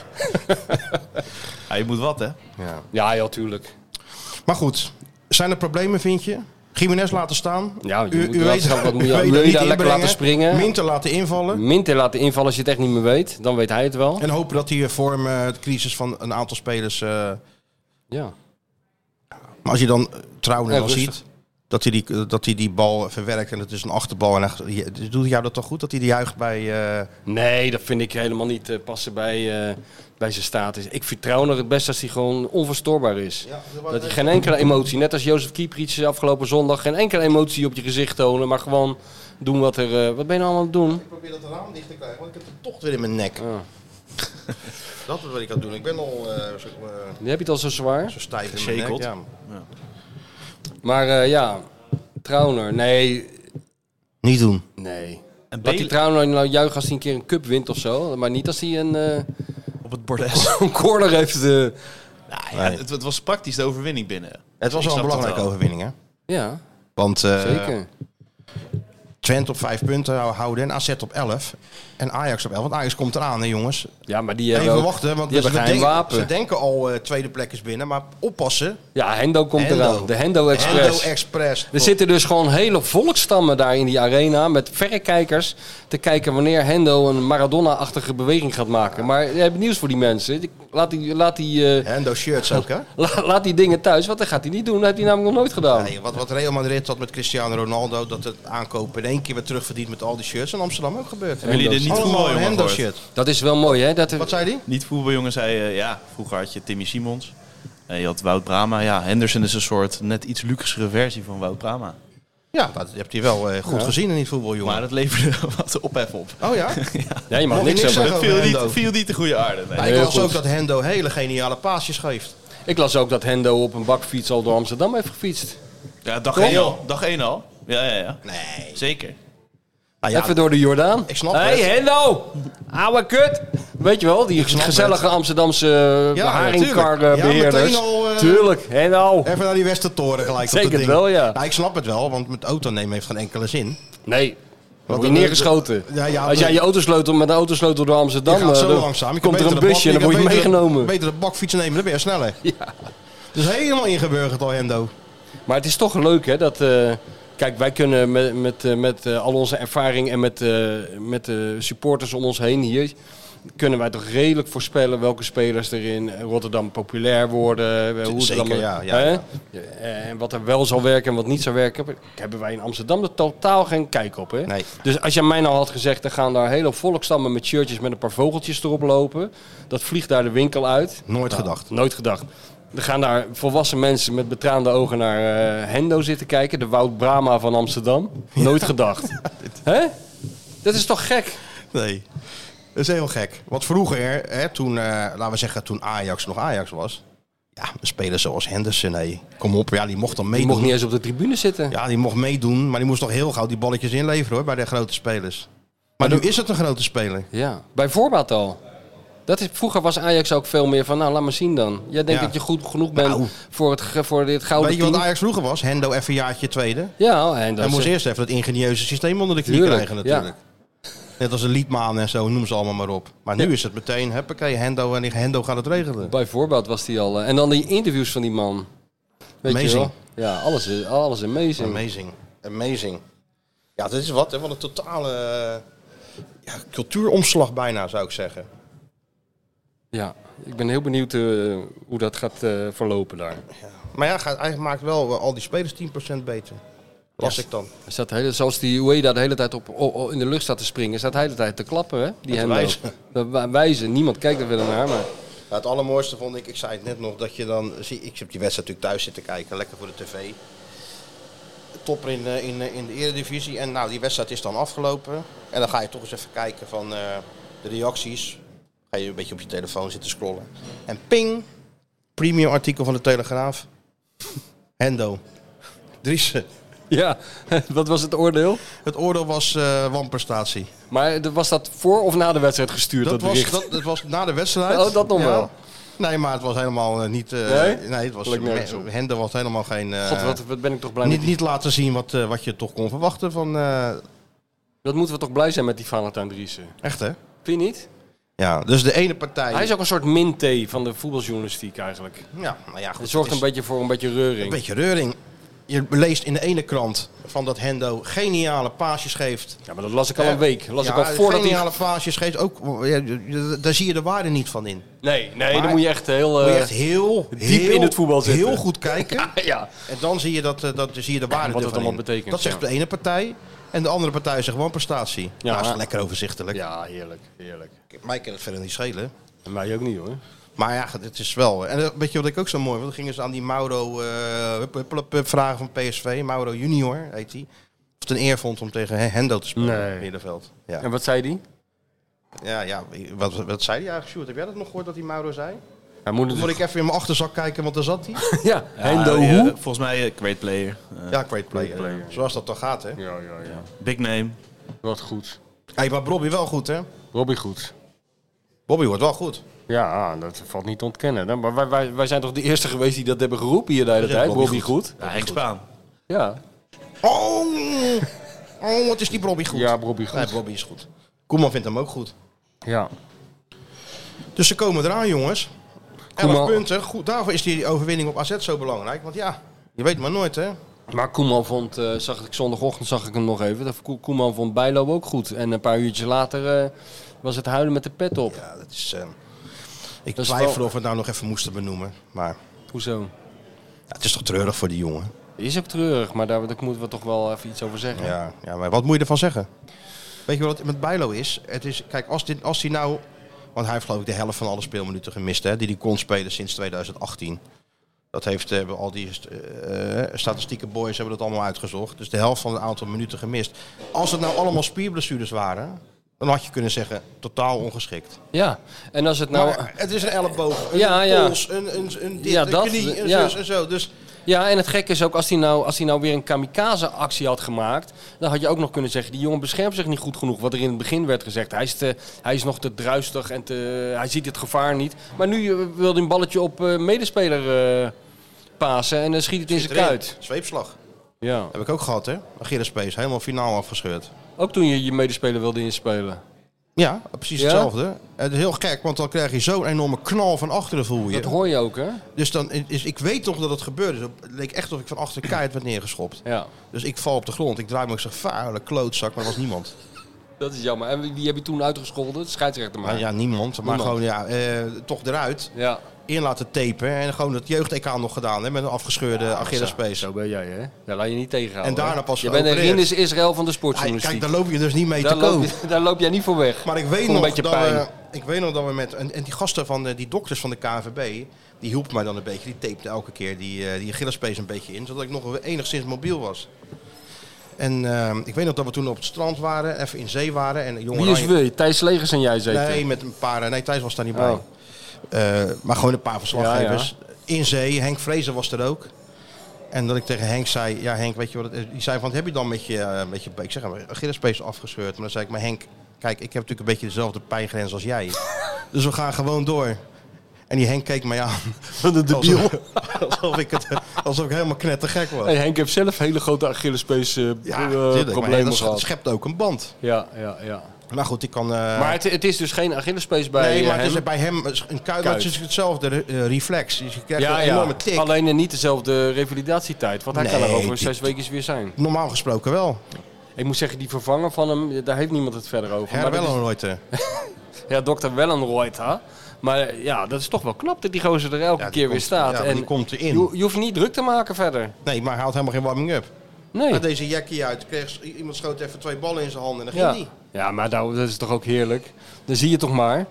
Speaker 7: Ja, je moet wat, hè?
Speaker 5: Ja.
Speaker 6: Ja, ja, tuurlijk.
Speaker 5: Maar goed, zijn er problemen, vind je? Gimenez laten staan.
Speaker 6: Ja, je moet
Speaker 5: weet-
Speaker 6: laten staan, wat moet je-
Speaker 5: u weet
Speaker 6: wil je
Speaker 5: dat niet
Speaker 6: daar lekker
Speaker 5: inbrengen.
Speaker 6: laten springen?
Speaker 5: Minter laten invallen.
Speaker 6: Minter laten invallen als je het echt niet meer weet, dan weet hij het wel.
Speaker 5: En hopen dat die vorm, eh, het crisis van een aantal spelers... eh,
Speaker 6: Ja.
Speaker 5: maar als je dan eh, Trouwen
Speaker 6: Ja,
Speaker 5: al
Speaker 6: rustig.
Speaker 5: ziet... dat hij die, eh, dat hij die bal verwerkt en het is een achterbal. En echt, je- dus doet jou dat toch goed dat hij die juicht bij... eh,
Speaker 6: Nee, dat vind ik helemaal niet eh, passen bij, eh, bij zijn status. Ik vertrouw nog het best als hij gewoon onverstoorbaar is. dat hij geen enkele emotie, net als Jozef Kieprits afgelopen zondag, geen enkele emotie op je gezicht tonen, maar gewoon doen wat er. eh, wat ben je nou allemaal aan het doen?
Speaker 5: Ik probeer dat raam dicht te krijgen, want ik heb de tocht weer in mijn nek. Dat is wat ik aan het doen. Ik ben al eh, zo, eh,
Speaker 6: Nu heb je het al zo zwaar.
Speaker 5: zo stijf in mijn nek.
Speaker 7: Geschakeld.
Speaker 5: Ja.
Speaker 6: Maar eh, ja, Trauner, nee.
Speaker 5: Niet doen.
Speaker 6: Nee.
Speaker 7: En
Speaker 6: Laat die
Speaker 7: Belen
Speaker 6: Trauner nou juichen als hij een keer een cup wint of zo, maar niet als hij een, eh,
Speaker 7: op het bordes.
Speaker 6: een corner heeft. eh,
Speaker 7: Nou ja, het, het was praktisch de overwinning binnen.
Speaker 5: Het was
Speaker 7: Ik
Speaker 5: wel een
Speaker 7: snap dat
Speaker 5: belangrijke
Speaker 7: wel.
Speaker 5: overwinning, hè?
Speaker 6: ja,
Speaker 5: Want eh,
Speaker 6: zeker.
Speaker 5: Twente op 5 punten hou- houden en AZ op 11. En Ajax op 11. Want Ajax komt eraan, hè jongens.
Speaker 6: ja, maar die hebben
Speaker 5: Even
Speaker 6: ook-
Speaker 5: wachten, want
Speaker 6: die
Speaker 5: ze,
Speaker 6: hebben geen
Speaker 5: denken-
Speaker 6: wapen.
Speaker 5: ze denken al eh, tweede plek is binnen. Maar oppassen.
Speaker 6: Ja, Hendo komt
Speaker 5: Hendo.
Speaker 6: eraan. De Hendo Express.
Speaker 5: Hendo Express.
Speaker 6: er zitten dus gewoon hele volkstammen daar in die arena met verrekijkers te kijken wanneer Hendo een Maradona-achtige beweging gaat maken. Maar je hebt nieuws voor die mensen. Die- Laat die, laat die, eh,
Speaker 5: Hendo shirts ook, hè?
Speaker 6: la- laat die dingen thuis, want dat gaat hij niet doen. Dat heeft hij namelijk nog nooit gedaan.
Speaker 5: Nee, wat, wat Real Madrid had met Cristiano Ronaldo, dat het aankopen in één keer weer terugverdient met al die shirts. In Amsterdam ook gebeurd.
Speaker 6: Hebben jullie
Speaker 7: er niet
Speaker 5: Allemaal
Speaker 7: voetbaljongen
Speaker 5: een Hendo
Speaker 7: gehoord?
Speaker 5: shirt.
Speaker 6: Dat is wel mooi, hè? Dat er-
Speaker 5: Wat zei die?
Speaker 7: Niet voetbaljongen zei, eh, ja, vroeger had je Timmy Simons. En je had Wout Brama. Ja, Henderson is een soort net iets luxere versie van Wout Brama.
Speaker 5: Ja, dat hebt hij wel eh, goed gezien in die voetbaljongen.
Speaker 7: Maar dat leverde wat ophef op.
Speaker 5: Oh ja?
Speaker 6: ja, je mag
Speaker 5: Mocht je niks
Speaker 6: niks hebben.
Speaker 5: zeggen?
Speaker 7: Het viel
Speaker 5: Hendo.
Speaker 7: niet, viel niet de goede aarde. nee.
Speaker 5: Maar ik
Speaker 6: Heel
Speaker 5: las
Speaker 6: goed.
Speaker 5: ook dat Hendo hele geniale paasjes geeft.
Speaker 6: Ik las ook dat Hendo op een bakfiets al door Amsterdam heeft gefietst.
Speaker 7: Ja, dag
Speaker 6: Toch?
Speaker 7: 1 al. Dag 1 al. Ja, ja, ja.
Speaker 5: Nee.
Speaker 7: Zeker.
Speaker 5: Ah, ja,
Speaker 6: Even door de Jordaan.
Speaker 5: Ik snap
Speaker 6: Hé,
Speaker 5: het.
Speaker 6: Hendo! Ouwe kut! Weet je wel, die
Speaker 5: snap
Speaker 6: gezellige Amsterdamse
Speaker 5: Ja, natuurlijk. Ja,
Speaker 6: beharingkar-beheerders.
Speaker 5: meteen al, eh,
Speaker 6: tuurlijk, Hendo!
Speaker 5: even naar die Westertoren gelijk.
Speaker 6: Zeker
Speaker 5: op dat ding.
Speaker 6: wel, ja.
Speaker 5: Nou, ik snap het wel, want met auto nemen heeft geen enkele zin.
Speaker 6: Nee, dan word je
Speaker 5: dan-
Speaker 6: neergeschoten.
Speaker 5: Ja, ja,
Speaker 6: Als jij je autosleutel met de autosleutel door
Speaker 5: Je
Speaker 6: Amsterdam...
Speaker 5: gaat
Speaker 6: eh,
Speaker 5: zo
Speaker 6: dan
Speaker 5: langzaam. Je kan
Speaker 6: komt er
Speaker 5: beter
Speaker 6: een
Speaker 5: de
Speaker 6: busje en dan
Speaker 5: bak-
Speaker 6: word je
Speaker 5: kan beter-
Speaker 6: meegenomen.
Speaker 5: Beter de bakfiets nemen, dan ben je sneller.
Speaker 6: Ja.
Speaker 5: Dus helemaal ingeburgerd al, Hendo.
Speaker 6: Maar het is toch leuk, hè, dat... eh, Kijk, wij kunnen met, met, eh, met eh, al onze ervaring en met, eh, met de supporters om ons heen hier... kunnen wij toch redelijk voorspellen welke spelers er in Rotterdam populair worden. eh, Hoe
Speaker 5: Zeker,
Speaker 6: het dan,
Speaker 5: ja, ja,
Speaker 6: hè? Eh,
Speaker 5: ja.
Speaker 6: En wat er wel zal werken en wat niet zal werken... hebben wij in Amsterdam er totaal geen kijk op, hè?
Speaker 5: Nee.
Speaker 6: Dus als jij mij nou had gezegd, er gaan daar hele volkstammen met shirtjes met een paar vogeltjes erop lopen. Dat vliegt daar de winkel uit.
Speaker 5: Nooit gedacht.
Speaker 6: Nooit gedacht. Er gaan daar volwassen mensen met betraande ogen naar eh, Hendo zitten kijken. De Wout Brama van Amsterdam. Nooit gedacht. Hè? Dat is toch gek?
Speaker 5: Nee. Dat is heel gek. Want vroeger, hè, toen, eh, laten we zeggen, toen Ajax nog Ajax was. Ja, een speler zoals Henderson, hé. Kom op, ja, die mocht dan
Speaker 6: Je
Speaker 5: meedoen.
Speaker 6: mocht niet eens op de tribune zitten.
Speaker 5: Ja, die mocht meedoen, maar die moest toch heel gauw die balletjes inleveren hoor, bij de grote spelers. Maar nu is het een grote speler.
Speaker 6: Ja, bij voorbaat al. Dat is, vroeger was Ajax ook veel meer van, nou laat maar zien dan. Jij denkt
Speaker 5: Ja.
Speaker 6: dat je goed genoeg bent
Speaker 5: Nou.
Speaker 6: voor, het, ge- voor dit gouden
Speaker 5: Weet je wat
Speaker 6: Oh, team.
Speaker 5: Ajax vroeger was? Hendo even een jaartje tweede.
Speaker 6: Ja, oh, en dat
Speaker 5: Hij moest
Speaker 6: is-
Speaker 5: eerst even dat ingenieuze systeem onder de knie
Speaker 6: Tuurlijk,
Speaker 5: krijgen natuurlijk. Net als een liedmaan en zo, noem ze allemaal maar op. Maar nu is het meteen, huppakee, Hendo en Hendo gaat het regelen.
Speaker 6: Bijvoorbeeld was die al. eh, En dan die interviews van die man. Weet je
Speaker 5: Amazing.
Speaker 6: wel? Ja, alles is, alles amazing.
Speaker 5: Amazing. Amazing. Ja, dit is wat, hè? Wat een totale eh, ja, cultuuromslag bijna, zou ik zeggen.
Speaker 6: Ja, ik ben heel benieuwd eh, hoe dat gaat eh, verlopen daar.
Speaker 5: Maar ja, gaat, hij maakt wel eh, al die spelers 10% beter. Las ik dan.
Speaker 6: Hij Staat de hele, zoals die Ueda de hele tijd op, o- o- in de lucht staat te springen, staat de hele tijd te klappen. Hè? Die hem
Speaker 5: wijzen.
Speaker 6: wijzen. Niemand kijkt er wel naar, maar
Speaker 5: Ja, het allermooiste vond ik, ik zei het net nog, dat je dan... Zie, ik heb die wedstrijd natuurlijk thuis zitten kijken, lekker voor de tv. Topper in, eh, in, eh, in de eredivisie. En nou, die wedstrijd is dan afgelopen. En dan ga je toch eens even kijken van eh, de reacties. Ga je een beetje op je telefoon zitten scrollen. En ping, premium artikel van de Telegraaf. Hendo. Driessen.
Speaker 6: ja, wat was het oordeel?
Speaker 5: Het oordeel was eh wanprestatie.
Speaker 6: Maar de- was dat voor of na de wedstrijd gestuurd? Dat,
Speaker 5: Dat was,
Speaker 6: bericht?
Speaker 5: dat, dat was na de wedstrijd.
Speaker 6: Oh, dat nog
Speaker 5: Ja.
Speaker 6: wel.
Speaker 5: Nee, maar het was helemaal eh, niet... eh,
Speaker 6: Nee?
Speaker 5: nee? het was...
Speaker 6: Lijkt nergens op.
Speaker 5: Hendo was helemaal geen... eh,
Speaker 6: God, wat, wat ben ik toch blij
Speaker 5: niet,
Speaker 6: met die-
Speaker 5: niet laten zien wat, eh, wat je toch kon verwachten van... eh,
Speaker 6: Dat moeten we toch blij zijn met die Valentijn Driessen.
Speaker 5: echt, hè?
Speaker 6: Vind je niet?
Speaker 5: Ja, dus de ene partij...
Speaker 6: Hij is ook een soort min-T van de voetbaljournalistiek eigenlijk.
Speaker 5: Ja, nou ja, goed.
Speaker 6: Het zorgt
Speaker 5: het
Speaker 6: een
Speaker 5: is
Speaker 6: beetje voor een beetje reuring.
Speaker 5: een beetje reuring. je leest in de ene krant van dat Hendo geniale paasjes geeft. Eh,
Speaker 6: Ja, maar dat las ik al een week. Las
Speaker 5: Ja,
Speaker 6: ik al voordat hij...
Speaker 5: geniale paasjes geeft ook. ja, daar zie je de waarde niet van in.
Speaker 6: Nee, nee, dan moet je echt heel...
Speaker 5: Moet je
Speaker 6: eh,
Speaker 5: echt heel
Speaker 6: diep
Speaker 5: heel-
Speaker 6: in het voetbal zitten.
Speaker 5: Heel goed kijken.
Speaker 6: ja.
Speaker 5: En dan zie je, dat, eh, dat, dan zie je de waarde
Speaker 6: Wat het
Speaker 5: ervan
Speaker 6: allemaal
Speaker 5: in.
Speaker 6: betekent,
Speaker 5: Dat zegt
Speaker 6: ja.
Speaker 5: de ene partij. En de andere partij zegt gewoon prestatie. Ja,
Speaker 6: Ja.
Speaker 5: dat is lekker overzichtelijk.
Speaker 6: ja, heerlijk, heerlijk.
Speaker 5: Mij kan het verder niet schelen.
Speaker 6: En mij ook niet hoor.
Speaker 5: Maar ja, het is wel. En eh, weet je wat ik ook zo mooi vond? Dan gingen ze aan die Mauro eh, hup, hup, hup, hup, vragen van PSV. Mauro Junior heet hij. Of het een eer vond om tegen Hendo te spelen
Speaker 6: Nee.
Speaker 5: in het middenveld. Ja,
Speaker 6: En wat zei die?
Speaker 5: ja, ja wat, wat zei hij eigenlijk, Sjoerd? Heb jij dat nog gehoord dat die Mauro zei?
Speaker 6: Hij moet
Speaker 5: Moet ik
Speaker 6: natuurlijk...
Speaker 5: even in mijn achterzak kijken, want daar zat hij.
Speaker 6: Ja, Hendo
Speaker 7: Ja, die, eh,
Speaker 6: hoe?
Speaker 7: volgens mij eh, great player. Eh,
Speaker 5: Ja, great player. Zoals dat dan gaat, hè?
Speaker 6: Ja, ja, ja.
Speaker 7: Big name.
Speaker 6: Wat goed.
Speaker 5: Hey, maar Bobby wel goed, hè?
Speaker 6: Robbie goed.
Speaker 5: Bobby wordt wel goed.
Speaker 6: Ja, ah, dat valt niet te ontkennen. hè. Maar wij, wij, wij zijn toch de eerste geweest die dat hebben geroepen hier de hele tijd?
Speaker 5: Robbie
Speaker 6: Robbie goed.
Speaker 7: Ja, Henk Spaan.
Speaker 6: Ja.
Speaker 5: Oh, oh wat is die Bobby goed?
Speaker 6: Ja, Robbie
Speaker 5: Nee,
Speaker 6: goed.
Speaker 5: Bobby is goed. Koeman vindt hem ook goed.
Speaker 6: Ja.
Speaker 5: Dus ze komen eraan, jongens. 11
Speaker 6: Koeman-
Speaker 5: punten. Goed, daarvoor is die overwinning op AZ zo belangrijk. Want ja, je weet maar nooit, hè?
Speaker 6: Maar Koeman vond, eh, zag ik zondagochtend zag ik hem nog even. Dat Ko- Koeman vond Bijlo ook goed. En een paar uurtjes later eh, was het huilen met de pet op.
Speaker 5: Ja, dat is... eh, ik
Speaker 6: Dat is
Speaker 5: twijfel
Speaker 6: wel-
Speaker 5: of we het nou nog even moesten benoemen. Maar
Speaker 6: Hoezo?
Speaker 5: ja, het is toch treurig voor die jongen?
Speaker 6: Is ook treurig, maar daar, daar moeten we toch wel even iets over zeggen.
Speaker 5: Ja, ja, maar wat moet je ervan zeggen? Weet je wat het met Bijlo is? Het is kijk, als, dit, als hij nou... Want hij heeft geloof ik de helft van alle speelminuten gemist, hè? Die hij kon spelen sinds 2018. Dat heeft, eh, hebben al die eh, statistieke boys hebben dat allemaal uitgezocht. Dus de helft van het aantal minuten gemist. Als het nou allemaal spierblessures waren... Dan had je kunnen zeggen, totaal ongeschikt.
Speaker 6: Ja, en als het nou...
Speaker 5: Maar het is een elleboog, een
Speaker 6: Ja, ja.
Speaker 5: pols, een, een, een dit,
Speaker 6: Ja,
Speaker 5: een
Speaker 6: dat,
Speaker 5: knie, een
Speaker 6: ja.
Speaker 5: zus en zo. Dus
Speaker 6: Ja, en het gekke is ook, als hij nou, als hij nou weer een kamikaze-actie had gemaakt... dan had je ook nog kunnen zeggen, die jongen beschermt zich niet goed genoeg. Wat er in het begin werd gezegd. Hij is, te, hij is nog te druistig en te, hij ziet het gevaar niet. Maar nu eh, wil hij een balletje op eh, medespeler eh pasen en dan schiet het in zijn
Speaker 5: erin.
Speaker 6: kuit.
Speaker 5: Zweepslag.
Speaker 6: Ja.
Speaker 5: Heb ik ook gehad, hè? Achilles Space, helemaal finaal afgescheurd.
Speaker 6: Ook toen je je medespeler wilde inspelen.
Speaker 5: Ja, precies
Speaker 6: Ja?
Speaker 5: hetzelfde. Het is heel gek, want dan krijg je zo'n enorme knal van achteren voel je.
Speaker 6: Dat hoor je ook, hè?
Speaker 5: Dus dan is, ik weet nog dat het gebeurde. Het leek echt of ik van achter keihard werd neergeschopt.
Speaker 6: Ja.
Speaker 5: Dus ik val op de grond. Ik draai me ook zo'n vuile klootzak, maar er was niemand.
Speaker 6: Dat is jammer. En wie wie heb je toen uitgescholden? De scheidsrechter maar.
Speaker 5: Maar ja, niemand. Maar
Speaker 6: Niemand.
Speaker 5: gewoon, ja, eh, toch eruit.
Speaker 6: ja.
Speaker 5: In laten tapen. En gewoon het jeugd-EK nog gedaan, hè, met een afgescheurde Achilles
Speaker 6: Zo-
Speaker 5: Space.
Speaker 6: Zo ben jij, hè? Ja, laat je niet tegenhouden.
Speaker 5: En daarna
Speaker 6: hè?
Speaker 5: pas
Speaker 6: Je bent een
Speaker 5: geopereerd.
Speaker 6: Rinus Israël van de
Speaker 5: Hey,
Speaker 6: sportjournalistiek.
Speaker 5: kijk, daar loop je dus niet mee
Speaker 6: daar,
Speaker 5: te
Speaker 6: loop
Speaker 5: koop.
Speaker 6: je, daar loop jij niet voor weg.
Speaker 5: Maar ik weet,
Speaker 6: Voel een
Speaker 5: nog
Speaker 6: beetje
Speaker 5: dat eh,
Speaker 6: pijn.
Speaker 5: we, ik weet nog dat we met... En, en die gasten van de, die dokters van de KNVB... die hielpen mij dan een beetje. Die tapte elke keer die, eh, die Gillespace een beetje in... zodat ik nog enigszins mobiel was. En eh, ik weet nog dat we toen op het strand waren. Even in zee waren. En jongen
Speaker 6: Wie is we? Thijs Legers en jij zeker?
Speaker 5: Nee, met een paar... eh, Nee, Thijs was daar niet bij.
Speaker 6: Oh.
Speaker 5: Eh, maar gewoon een paar verslaggevers. In zee. Henk Vrezen was er ook. En dat ik tegen Henk zei... Ja, Henk, weet je wat het is? Die zei van... wat heb je dan met je... eh, met je ik zeg maar, Gillespace afgescheurd. Maar dan zei ik... Maar Henk... Kijk, ik heb natuurlijk een beetje dezelfde pijngrens als jij. Dus we gaan gewoon door. En die Henk keek mij aan.
Speaker 6: Van de
Speaker 5: Alsof, alsof, ik, het, alsof ik helemaal knettergek was.
Speaker 6: Hey, Henk heeft zelf hele grote Achillespees eh
Speaker 5: Ja,
Speaker 6: eh,
Speaker 5: tuurlijk, maar
Speaker 6: problemen
Speaker 5: dat sch-
Speaker 6: gehad.
Speaker 5: schept ook een band.
Speaker 6: Ja, ja, ja.
Speaker 5: Maar goed, ik kan... eh,
Speaker 6: maar het, het is dus geen Achillespees bij eh,
Speaker 5: nee, maar
Speaker 6: hem.
Speaker 5: het is bij hem een kuit. maar Het is hetzelfde eh, reflex. Dus je krijgt
Speaker 6: ja,
Speaker 5: een
Speaker 6: ja.
Speaker 5: enorme tik.
Speaker 6: Alleen eh, niet dezelfde revalidatietijd. Want hij kan
Speaker 5: Nee,
Speaker 6: er over
Speaker 5: die-
Speaker 6: zes weken weer zijn.
Speaker 5: Normaal gesproken wel.
Speaker 6: Ik moet zeggen, die vervanger van hem, eh, daar heeft niemand het verder over.
Speaker 5: Her
Speaker 6: Maar dat
Speaker 5: wel
Speaker 6: is-
Speaker 5: een nooit. eh.
Speaker 6: Ja, dokter Wellenreuter. Maar eh, ja, dat is toch wel knap dat die gozer er elke keer weer staat.
Speaker 5: Ja,
Speaker 6: en
Speaker 5: die komt
Speaker 6: je,
Speaker 5: erin.
Speaker 6: je hoeft niet druk te maken verder.
Speaker 5: Nee, maar hij had helemaal geen warming-up.
Speaker 6: Nee.
Speaker 5: Maar deze jackie uit. Kreeg, iemand schoot even twee ballen in zijn handen en dan
Speaker 6: ja.
Speaker 5: ging hij.
Speaker 6: ja, maar nou, dat is toch ook heerlijk. Dan zie je toch maar.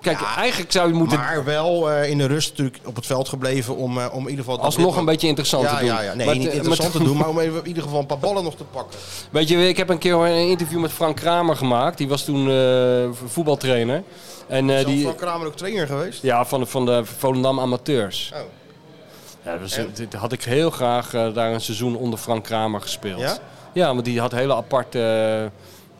Speaker 6: Kijk, eigenlijk zou je moeten
Speaker 5: Maar wel eh, in de rust natuurlijk op het veld gebleven om, eh, om in ieder geval... dat
Speaker 6: alsnog
Speaker 5: dit-
Speaker 6: een beetje interessant
Speaker 5: ja,
Speaker 6: te doen. eh,
Speaker 5: ja, ja. Nee,
Speaker 6: Maar
Speaker 5: niet
Speaker 6: het-
Speaker 5: interessant
Speaker 6: maar-
Speaker 5: te doen, maar om even in ieder geval een paar ballen nog te pakken.
Speaker 6: Weet je, ik heb een keer een interview met Frank Kramer gemaakt. Die was toen eh, voetbaltrainer. En eh,
Speaker 5: Is die...
Speaker 6: die...
Speaker 5: Frank Kramer ook trainer geweest?
Speaker 6: Ja, van de, van de Volendam Amateurs.
Speaker 5: Oh.
Speaker 6: Ja, dat was- dit had ik heel graag eh, daar een seizoen onder Frank Kramer gespeeld.
Speaker 5: Ja?
Speaker 6: Ja, want die had hele aparte,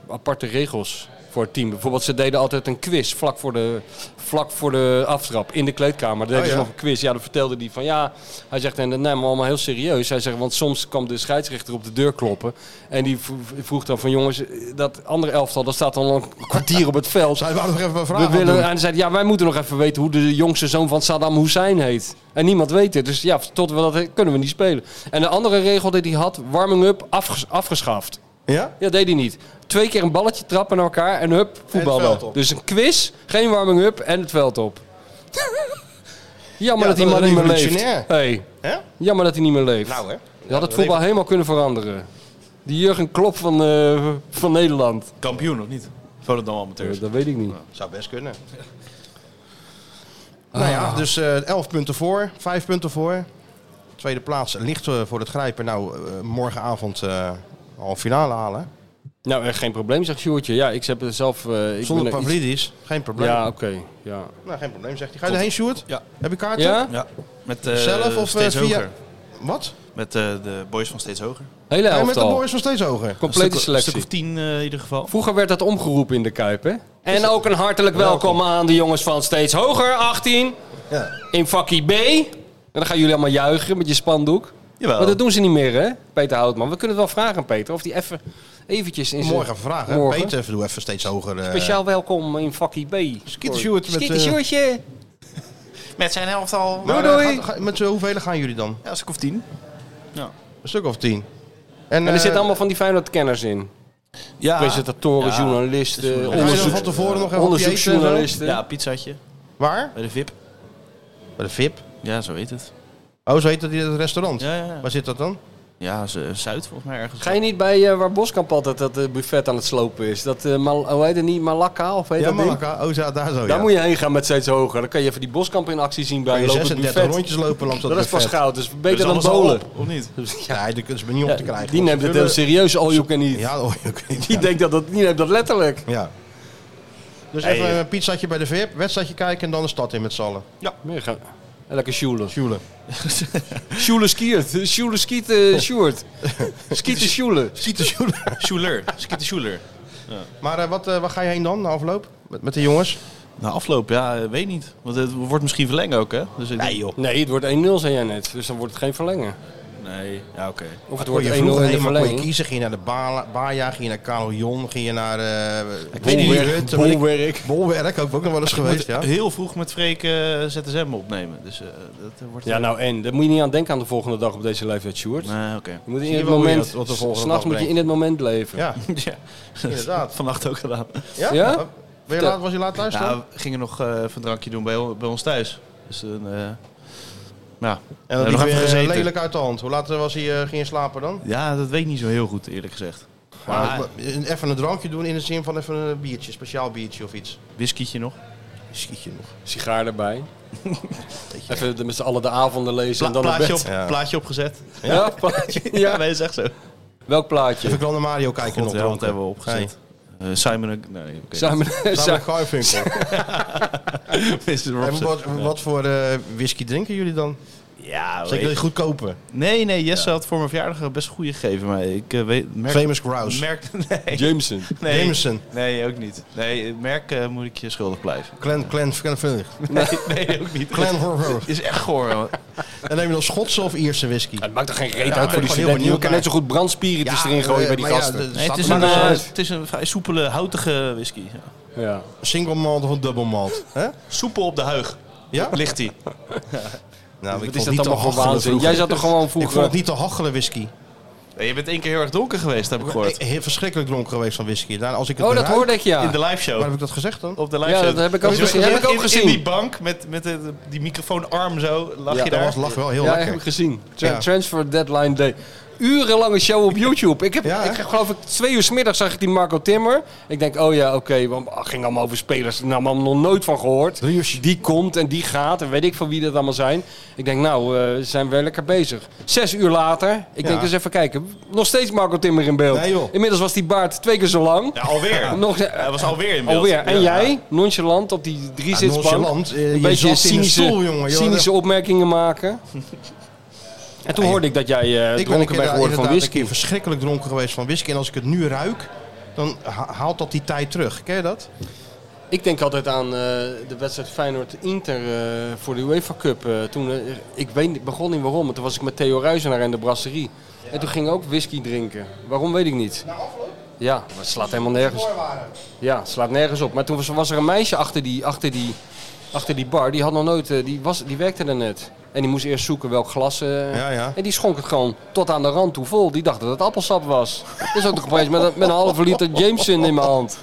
Speaker 6: eh, aparte regels voor het team. Bijvoorbeeld, ze deden altijd een quiz vlak voor de, vlak voor de aftrap in de kleedkamer. Daar deden
Speaker 5: Oh,
Speaker 6: ze
Speaker 5: ja?
Speaker 6: nog een quiz. Ja, dan vertelde hij van ja. Hij zegt, en dat nemen we allemaal heel serieus. Hij zegt, want soms kwam de scheidsrechter op de deur kloppen. En die v- vroeg dan van jongens, dat andere elftal, dat staat al een kwartier op het veld.
Speaker 5: Zij waren nog even een
Speaker 6: We
Speaker 5: vraag
Speaker 6: willen, en hij zei, ja, wij moeten nog even weten hoe de jongste zoon van Saddam Hussein heet. En niemand weet het. Dus ja, tot we dat kunnen we niet spelen. En de andere regel die hij had, warming up afges- afgeschaft.
Speaker 5: Ja?
Speaker 6: Ja, deed hij niet. Twee keer een balletje trappen naar elkaar en hup,
Speaker 5: En het veld
Speaker 6: voetballen.
Speaker 5: op.
Speaker 6: Dus een quiz, geen warming up en het veld op. Jammer
Speaker 5: Ja,
Speaker 6: dat die
Speaker 5: dat
Speaker 6: man
Speaker 5: is
Speaker 6: niet meer
Speaker 5: revolutionair.
Speaker 6: leeft. Hey,
Speaker 5: Hè?
Speaker 6: jammer dat hij niet meer leeft.
Speaker 5: Nou, hè?
Speaker 6: Je had het voetbal helemaal kunnen veranderen. Die Jurgen Klopp van, eh, van Nederland.
Speaker 7: Kampioen of niet? Volendam amateurs.
Speaker 6: dat weet ik niet.
Speaker 5: Zou best kunnen. Nou ja, dus eh 11 punten voor, 5 punten voor. Tweede plaats ligt eh, voor het grijpen. Nou, eh, morgenavond eh, al finale halen.
Speaker 6: Nou, echt geen probleem, zegt Sjoertje. Ja, ik heb er zelf... eh, ik
Speaker 5: Zonder
Speaker 6: ben er iets-
Speaker 5: Pavlidis, geen probleem.
Speaker 6: Ja, oké. ja.
Speaker 5: Nou, geen probleem, zegt hij. Ga je erheen, Sjoerd?
Speaker 7: Ja.
Speaker 5: Heb je kaarten?
Speaker 6: ja?
Speaker 7: Ja, met eh,
Speaker 5: Zelf of, eh,
Speaker 7: steeds
Speaker 5: via-
Speaker 7: hoger.
Speaker 5: Wat?
Speaker 7: Met eh, de boys van steeds hoger.
Speaker 6: Hele
Speaker 5: Ja, met de
Speaker 6: elftal.
Speaker 5: boys nog steeds hoger.
Speaker 6: Complete
Speaker 7: Een stuk
Speaker 6: selectie.
Speaker 7: of tien eh, in ieder geval.
Speaker 6: Vroeger werd dat omgeroepen in de Kuip, hè? En ook een hartelijk welkom aan de jongens van Steeds Hoger, 18,
Speaker 5: Ja.
Speaker 6: in vakkie B. En dan gaan jullie allemaal juichen met je spandoek.
Speaker 7: Jawel.
Speaker 6: Maar dat doen ze niet meer, hè, Peter Houtman. We kunnen het wel vragen aan Peter, of die even eventjes in zijn...
Speaker 5: Morgen vragen. hè?
Speaker 6: Morgen.
Speaker 5: Peter, even- doe even steeds hoger. eh,
Speaker 6: Speciaal welkom in vakkie B.
Speaker 5: Skeeter Sjoerd met,
Speaker 6: Skeeter
Speaker 5: eh,
Speaker 6: Sjoerdje.
Speaker 7: Met zijn elftal.
Speaker 5: maar,
Speaker 6: Doei,
Speaker 5: eh,
Speaker 6: doei.
Speaker 5: gaat- ga- met z'n hoeveel gaan jullie dan?
Speaker 7: Ja, een stuk of tien.
Speaker 5: Een stuk of tien.
Speaker 6: En er
Speaker 5: eh,
Speaker 6: zitten allemaal van die Feyenoord-kenners in.
Speaker 5: Ah,
Speaker 7: Ja.
Speaker 6: Presentatoren,
Speaker 7: Ja.
Speaker 6: journalisten,
Speaker 7: Ga je
Speaker 5: Ga je dan
Speaker 6: onderzoek-
Speaker 5: van tevoren nog even op die eten en zo?
Speaker 6: onderzoeksjournalisten.
Speaker 7: Ja, pizzaatje.
Speaker 5: Waar?
Speaker 7: Bij de VIP.
Speaker 5: Bij de VIP.
Speaker 7: Ja, zo heet het.
Speaker 5: Oh, zo heet dat in het restaurant.
Speaker 7: Ja, ja, ja.
Speaker 5: Waar zit dat dan?
Speaker 7: Ja, ze- Zuid volgens mij ergens.
Speaker 6: Ga je niet bij eh, waar Boskamp altijd dat eh, buffet aan het slopen is? Dat, eh, Mal- hoe heet het niet? Malakka of heet
Speaker 5: Ja,
Speaker 6: dat ding?
Speaker 5: Malacca. Oh, ja, daar zo.
Speaker 6: Daar
Speaker 5: ja.
Speaker 6: moet je heen gaan met steeds hoger. Dan kan je even die Boskamp in actie zien bij
Speaker 5: Kan
Speaker 6: een
Speaker 5: je
Speaker 6: lopend
Speaker 5: 36
Speaker 6: buffet.
Speaker 5: rondjes lopen langs dat
Speaker 6: Dat is pas
Speaker 5: buffet.
Speaker 6: goud, dus beter dan
Speaker 7: alles al
Speaker 6: bolen.
Speaker 7: op, of niet?
Speaker 5: Ja, die kunnen ze me niet op te krijgen.
Speaker 6: die neemt het heel serieus, all you can eat.
Speaker 5: Ja, dat hoor je ook niet.
Speaker 6: Die denkt dat, dat, die neemt dat letterlijk.
Speaker 5: Ja. Dus
Speaker 7: Hey,
Speaker 5: even
Speaker 7: eh.
Speaker 5: een pizzaatje bij de VIP, wedstrijdje kijken en dan de stad in met z'n allen.
Speaker 6: Meer gaan. En lekker Sjoelen.
Speaker 5: Sjoelen.
Speaker 6: Sjoelen skiert. Sjoelen skiet
Speaker 5: Oh.
Speaker 6: eh Sjoerd. Skieten Sjoelen.
Speaker 5: Schieten Sjoelen.
Speaker 7: Schuler. Schieten Schuler.
Speaker 5: Maar eh, wat, eh, waar ga je heen dan na afloop? Met, met de jongens?
Speaker 7: Na afloop, ja, eh, weet niet. Want het wordt misschien verlengen ook, hè? Dus ik denk-
Speaker 6: Nee, het wordt 1-0, zei jij net. Dus dan wordt het geen verlengen.
Speaker 7: Nee, ja, oké.
Speaker 6: Of het
Speaker 5: Kon
Speaker 6: wordt 1-0
Speaker 5: je
Speaker 6: in
Speaker 5: vroeger
Speaker 6: de
Speaker 5: helemaal kon je
Speaker 6: verlenging.
Speaker 5: kiezen? Ging je naar de Bala- Baja, ging je naar Carillon, ging je naar eh
Speaker 7: weet niet.
Speaker 5: Bolwerk?
Speaker 6: Bolwerk. Bolwerk.
Speaker 5: Bolwerk, ook, ook nog wel eens
Speaker 7: Ik
Speaker 5: geweest,
Speaker 7: moet
Speaker 5: ja.
Speaker 7: heel vroeg met Freek eh, ZSM opnemen. Dus eh, dat eh, wordt...
Speaker 6: Ja, nou en. Daar moet je niet aan denken aan de volgende dag op deze leeftijd, Sjoerd.
Speaker 7: Nee, oké.
Speaker 6: Je moet in
Speaker 5: je
Speaker 6: het
Speaker 5: wel hoe je
Speaker 6: moment,
Speaker 5: dat- wat de volgende dag
Speaker 6: s'nachts moet je
Speaker 5: brengt.
Speaker 6: in het moment leven.
Speaker 5: Ja,
Speaker 7: ja,
Speaker 5: inderdaad.
Speaker 7: vannacht ook gedaan.
Speaker 5: Ja? Oh,
Speaker 6: Ja?
Speaker 5: Ben je laat, was je laat thuis dan?
Speaker 7: Ja, we gingen nog eh, even een drankje doen bij, on- bij ons thuis. Dus een... eh ja,
Speaker 5: En
Speaker 7: we
Speaker 5: dat
Speaker 7: hebben nog
Speaker 5: liep
Speaker 7: even
Speaker 5: weer, eh,
Speaker 7: gezeten.
Speaker 5: lelijk uit de hand. Hoe laat eh, was hij, eh, ging je slapen dan?
Speaker 7: Ja, dat weet ik niet zo heel goed, eerlijk gezegd.
Speaker 5: Maar,
Speaker 7: Maar
Speaker 5: maar even een drankje doen in de zin van even een biertje, speciaal biertje of iets.
Speaker 7: whiskietje nog.
Speaker 5: Schiet je nog.
Speaker 6: Sigaar erbij. Even de- met z'n allen de avonden lezen
Speaker 7: Pla-
Speaker 6: en dan naar
Speaker 7: plaatje,
Speaker 6: bed.
Speaker 7: op,
Speaker 5: Ja.
Speaker 7: plaatje opgezet.
Speaker 6: Ja, ja, plaatje.
Speaker 7: Ja,
Speaker 6: Ja.
Speaker 7: nee, is echt zo.
Speaker 6: Welk plaatje?
Speaker 5: Even naar Mario kijken nog.
Speaker 7: God, ja, wat
Speaker 5: dronken.
Speaker 7: hebben we opgezet? Eh, Simon... en- Nee, oké.
Speaker 6: Samen,
Speaker 5: Simon
Speaker 6: samen,
Speaker 5: Garfunkel.
Speaker 7: Mr.
Speaker 5: en
Speaker 7: Robson.
Speaker 5: wat, wat voor eh, whisky drinken jullie dan?
Speaker 7: Ja,
Speaker 5: Zeker die goedkope.
Speaker 7: Nee, nee, Jesse had voor mijn verjaardag best goede gegeven, maar ik eh, weet... Merk,
Speaker 5: Famous Grouse.
Speaker 7: Merk, nee,
Speaker 6: Jameson.
Speaker 7: nee.
Speaker 5: Jameson.
Speaker 7: Nee, ook niet. Nee, het merk eh, moet ik je schuldig blijven.
Speaker 5: Clan, clan, clan, clan,
Speaker 7: Nee, nee ook niet.
Speaker 5: clan horror.
Speaker 7: Is echt goor, man.
Speaker 5: En neem je dan Schotse of Ierse whisky?
Speaker 6: Het maakt er geen reet
Speaker 5: Ja,
Speaker 6: uit voor die
Speaker 5: ik ben gewoon heel
Speaker 6: studenten. Je
Speaker 5: benieuwd
Speaker 6: kan
Speaker 5: naar-
Speaker 6: net zo goed brandspiritus
Speaker 5: Ja,
Speaker 6: erin gooien
Speaker 5: eh,
Speaker 6: bij die
Speaker 5: maar ja,
Speaker 6: gasten.
Speaker 5: de-
Speaker 7: Nee, het,
Speaker 5: staat
Speaker 7: is
Speaker 5: er
Speaker 7: een,
Speaker 5: maar
Speaker 7: eh,
Speaker 5: zo uit.
Speaker 7: het is een vrij soepele, houtige whisky. Ja.
Speaker 6: Ja.
Speaker 5: Single malt of een double malt? Hè?
Speaker 7: Soepel op de huig.
Speaker 5: Ja?
Speaker 7: Ligt hij.
Speaker 5: Nou, ik
Speaker 6: Wat
Speaker 5: vond
Speaker 6: is
Speaker 5: het
Speaker 6: dat
Speaker 5: niet te
Speaker 6: allemaal voor
Speaker 5: hachelen
Speaker 6: waanzin?
Speaker 5: vroeger.
Speaker 6: Jij zat er gewoon
Speaker 5: Ik vond het
Speaker 6: vroeger...
Speaker 5: niet te hachelen whisky.
Speaker 7: Nee, je bent één keer heel erg donker geweest, heb ik
Speaker 5: Ik
Speaker 7: gehoord.
Speaker 5: ben heel verschrikkelijk dronken geweest van whisky. Daar, als ik het
Speaker 6: Oh, dat
Speaker 5: ruik-
Speaker 6: hoorde ik
Speaker 7: In
Speaker 6: ja.
Speaker 7: de live show.
Speaker 5: Waar heb ik dat gezegd dan?
Speaker 7: Op de live
Speaker 6: Ja,
Speaker 7: show.
Speaker 6: dat heb ik ook
Speaker 7: Dus je
Speaker 6: gezien.
Speaker 7: bent
Speaker 6: Heb ik ook
Speaker 7: in-
Speaker 6: gezien.
Speaker 7: In die bank met, met de- die microfoonarm zo lag
Speaker 6: Ja,
Speaker 7: je
Speaker 5: Dat
Speaker 7: daar.
Speaker 5: was, lag wel heel
Speaker 6: Ja, heb
Speaker 5: lekker.
Speaker 6: ik gezien. Tra-
Speaker 5: Ja.
Speaker 6: Transfer Deadline Day. Urenlange show op YouTube. Ik heb,
Speaker 5: Ja, hè?
Speaker 6: ik heb geloof ik twee uur 's middags zag ik die Marco Timmer. Ik denk, oh ja, oké, want ah, ging allemaal over spelers. Daar nou, nog nooit van gehoord. Die komt en die gaat en weet ik van wie dat allemaal zijn. Ik denk, nou, eh, zijn we lekker bezig. Zes uur later, ik denk eens even kijken. Nog steeds Marco Timmer in beeld.
Speaker 5: Nee, joh.
Speaker 6: Inmiddels was die baard twee keer zo lang.
Speaker 7: Ja, alweer.
Speaker 6: Nog,
Speaker 7: Hij was alweer in beeld.
Speaker 6: Alweer. En
Speaker 7: Ja.
Speaker 6: jij, nonchalant op die drie
Speaker 5: Ja, nonchalant. Eh, je
Speaker 6: een beetje
Speaker 5: zat in een
Speaker 6: cynische,
Speaker 5: stoel, jongen. Je
Speaker 6: cynische opmerkingen maken. En toen hoorde ik dat jij eh
Speaker 5: Ik ben een
Speaker 6: dronken
Speaker 5: keer
Speaker 6: bent
Speaker 5: daar
Speaker 6: geworden
Speaker 5: inderdaad
Speaker 6: van
Speaker 5: een
Speaker 6: whisky.
Speaker 5: keer verschrikkelijk dronken geweest van whisky. En als ik het nu ruik, dan ha- haalt dat die tijd terug. Ken je dat?
Speaker 6: Ik denk altijd aan eh, de wedstrijd Feyenoord-Inter eh, voor de UEFA Cup. eh, toen, eh, ik weet, niet- begon niet waarom, maar toen was ik met Theo Ruizenaar in de brasserie. En toen ging ik ook whisky drinken. Waarom weet ik niet. Ja, maar het slaat helemaal nergens. Ja, het slaat nergens op. Maar toen was, was er een meisje achter die, achter die, achter die bar. Die had nog nooit, eh, die, was, die werkte er net. En die moest eerst zoeken welk glas. eh,
Speaker 5: Ja, ja.
Speaker 6: En die schonk het gewoon tot aan de rand toe vol. Die dacht dat het appelsap was. Dus ook nog opeens met, een- met een halve liter Jameson in mijn hand.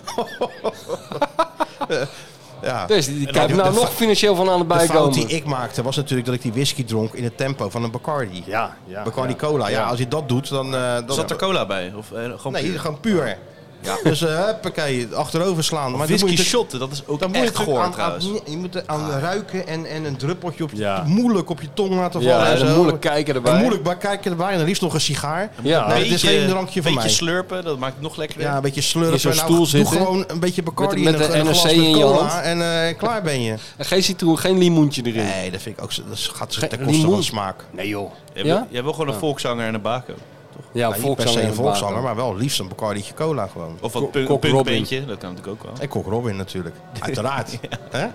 Speaker 5: Ja.
Speaker 6: Dus die, die
Speaker 5: En
Speaker 6: kijkt
Speaker 5: dan-
Speaker 6: nou
Speaker 5: de
Speaker 6: nog
Speaker 5: fa-
Speaker 6: financieel van aan het
Speaker 5: De fout die
Speaker 6: bijkomen.
Speaker 5: ik maakte was natuurlijk dat ik die whisky dronk in het tempo van een Bacardi.
Speaker 6: Ja, ja.
Speaker 5: Bacardi cola. Ja, als je dat doet, dan... eh, dan
Speaker 7: Zat er cola bij? Of eh, gewoon
Speaker 5: Nee,
Speaker 7: puur?
Speaker 5: gewoon puur. Ja. Dus eh huppakee, achterover slaan. Maar dan
Speaker 7: Whisky
Speaker 5: moet je
Speaker 7: shot, dat is ook
Speaker 5: dan moet je
Speaker 7: echt
Speaker 5: het ook
Speaker 7: goor
Speaker 5: aan-
Speaker 7: trouwens.
Speaker 5: aan- Je moet er aan ruiken en, en een druppeltje op je-
Speaker 6: Ah. Ja.
Speaker 5: moeilijk op je tong laten vallen.
Speaker 6: Ja,
Speaker 5: en
Speaker 6: en
Speaker 5: zo.
Speaker 6: een moeilijk kijken erbij.
Speaker 5: En moeilijk bij kijken erbij en dan liefst nog een sigaar.
Speaker 6: Ja.
Speaker 5: Nee,
Speaker 6: Met
Speaker 5: dit is geen drankje van
Speaker 7: beetje
Speaker 5: mij.
Speaker 7: slurpen, dat maakt het nog lekkerder.
Speaker 5: Ja, een beetje slurpen.
Speaker 6: In zo'n
Speaker 5: Nou,
Speaker 6: stoel zitten.
Speaker 5: Doe gewoon een beetje Bacardi
Speaker 6: Met-
Speaker 5: in
Speaker 6: met
Speaker 5: een,
Speaker 6: de
Speaker 5: een glas
Speaker 6: NRC
Speaker 5: met
Speaker 6: in je
Speaker 5: cola
Speaker 6: hand.
Speaker 5: en eh, klaar ben je.
Speaker 6: En geen citroen, geen limoentje erin.
Speaker 5: Nee, dat vind ik ook... zo- Dat gaat
Speaker 6: Geen
Speaker 5: ten koste van
Speaker 6: limoen.
Speaker 5: smaak.
Speaker 6: Nee, joh.
Speaker 7: Jij wil-
Speaker 6: Ja?
Speaker 7: Jij wil gewoon een volkszanger en een bako.
Speaker 6: Ja,
Speaker 5: Nou, niet per se een
Speaker 6: en
Speaker 5: volkszanger,
Speaker 6: baken.
Speaker 5: maar wel liefst een Bacardi'tje cola gewoon.
Speaker 7: Of wat
Speaker 6: Kok-
Speaker 7: punk,
Speaker 6: Kok Robin.
Speaker 7: punkbeentje, dat kan natuurlijk ook wel.
Speaker 5: En Kok Robin natuurlijk. Uiteraard. Hè?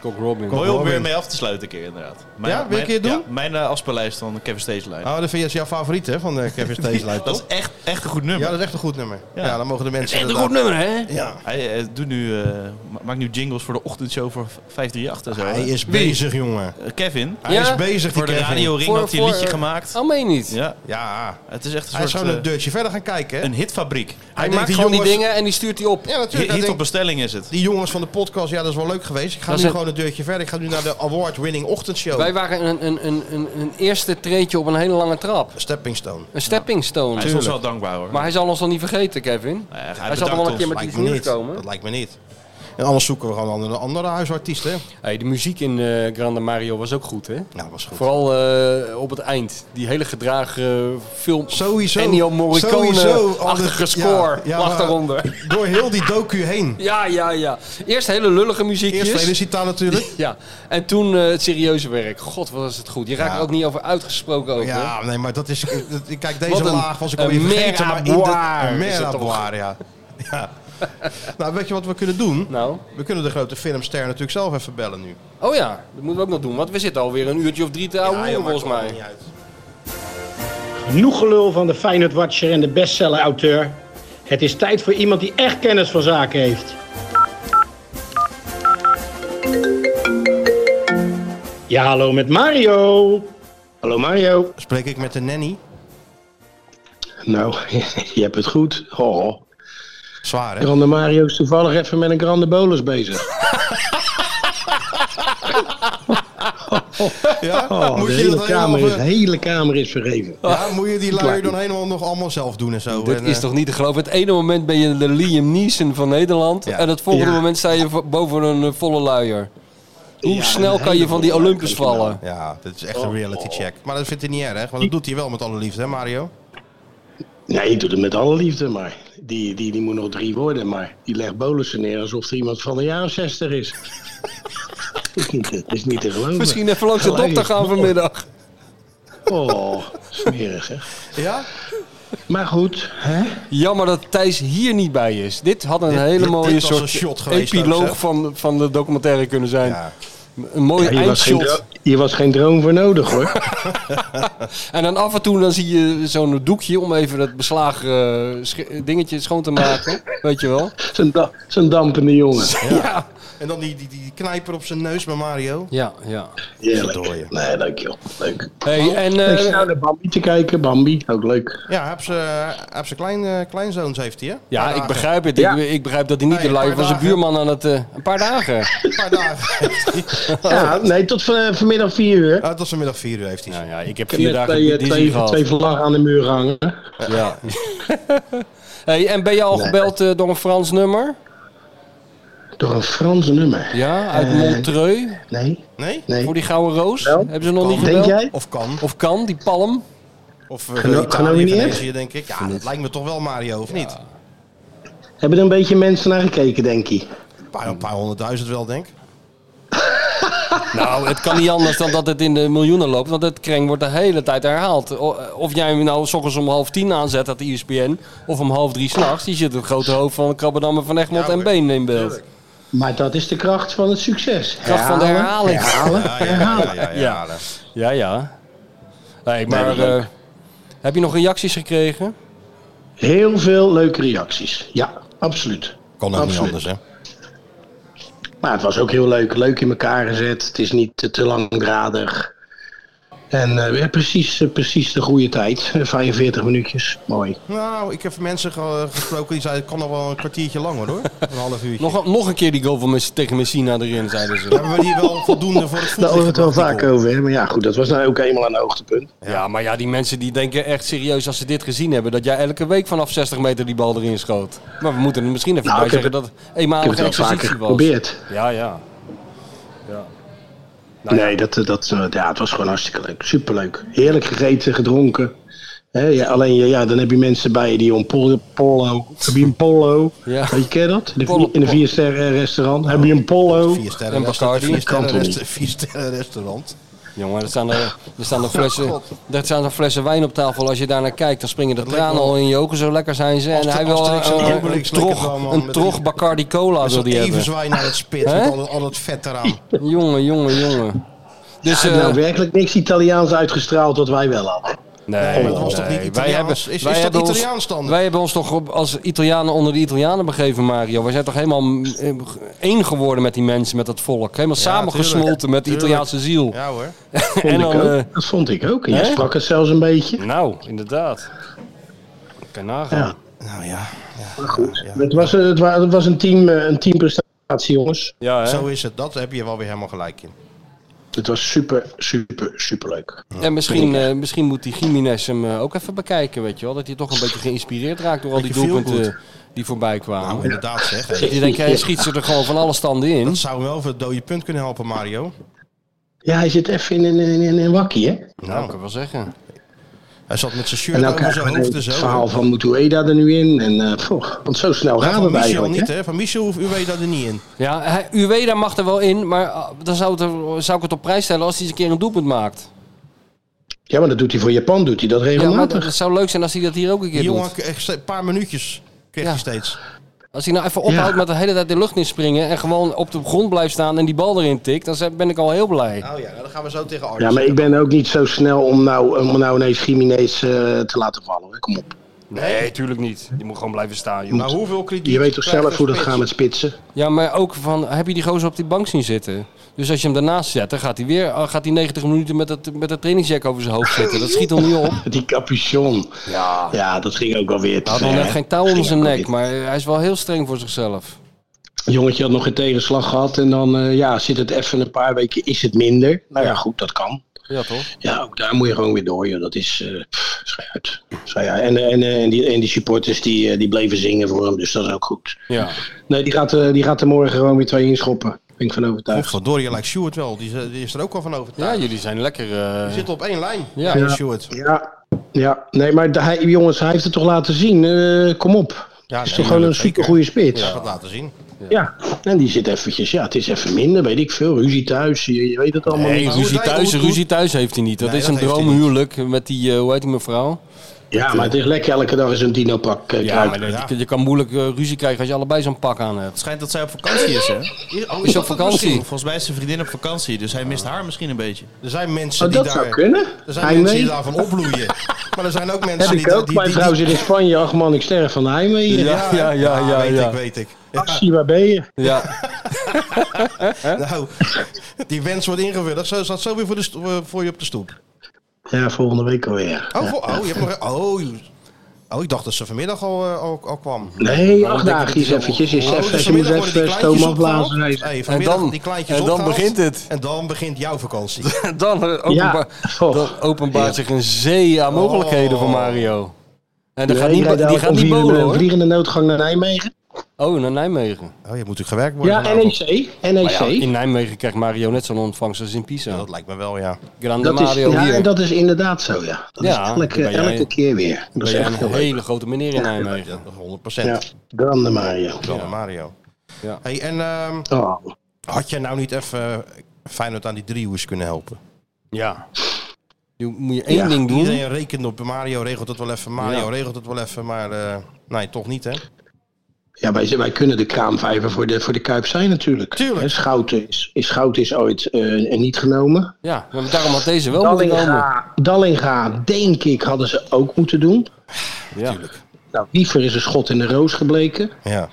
Speaker 6: Cock Robin.
Speaker 7: Mooi om
Speaker 5: Robin.
Speaker 7: weer mee af te sluiten een keer inderdaad.
Speaker 5: Ja, wil je een keer doen?
Speaker 7: ja, mijn eh, afspeellijst van Kevin Steeslijn.
Speaker 5: Oh, dat vind je is jouw favoriet hè, van de Kevin Steesluit,
Speaker 7: dat is
Speaker 5: toch?
Speaker 7: echt, echt een goed nummer.
Speaker 5: Ja, dat is echt een goed nummer. Ja,
Speaker 7: Ja.
Speaker 5: dan mogen de mensen...
Speaker 6: Echt een
Speaker 5: inderdaad-
Speaker 6: goed nummer, hè?
Speaker 5: Ja.
Speaker 7: Hij eh, doet nu, eh, ma- maakt nu jingles voor de ochtendshow voor 538 en zo.
Speaker 5: Hij
Speaker 7: hè?
Speaker 5: is bezig, jongen.
Speaker 7: Eh, Kevin,
Speaker 5: Hij
Speaker 6: Ja?
Speaker 5: is bezig,
Speaker 7: voor
Speaker 5: die
Speaker 7: de
Speaker 5: Kevin.
Speaker 7: Radio Ring
Speaker 6: Voor-
Speaker 7: had hij een
Speaker 6: voor,
Speaker 7: liedje
Speaker 6: eh,
Speaker 7: gemaakt.
Speaker 6: Oh, meen je niet?
Speaker 7: Ja,
Speaker 5: Ja,
Speaker 7: het is echt
Speaker 5: hij
Speaker 7: een
Speaker 5: is
Speaker 7: soort
Speaker 5: gewoon een
Speaker 7: eh,
Speaker 5: deurtje verder gaan kijken. hè?
Speaker 7: een hitfabriek.
Speaker 6: Hij
Speaker 5: denkt,
Speaker 6: maakt gewoon die
Speaker 5: jongens-
Speaker 6: dingen en die stuurt die op.
Speaker 5: Ja,
Speaker 7: Hit,
Speaker 5: natuurlijk.
Speaker 7: hit
Speaker 5: Hij
Speaker 7: op
Speaker 5: denkt,
Speaker 7: bestelling is het.
Speaker 5: die jongens van de podcast, ja, dat is wel leuk geweest. Ik ga
Speaker 6: Dat
Speaker 5: nu
Speaker 6: is het-
Speaker 5: gewoon een deurtje verder. Ik ga nu naar de award-winning ochtendshow.
Speaker 6: Wij waren een, een, een, een, een eerste treetje op een hele lange trap.
Speaker 5: Stepping Stone.
Speaker 6: Een stepping stone.
Speaker 7: Hij is ons wel dankbaar hoor.
Speaker 6: Maar hij zal ons dan niet vergeten, Kevin.
Speaker 7: Nou ja, hij
Speaker 6: zal
Speaker 7: bedankt
Speaker 6: nog wel een
Speaker 7: ons.
Speaker 6: keer met
Speaker 5: Lijkt
Speaker 6: iets
Speaker 5: me
Speaker 6: nieuws
Speaker 5: niet.
Speaker 6: komen.
Speaker 5: Dat lijkt me niet. En anders zoeken we gewoon een andere huisartiest, hè?
Speaker 6: Hey, de muziek in eh, Grande Mario was ook goed, hè?
Speaker 5: Nou, was goed.
Speaker 6: Vooral eh, op het eind. Die hele gedragen film.
Speaker 5: Sowieso.
Speaker 6: Ennio
Speaker 5: Sowieso.
Speaker 6: Morricone-achtige
Speaker 5: Alles- ja,
Speaker 6: score
Speaker 5: ja,
Speaker 6: lag
Speaker 5: maar-
Speaker 6: daaronder.
Speaker 5: Door heel die docu heen.
Speaker 6: Ja, ja, ja. Eerst hele lullige muziekjes.
Speaker 5: Eerst Felicita natuurlijk.
Speaker 6: Ja, en toen eh, het serieuze werk. God, wat is het goed. Je raakt
Speaker 5: Ja.
Speaker 6: er ook niet over uitgesproken ook, hè?
Speaker 5: Ja, nee, maar dat is... dat- Kijk, deze
Speaker 6: Wat een-
Speaker 5: laag was ik
Speaker 6: een
Speaker 5: alweer vergeten. maar in de-
Speaker 6: meraboir
Speaker 5: Een
Speaker 6: is het toch?
Speaker 5: meraboir, ja. ja. Nou, weet je wat we kunnen doen?
Speaker 6: Nou.
Speaker 5: We kunnen de grote filmster natuurlijk zelf even bellen nu.
Speaker 6: Oh ja, dat moeten we ook nog doen. Want we zitten alweer een uurtje of drie te ouwe hoeren, volgens mij.
Speaker 9: Genoeg gelul van de Feyenoord Watcher en de bestseller-auteur. Het is tijd voor iemand die echt kennis van zaken heeft. Ja, hallo met Mario. Hallo Mario.
Speaker 5: Spreek ik met de nanny?
Speaker 9: Nou, je hebt het goed. Oh,
Speaker 5: Zwaar, hè?
Speaker 9: Grande Mario is toevallig even met een Grande Bolus bezig.
Speaker 5: Ja?
Speaker 9: Oh,
Speaker 5: moet,
Speaker 9: de,
Speaker 5: je
Speaker 9: hele
Speaker 5: dat helemaal,
Speaker 9: kamer is, de
Speaker 5: ver-
Speaker 9: hele kamer is vergeven.
Speaker 5: ja, moet je die lui dan helemaal nog allemaal zelf doen en zo?
Speaker 6: Dit
Speaker 5: En,
Speaker 6: is
Speaker 5: eh,
Speaker 6: toch niet te geloven. Het ene moment ben je de Liam Neeson van Nederland.
Speaker 5: Ja.
Speaker 6: En het volgende
Speaker 9: Ja.
Speaker 6: moment sta je vo- boven een eh, volle luier. Hoe
Speaker 9: Ja,
Speaker 6: snel
Speaker 9: een
Speaker 6: kan je van die
Speaker 9: heleboel
Speaker 6: Olympus
Speaker 9: luier kan je
Speaker 6: vallen?
Speaker 5: Ja, dit is echt een reality check. Maar dat vindt hij niet erg, want dat doet hij wel met alle liefde, hè Mario?
Speaker 9: Nee, ik doe het met alle liefde, maar die, die, die moet nog drie worden. Maar die legt bolussen neer alsof er iemand van de jaren 60 is. Het is niet, het is niet te geloven.
Speaker 6: Misschien even langs de
Speaker 9: Gelijk.
Speaker 6: dokter gaan vanmiddag.
Speaker 9: Oh, smerig hè.
Speaker 5: Ja?
Speaker 9: Maar goed, hè?
Speaker 6: Jammer dat Thijs hier niet bij is. Dit had een
Speaker 5: Dit-
Speaker 6: hele
Speaker 5: dit-
Speaker 6: mooie
Speaker 5: dit was
Speaker 6: soort
Speaker 5: een shot geweest ook,
Speaker 6: epiloog
Speaker 5: zeg.
Speaker 6: van, van de documentaire kunnen zijn.
Speaker 5: Ja.
Speaker 6: Een mooie
Speaker 9: Hier was, geen
Speaker 6: eindshot.
Speaker 9: dro- hier was geen droom voor nodig hoor.
Speaker 6: En dan af en toe dan zie je zo'n doekje om even dat beslagen eh, sch- dingetje schoon te maken. Weet je wel?
Speaker 9: Zo'n da- zo'n dampende jongen.
Speaker 6: Ja.
Speaker 5: En dan die, die, die knijper op zijn neus bij Mario.
Speaker 6: Ja, ja.
Speaker 5: Verdorie.
Speaker 9: Heerlijk. Nee, leuk joh. Leuk.
Speaker 5: Oh,
Speaker 6: Hey, en
Speaker 9: ik
Speaker 6: eh,
Speaker 9: zit nou naar Bambi te kijken. Bambi, ook leuk.
Speaker 5: Ja, hij heeft zijn- hij heeft zijn klein, eh, kleinzoons heeft hij, hè?
Speaker 6: ja,
Speaker 5: Een
Speaker 6: ik
Speaker 5: paar dagen.
Speaker 6: begrijp het.
Speaker 9: Ja.
Speaker 6: Ik, ik begrijp dat hij niet
Speaker 5: Nee,
Speaker 6: de
Speaker 5: een
Speaker 6: live
Speaker 5: paar
Speaker 6: was. Een
Speaker 5: dagen.
Speaker 6: buurman aan het... eh, een paar dagen.
Speaker 5: Een paar dagen heeft hij.
Speaker 9: Ja,
Speaker 7: Oh.
Speaker 9: nee, tot van- eh, vanmiddag 4 uur.
Speaker 5: Ah, tot vanmiddag 4 uur heeft hij.
Speaker 6: Nou
Speaker 5: ze.
Speaker 6: ja, ik heb
Speaker 9: Ik heb
Speaker 6: vier
Speaker 9: net
Speaker 6: dagen
Speaker 9: twee,
Speaker 6: bij
Speaker 9: eh,
Speaker 6: Disney
Speaker 9: twee,
Speaker 6: gehad.
Speaker 9: twee vlaggen aan de muur hangen.
Speaker 6: Ja. hey, en ben je al gebeld eh, door een Frans nummer?
Speaker 9: Door een Frans nummer.
Speaker 6: Ja, uit
Speaker 9: Eh,
Speaker 6: Montreux.
Speaker 9: Nee,
Speaker 5: Nee?
Speaker 9: nee.
Speaker 6: Voor die Gouden Roos.
Speaker 9: Wel,
Speaker 6: Hebben ze nog niet
Speaker 9: Denk
Speaker 6: gebeld?
Speaker 9: jij?
Speaker 5: Of kan.
Speaker 6: Of kan, die palm?
Speaker 5: Of eh,
Speaker 7: Nou,
Speaker 9: Geno-
Speaker 5: Italië,
Speaker 9: genomineerd?
Speaker 5: Venetië, denk ik. Ja, dat lijkt me toch wel Mario, of niet?
Speaker 9: Hebben er een beetje mensen naar gekeken, denk ik.
Speaker 5: Een paar, een paar honderdduizend wel, denk ik.
Speaker 6: Nou, het kan niet anders dan dat het in de miljoenen loopt. Want het kreng wordt de hele tijd herhaald. O- Of jij hem nou s ochtends om half tien aanzet, dat E ISPN. Of om half drie s'nachts. Die zit het grote hoofd van Krabberdammer van Egmond en Been in beeld.
Speaker 7: Maar dat is de kracht van het succes.
Speaker 6: Kracht van de herhaling.
Speaker 7: Herhalen, herhalen.
Speaker 5: Ja, ja,
Speaker 6: Ja.
Speaker 5: ja.
Speaker 6: Ja, ja. Hey, maar
Speaker 7: Nee, leuk.
Speaker 6: eh, heb je nog reacties gekregen?
Speaker 7: Heel veel leuke reacties. Ja, absoluut.
Speaker 5: Kon ook niet
Speaker 7: Absoluut.
Speaker 5: anders, hè?
Speaker 7: Maar het was ook heel leuk. Leuk in elkaar gezet. Het is niet eh, te, te langdradig. En eh, weer precies, eh, precies de goede tijd. Eh, 45 minuutjes. Mooi.
Speaker 5: Nou, ik heb mensen ge- gesproken die zeiden, het kan nog wel een kwartiertje langer hoor. Een half uurtje.
Speaker 6: Nog, nog een keer die goal van Mes- tegen Messina erin, zeiden ze.
Speaker 5: Hebben we die wel voldoende voor het
Speaker 7: Daar
Speaker 5: voetbal?
Speaker 7: hadden we het wel vaak over. Hè? Maar ja, goed. Dat was nou ook eenmaal een hoogtepunt.
Speaker 6: Ja, maar ja, die mensen die denken echt serieus als ze dit gezien hebben... dat jij elke week vanaf 60 meter die bal erin schoot. Maar we moeten er misschien even
Speaker 7: Nou,
Speaker 6: bij
Speaker 7: ik heb
Speaker 6: zeggen dat het
Speaker 7: Ik heb het
Speaker 6: eenmalige
Speaker 7: wel vaker
Speaker 6: exercitie was.
Speaker 7: geprobeerd.
Speaker 6: Ja, ja. ja. Nou
Speaker 7: nee, dat, eh, dat, eh, ja, het was gewoon hartstikke leuk. Superleuk. Heerlijk gegeten, gedronken. Hè, ja, alleen ja, ja, dan heb je mensen bij je die om pol- polo. Heb je een polo?
Speaker 6: Ja.
Speaker 7: Weet je, ken je dat? In
Speaker 6: Polo-
Speaker 7: een, in een viersterren restaurant. Heb je een polo?
Speaker 5: Vier sterren,
Speaker 6: En Bacardi.
Speaker 5: vier sterren,
Speaker 7: Kan toch
Speaker 5: rest- vier sterren restaurant.
Speaker 6: Jongen, er staan er, er staan er
Speaker 5: Oh,
Speaker 6: flessen, er staan er flessen wijn op tafel. Als je daar naar kijkt, dan springen de tranen al in je ogen. Zo lekker zijn ze. En
Speaker 5: Aster-
Speaker 6: hij wil eh,
Speaker 5: Asterix en
Speaker 6: een, een,
Speaker 5: Obelix lekker wel,
Speaker 6: trog,
Speaker 5: man,
Speaker 6: een
Speaker 5: met
Speaker 6: trog
Speaker 5: die-
Speaker 6: Bacardi Cola. Wil
Speaker 5: Zo'n
Speaker 6: die hebben.
Speaker 5: evenzwaai naar het spit
Speaker 6: Hè?
Speaker 5: met al, al dat vet eraan.
Speaker 6: Jongen, jongen, jongen. Dus,
Speaker 7: Hij
Speaker 6: eh,
Speaker 7: heeft nou werkelijk niks Italiaans uitgestraald wat wij wel hadden.
Speaker 6: Nee,
Speaker 5: maar dat was toch niet Italiaans? Is- is dat Italiaans dan?
Speaker 6: Ons, wij hebben ons toch op- als Italianen onder de Italianen begeven, Mario. Wij zijn toch helemaal mm, eh, één geworden met die mensen, met dat volk. Helemaal samengesmolten met de Italiaanse ziel.
Speaker 5: Ja hoor.
Speaker 7: Vond
Speaker 6: En
Speaker 7: ik
Speaker 6: dan,
Speaker 7: ook.
Speaker 6: eh,
Speaker 7: dat vond ik ook. En jij
Speaker 6: hè?
Speaker 7: sprak het zelfs een beetje.
Speaker 6: Nou, inderdaad. Kan nagaan.
Speaker 7: Ja.
Speaker 5: Nou ja,
Speaker 7: Het, was, eh, het, wa- het was een, team, eh, een teamprestatie, jongens.
Speaker 6: Ja, hè?
Speaker 5: zo is het. Dat heb je wel weer helemaal gelijk in.
Speaker 7: Het was super, super, super leuk.
Speaker 6: En misschien, eh, misschien moet die Jiménez hem eh, ook even bekijken, weet je wel. Dat hij toch een beetje geïnspireerd raakt door al die
Speaker 5: Beetje
Speaker 6: doelpunten
Speaker 5: feelgood.
Speaker 6: die voorbij kwamen.
Speaker 5: Nou, inderdaad zeg. hey.
Speaker 6: Die denken, hij schiet ze er gewoon van alle standen in.
Speaker 5: Dat zou hem wel voor het dode punt kunnen helpen, Mario.
Speaker 7: Ja, hij zit even in, in, in, in een wakkie, hè?
Speaker 6: Nou, kan ik wel zeggen.
Speaker 5: Hij zat met zijn
Speaker 7: En
Speaker 5: shirt
Speaker 7: nou
Speaker 5: over
Speaker 7: krijgen
Speaker 5: zijn
Speaker 7: we
Speaker 5: hoofd en
Speaker 7: het
Speaker 5: zo.
Speaker 7: verhaal van Mutueda er nu in. En, eh, poh, want zo snel
Speaker 5: Ja,
Speaker 7: gaan
Speaker 5: van
Speaker 7: we
Speaker 5: Michel
Speaker 7: eigenlijk,
Speaker 5: niet,
Speaker 7: hè?
Speaker 5: hè? Van Michel hoeft Uweda er niet in.
Speaker 6: Ja, hij, Ueda mag er wel in, maar ah, dan zou, het er- zou ik het op prijs stellen als hij eens een keer een doelpunt maakt.
Speaker 7: Ja, maar dat doet hij voor Japan, doet hij dat
Speaker 6: Ja, maar
Speaker 7: regelmatig.
Speaker 6: dat- het zou leuk zijn als hij dat hier ook een keer
Speaker 5: Die jongen
Speaker 6: doet.
Speaker 5: kreeg ste- een paar minuutjes. Kreeg
Speaker 6: Ja.
Speaker 5: hij steeds.
Speaker 6: Als hij nou even ophoudt
Speaker 7: Ja.
Speaker 6: met de hele tijd de lucht in springen en gewoon op de grond blijft staan en die bal erin tikt, dan zijn- ben ik al heel blij.
Speaker 5: Nou ja, nou, dan gaan we zo tegen Arjen.
Speaker 7: Ja, maar ik ben ook niet zo snel om nou, om nou ineens Jiménez eh, te laten vallen. Hoor. Kom op.
Speaker 6: Nee, tuurlijk niet. Die moet gewoon blijven staan,
Speaker 7: Nou.
Speaker 5: Maar hoeveel kritiek...
Speaker 7: Je weet toch
Speaker 5: krijgt
Speaker 7: zelf hoe dat
Speaker 5: spits?
Speaker 7: gaat met spitsen?
Speaker 6: Ja, maar ook van, heb je die gozer op die bank zien zitten? Dus als je hem daarnaast zet, dan gaat hij weer ah, gaat hij 90 minuten met dat, met dat trainingsjack over zijn hoofd zitten. Dat schiet hem niet op.
Speaker 7: Die capuchon. Ja. ja, dat ging ook alweer te
Speaker 6: Hij had nog
Speaker 7: ver,
Speaker 6: net
Speaker 7: hè?
Speaker 6: geen touw om
Speaker 7: Ging
Speaker 6: zijn
Speaker 7: ook
Speaker 6: nek,
Speaker 7: alweer-
Speaker 6: maar hij is wel heel streng voor zichzelf.
Speaker 7: Jongetje had nog geen tegenslag gehad. En dan eh, ja, zit het even een paar weken, is het minder. Nou ja, goed, dat kan.
Speaker 6: Ja, toch?
Speaker 7: Ja, ook daar moet je gewoon weer door. Joh. Dat is eh pff, schei uit. Schei uit. En, eh, en, eh, en, die, en die supporters die, eh, die bleven zingen voor hem, dus dat is ook goed.
Speaker 6: Ja.
Speaker 7: Nee, die gaat, eh, die gaat er morgen gewoon weer twee inschoppen. Ben ik van overtuigd.
Speaker 5: Godverdorie, lijkt Sjoerd wel. Die is, eh, die is er ook al van overtuigd.
Speaker 6: Ja, jullie zijn lekker. eh,
Speaker 5: Die zit op één lijn.
Speaker 6: Ja.
Speaker 5: Ja. Sjoerd.
Speaker 7: Ja, ja. nee, maar de- hij, jongens, hij heeft het toch laten zien. Eh, kom op.
Speaker 5: Ja,
Speaker 7: het is
Speaker 5: nee,
Speaker 7: toch gewoon
Speaker 5: dat
Speaker 7: een
Speaker 5: zeker.
Speaker 7: supergoeie spits.
Speaker 5: Ja.
Speaker 7: Ja.
Speaker 5: Gaat laten zien.
Speaker 7: en die zit eventjes. Ja, het is even minder, weet ik veel. Ruzie thuis, je, je weet het allemaal
Speaker 6: Nee,
Speaker 7: niet.
Speaker 5: hoe
Speaker 6: ruzie
Speaker 5: het lijkt,
Speaker 6: thuis,
Speaker 5: hoe het
Speaker 6: ruzie thuis heeft hij niet. Dat
Speaker 5: Nee,
Speaker 6: is
Speaker 5: dat
Speaker 6: een
Speaker 5: heeft hij
Speaker 6: droomhuwelijk met die, eh, hoe heet die mevrouw?
Speaker 5: eh,
Speaker 7: Ja, maar het is lekker elke dag eens een dino-pak eh,
Speaker 6: Ja,
Speaker 7: kruipen.
Speaker 6: maar dat- je, je kan moeilijk eh, ruzie krijgen als je allebei zo'n pak aan hebt.
Speaker 2: Het schijnt dat zij op vakantie is, hè?
Speaker 5: Oh,
Speaker 6: Is
Speaker 5: dat
Speaker 6: op vakantie.
Speaker 2: Volgens mij is zijn vriendin op vakantie, dus hij mist haar misschien een beetje.
Speaker 5: Er zijn mensen
Speaker 7: Oh,
Speaker 5: die
Speaker 7: dat zou
Speaker 5: daar...
Speaker 7: kunnen.
Speaker 5: Er zijn mensen
Speaker 7: Heimwee.
Speaker 5: die daarvan opbloeien. maar er zijn ook mensen
Speaker 7: Heb
Speaker 5: die...
Speaker 7: ik ook.
Speaker 5: die-
Speaker 7: Mijn
Speaker 5: die-
Speaker 7: vrouw
Speaker 5: die-
Speaker 7: zit in Spanje. Ach man, ik sterf van de heimwee. Ja.
Speaker 6: Ja, ja, ja, ja,
Speaker 5: weet
Speaker 6: ja.
Speaker 5: ik, weet ik.
Speaker 7: waar ben je?
Speaker 6: Ja,
Speaker 5: Nou, die wens wordt ingevuld. Zo staat zo weer voor, de sto- eh, voor je op de stoep.
Speaker 7: Ja, volgende week alweer.
Speaker 5: Oh, voor- oh, je hebt nog... Oh, je- oh, ik dacht dat ze vanmiddag al, eh, al, al kwam.
Speaker 7: Nee,
Speaker 6: Waarom
Speaker 7: acht
Speaker 6: denk
Speaker 7: dagen
Speaker 6: je
Speaker 7: is
Speaker 6: dat
Speaker 7: eventjes. Is
Speaker 5: Oh,
Speaker 7: even,
Speaker 5: dus
Speaker 7: ze moet
Speaker 5: vanmiddag worden die
Speaker 7: even
Speaker 5: kleintjes
Speaker 7: stoom
Speaker 5: opgehaald.
Speaker 7: afblazen. Nee.
Speaker 5: Hey, vanmiddag
Speaker 6: En dan-
Speaker 5: die kleintjes
Speaker 6: en dan
Speaker 5: opgehaald. Oh,
Speaker 6: begint het.
Speaker 5: En dan begint jouw vakantie.
Speaker 6: dan, eh,
Speaker 7: Ja,
Speaker 6: openba-
Speaker 7: oh.
Speaker 6: dan openbaart zich een zee
Speaker 5: Oh.
Speaker 6: aan mogelijkheden voor Mario. En dan
Speaker 7: Nee,
Speaker 6: gaat die,
Speaker 7: rijden
Speaker 6: die
Speaker 7: ook
Speaker 6: gaat
Speaker 7: om
Speaker 6: niet
Speaker 7: vier uur
Speaker 6: bolen
Speaker 7: een
Speaker 6: hoor.
Speaker 7: Vliegende noodgang naar Nijmegen.
Speaker 6: Oh, naar Nijmegen.
Speaker 5: Oh, je moet natuurlijk gewerkt worden.
Speaker 7: Ja,
Speaker 5: vanavond.
Speaker 7: NEC.
Speaker 6: Maar ja,
Speaker 7: NEC.
Speaker 6: in Nijmegen krijgt Mario net zo'n ontvangst als in
Speaker 5: Ja,
Speaker 6: Pisa.
Speaker 5: dat lijkt me wel, ja.
Speaker 6: Grande
Speaker 7: Dat is,
Speaker 6: Mario
Speaker 7: ja,
Speaker 6: hier.
Speaker 7: dat is inderdaad zo, ja. Dat
Speaker 6: Ja,
Speaker 7: is elke,
Speaker 6: ben jij-
Speaker 7: elke keer weer. Dat
Speaker 6: Ben
Speaker 7: is
Speaker 6: jij
Speaker 7: echt heel
Speaker 6: een
Speaker 7: leuk.
Speaker 6: hele grote meneer
Speaker 5: Ja,
Speaker 6: in Nijmegen.
Speaker 5: dat is 100
Speaker 7: Ja, grande Mario.
Speaker 5: Dan Mario.
Speaker 6: Ja.
Speaker 5: Hey, en ehm,
Speaker 7: Oh.
Speaker 5: had jij nou niet even Feyenoord aan die driehoes kunnen helpen.
Speaker 6: Ja. Nu moet je één ding doen.
Speaker 5: Iedereen rekent op Mario, regelt het wel even. Mario
Speaker 6: Ja.
Speaker 5: regelt het wel even, maar eh, nee, toch niet, hè?
Speaker 7: Ja, wij, wij kunnen de kraamvijver voor de, voor de Kuip zijn natuurlijk. Tuurlijk. Schouten is, is, Schouten is ooit eh, niet genomen.
Speaker 6: Ja, maar daarom had deze
Speaker 7: Oh,
Speaker 6: wel moeten komen.
Speaker 7: Dallinga, Dallinga, denk ik, hadden ze ook moeten doen.
Speaker 6: Ja.
Speaker 7: Nou, Liever is een schot in de roos gebleken.
Speaker 5: Ja.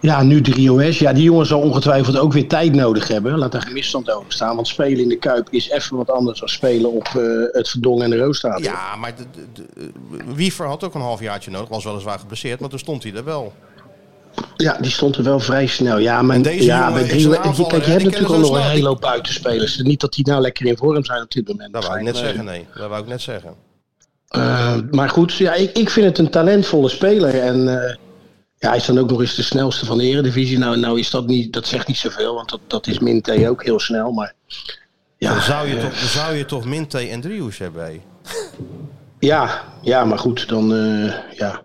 Speaker 7: Ja, nu 3OS. Ja, die jongen zal ongetwijfeld ook weer tijd nodig hebben. Laat daar geen misstand over staan. Want spelen in de Kuip is even wat anders dan spelen op eh, het Verdongen en de Roosstadion.
Speaker 5: Ja, maar de, de, de- eh, Wiever had ook een halfjaartje nodig. Was weliswaar geblesseerd, maar toen stond hij er wel.
Speaker 7: Ja, die stond er wel vrij snel. Ja, maar
Speaker 5: En deze
Speaker 7: ja,
Speaker 5: jongen
Speaker 7: bij
Speaker 5: is
Speaker 7: drie,
Speaker 5: een
Speaker 7: kijk, je
Speaker 5: aanvaller, hè?
Speaker 7: hebt
Speaker 5: Die
Speaker 7: natuurlijk al
Speaker 5: kennen ze
Speaker 7: nog een
Speaker 5: snel.
Speaker 7: hele hoop buitenspelers. Niet dat die nou lekker in vorm zijn op dit moment. eh,
Speaker 5: Dat wou ik net
Speaker 7: Nee.
Speaker 5: zeggen, nee. Dat wou ik net zeggen.
Speaker 7: Eh, maar goed, ja, ik, ik vind het een talentvolle speler. En eh, ja, hij is dan ook nog eens de snelste van de eredivisie. Nou, nou is dat niet, dat zegt niet zoveel, want dat, dat is Minte ook heel snel. Maar ja,
Speaker 5: Dan zou je,
Speaker 7: eh,
Speaker 5: toch, dan zou je toch Minte en driehoes hebben, hé?
Speaker 7: Ja, ja, maar goed, dan eh, ja.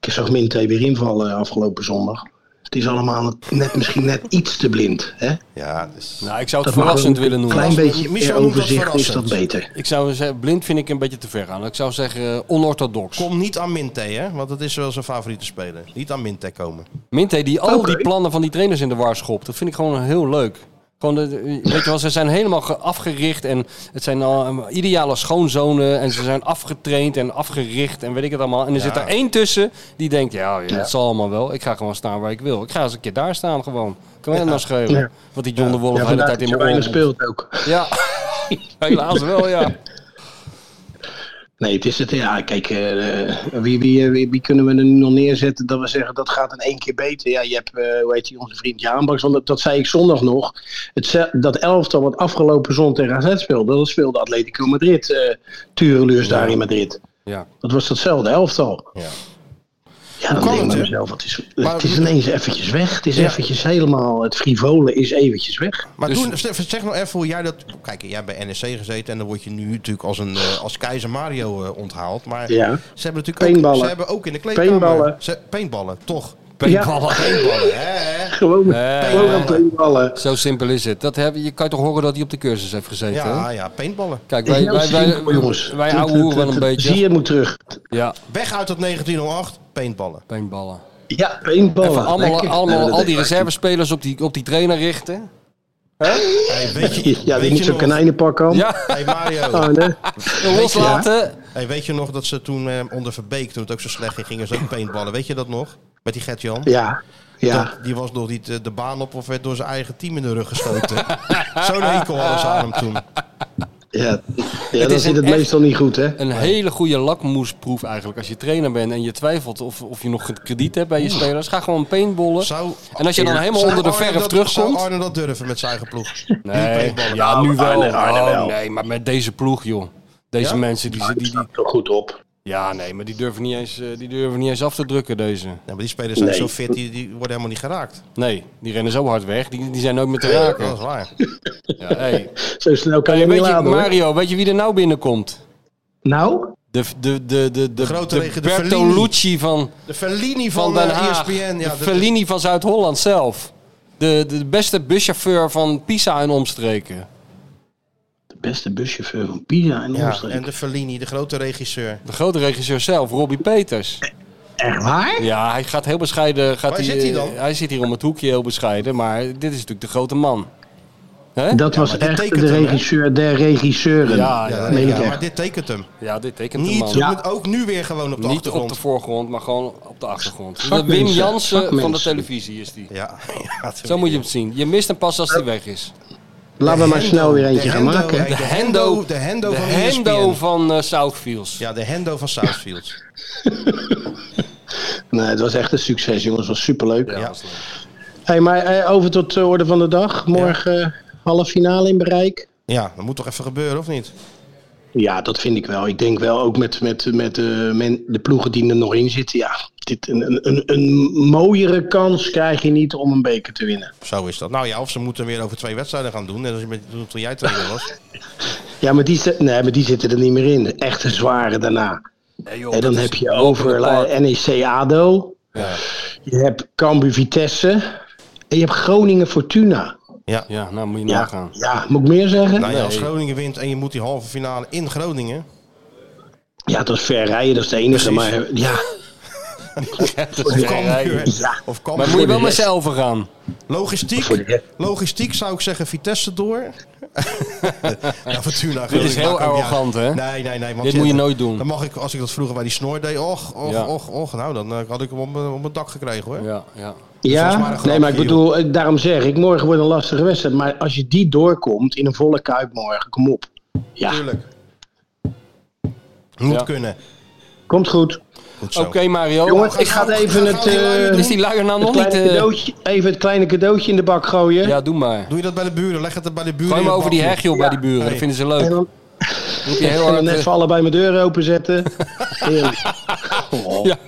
Speaker 7: Ik zag Minte weer invallen afgelopen zondag. Het is allemaal net, misschien net iets te blind. Hè?
Speaker 5: Ja, dus...
Speaker 6: Nou, ik zou het
Speaker 7: mag
Speaker 6: verrassend
Speaker 7: een
Speaker 6: willen noemen.
Speaker 7: Klein beetje
Speaker 5: Michel
Speaker 7: meer
Speaker 5: noemt dat
Speaker 7: overzicht is dat
Speaker 5: verrassend.
Speaker 7: beter.
Speaker 6: Ik zou zeggen, blind vind ik een beetje te ver gaan. Ik zou zeggen eh, onorthodox.
Speaker 5: Kom niet aan Minte, hè? Want dat is wel zijn favoriete speler. Niet aan Minte komen.
Speaker 6: Minte die al
Speaker 7: Oké.
Speaker 6: die plannen van die trainers in de war schopt. Dat vind ik gewoon heel leuk. Gewoon, de- weet je wel, ze zijn helemaal ge- afgericht en het zijn al um, ideale schoonzonen en ze zijn afgetraind en afgericht en weet ik het allemaal. En er zit er één tussen die denkt, ja, ja, het zal allemaal wel. Ik ga gewoon staan waar ik wil. Ik ga eens een keer daar staan gewoon. Kan mij dat nou schelen?
Speaker 7: Ja.
Speaker 6: Wat die John de Wolf
Speaker 7: Ja,
Speaker 6: de hele
Speaker 7: vandaar
Speaker 6: tijd in
Speaker 7: dat je
Speaker 6: mijn oren
Speaker 7: weinig speelt ook.
Speaker 6: Ja, helaas wel, ja.
Speaker 7: Nee, het is het. Ja, kijk, eh, wie, wie, eh, wie, wie kunnen we er nu nog neerzetten dat we zeggen dat gaat in één keer beter? Ja, je hebt, eh, hoe heet die, onze vriend Jaanbaks, want dat, dat zei ik zondag nog. Het, ze- dat elftal wat afgelopen zondag tegen AZ speelde, dat speelde Atletico Madrid, eh Tureluurs daar in Madrid.
Speaker 6: Ja.
Speaker 7: Dat was datzelfde elftal.
Speaker 5: Ja.
Speaker 7: Ja, dan
Speaker 5: kan
Speaker 7: denk ik
Speaker 5: het,
Speaker 7: bij
Speaker 5: hè?
Speaker 7: mezelf, het is,
Speaker 5: Maar-
Speaker 7: het is ineens eventjes weg. Het is
Speaker 5: Ja.
Speaker 7: eventjes helemaal, het frivole is eventjes weg.
Speaker 5: Maar
Speaker 6: Dus-
Speaker 5: toen, zeg zeg nog even hoe jij dat... Kijk, jij hebt bij NSC gezeten en dan word je nu natuurlijk als, een, eh, als keizer Mario eh, onthaald. Maar
Speaker 7: Ja.
Speaker 5: ze hebben natuurlijk ook,
Speaker 7: Peenballen.
Speaker 5: ze hebben ook in de kleedkamer...
Speaker 7: Peenballen.
Speaker 5: Ze, peenballen, toch?
Speaker 6: Paintballen.
Speaker 5: Peenballen, hè?
Speaker 7: Gewoon met
Speaker 6: Eh,
Speaker 7: gewoon aan peenballen.
Speaker 6: Zo simpel is het. Dat heb, je kan toch horen dat hij op de cursus heeft gezeten, hè?
Speaker 5: Ja, ja, peenballen.
Speaker 6: Kijk,
Speaker 7: Is
Speaker 6: wij,
Speaker 7: heel
Speaker 6: wij, wij,
Speaker 7: simpel, jongens.
Speaker 6: wij
Speaker 7: Het-
Speaker 6: ouwe
Speaker 7: het-
Speaker 6: hoeren wel
Speaker 7: het-
Speaker 6: een
Speaker 7: het Zie
Speaker 6: beetje.
Speaker 7: je moet terug.
Speaker 6: Ja,
Speaker 5: Weg uit oh dat 1908, peenballen.
Speaker 6: peenballen.
Speaker 7: Ja, peenballen.
Speaker 6: Even allemaal,
Speaker 7: Lekker.
Speaker 6: allemaal
Speaker 7: Ja, dat
Speaker 6: al die
Speaker 7: is-
Speaker 6: reservespelers op die, op die trainer richten.
Speaker 5: Hey, weet je,
Speaker 7: Ja,
Speaker 5: weet
Speaker 7: die
Speaker 5: je
Speaker 7: niet zo'n
Speaker 5: nog-
Speaker 7: kanijnenpak aan.
Speaker 6: Ja,
Speaker 5: Hey Mario,
Speaker 7: Ah, nee.
Speaker 6: loslaten.
Speaker 5: hey, weet je nog dat ze toen eh, onder Verbeek, toen het ook zo slecht ging, gingen ze ook paintballen. Weet je dat nog? Met die Gert-Jan?
Speaker 7: Ja, ja.
Speaker 5: Dat- Die was nog niet eh, de baan op of werd door zijn eigen team in de rug geschoten. Zo'n hekel hadden ze aan hem toen.
Speaker 7: ja. ja
Speaker 6: een
Speaker 7: dan zit het
Speaker 6: echt-
Speaker 7: meestal niet goed, hè?
Speaker 6: Een hele goede lakmoesproef eigenlijk. Als je trainer bent en je twijfelt of, of je nog krediet hebt bij je spelers. Ga gewoon paintballen.
Speaker 5: Zou-
Speaker 6: En als je dan helemaal
Speaker 5: Zou
Speaker 6: onder de
Speaker 5: Arne
Speaker 6: verf
Speaker 5: dat- Zou
Speaker 6: terugkomt.
Speaker 5: Arne dat durven met zijn eigen ploeg? Die
Speaker 6: Nee,
Speaker 5: paintballen.
Speaker 6: ja, nu wel.
Speaker 7: Arne- Arne
Speaker 6: Oh,
Speaker 7: wel.
Speaker 6: nee, maar met deze ploeg, joh. Deze mensen, die,
Speaker 7: Maar
Speaker 6: die,
Speaker 7: het
Speaker 6: die,
Speaker 7: staat er goed op.
Speaker 6: Ja, nee, maar die durven niet eens, eh, die durven niet eens af te drukken, deze.
Speaker 5: Ja, maar die spelers zijn
Speaker 7: Nee.
Speaker 5: zo fit, die, die worden helemaal niet geraakt.
Speaker 6: Nee, die rennen zo hard weg. Die, die zijn nooit meer te raken.
Speaker 5: Dat is waar.
Speaker 6: Ja, hey.
Speaker 7: Zo snel kan
Speaker 6: Hey,
Speaker 7: je niet
Speaker 6: weet je,
Speaker 7: laden, hoor.
Speaker 6: Mario, weet je wie er nou binnenkomt?
Speaker 7: Nou?
Speaker 6: De, de, de, de, de,
Speaker 5: grote
Speaker 6: de
Speaker 5: regen, de
Speaker 6: Bertolucci van,
Speaker 5: De Fellini
Speaker 6: van
Speaker 5: van,
Speaker 6: Den
Speaker 5: eh,
Speaker 6: Haag.
Speaker 5: ESPN. Ja,
Speaker 6: de
Speaker 5: dat-
Speaker 6: Fellini van Zuid-Holland zelf. De, de beste buschauffeur van Pisa en omstreken.
Speaker 7: De beste buschauffeur van Pisa in
Speaker 5: ja,
Speaker 7: Oostenrijk.
Speaker 5: en de Fellini, de grote regisseur.
Speaker 6: De grote regisseur zelf, Robbie Peters.
Speaker 7: Echt waar?
Speaker 6: Ja, hij gaat heel bescheiden. Gaat
Speaker 5: Waar zit hij dan?
Speaker 6: eh, Hij zit hier om het hoekje heel bescheiden, maar dit is natuurlijk de grote man. Hè?
Speaker 7: Dat was
Speaker 5: dit
Speaker 7: echt
Speaker 5: tekent
Speaker 7: de
Speaker 5: hem, hè?
Speaker 7: regisseur der regisseuren.
Speaker 6: Ja,
Speaker 5: Ja,
Speaker 6: ja,
Speaker 5: dat-
Speaker 7: meen ik
Speaker 5: ja, maar
Speaker 7: echt.
Speaker 5: dit tekent hem.
Speaker 6: ja, dit tekent de
Speaker 5: Niet,
Speaker 6: man.
Speaker 7: Ja.
Speaker 5: ook nu weer gewoon op de
Speaker 6: Niet op
Speaker 5: achtergrond.
Speaker 6: de voorgrond, maar gewoon op de achtergrond. De
Speaker 7: Vakmensen,
Speaker 6: Wim Jansen van de
Speaker 7: vakmensen.
Speaker 6: televisie is die.
Speaker 5: Ja, ja,
Speaker 6: Zo moet je hem zien. Je mist hem pas als hij weg is.
Speaker 7: Laten we maar snel weer eentje
Speaker 5: de
Speaker 7: gaan
Speaker 5: Hendo,
Speaker 7: maken.
Speaker 5: hè. De Hendo- de Hendo
Speaker 6: de
Speaker 5: van E
Speaker 6: Hendo
Speaker 5: ESPN.
Speaker 6: van eh, Southfields.
Speaker 5: Ja, de Hendo van Southfield.
Speaker 7: Nee, het was echt een succes, jongens. Het was superleuk.
Speaker 6: Ja,
Speaker 5: Ja.
Speaker 6: was leuk.
Speaker 7: Hey, maar eh, over tot de orde van de dag. Morgen eh, halve finale in bereik.
Speaker 5: Ja, dat moet toch even gebeuren, of niet?
Speaker 7: Ja, dat vind ik wel. Ik denk wel ook met, met, met eh, men- de ploegen die er nog in zitten. Ja, dit, een, een- een, een mooiere kans krijg je niet om een beker te winnen.
Speaker 5: Zo is dat. Nou ja, of ze moeten weer over twee wedstrijden gaan doen. Net als je met, toen- toen jij trainer was.
Speaker 7: Ja, maar die, zi- nee, maar die zitten er niet meer in. Echt een zware daarna. en dan heb je over eh, E NEC ADO. Je hebt Cambuur Vitesse. En je hebt Groningen Fortuna.
Speaker 5: Ja.
Speaker 6: Ja, nou moet je
Speaker 7: Ja,
Speaker 6: nagaan.
Speaker 7: ja, moet ik meer zeggen?
Speaker 5: Nou ja, als
Speaker 6: Nee.
Speaker 5: Groningen wint en je moet die halve finale in Groningen.
Speaker 7: Ja, dat is ver rijden, dat is de enige.
Speaker 5: Precies.
Speaker 7: Maar ja,
Speaker 5: Of Cambuur.
Speaker 6: rijden.
Speaker 7: Ja.
Speaker 5: Of
Speaker 6: Maar
Speaker 5: Cambuur.
Speaker 6: moet je wel met
Speaker 7: de rest.
Speaker 6: z'n elfen gaan.
Speaker 7: Voor de
Speaker 5: Logistiek,
Speaker 7: rest.
Speaker 5: logistiek zou ik zeggen Vitesse door. ja, Fortuna.
Speaker 6: Dit is heel arrogant, hè?
Speaker 5: Nee, nee, nee. want
Speaker 6: Dit
Speaker 5: ja,
Speaker 6: moet je
Speaker 5: dan-
Speaker 6: nooit doen.
Speaker 5: Dan mag ik, als ik dat vroeger bij die snor deed, och, och,
Speaker 6: Ja.
Speaker 5: och, och. Nou, dan eh, had ik hem op mijn- op mijn dak gekregen, hoor.
Speaker 6: Ja, ja.
Speaker 5: volgens mij een
Speaker 7: Ja,
Speaker 5: grapje,
Speaker 7: nee, maar ik
Speaker 5: joh.
Speaker 7: bedoel, eh, daarom zeg ik, morgen wordt een lastige wedstrijd. Maar als je die doorkomt in een volle kuip morgen, kom op. Ja,
Speaker 5: Tuurlijk. Moet
Speaker 6: Ja.
Speaker 5: kunnen.
Speaker 7: komt
Speaker 5: Oh,
Speaker 7: goed.
Speaker 5: Goed zo.
Speaker 6: Oké, Mario.
Speaker 7: Jongens, ik ga
Speaker 5: gauw- ga
Speaker 7: even het,
Speaker 5: gauw die luier
Speaker 7: eh,
Speaker 5: doen.
Speaker 6: Is die luier nou
Speaker 7: Het
Speaker 6: nog niet...
Speaker 7: kleine
Speaker 6: eh,
Speaker 7: cadeautje, even het kleine cadeautje in de bak gooien.
Speaker 6: Ja, doe maar.
Speaker 5: Doe je dat bij de buren? Leg het er bij de buren
Speaker 6: Gooi
Speaker 5: in
Speaker 6: maar
Speaker 5: het
Speaker 6: over die
Speaker 5: bakje.
Speaker 6: heg, joh, bij die buren. Dat vinden ze leuk.
Speaker 7: En dan,
Speaker 6: Moet je heel
Speaker 7: en dan
Speaker 6: hard...
Speaker 7: net
Speaker 6: eh,
Speaker 7: voor allebei mijn deuren openzetten. Heerlijk.
Speaker 6: Ja.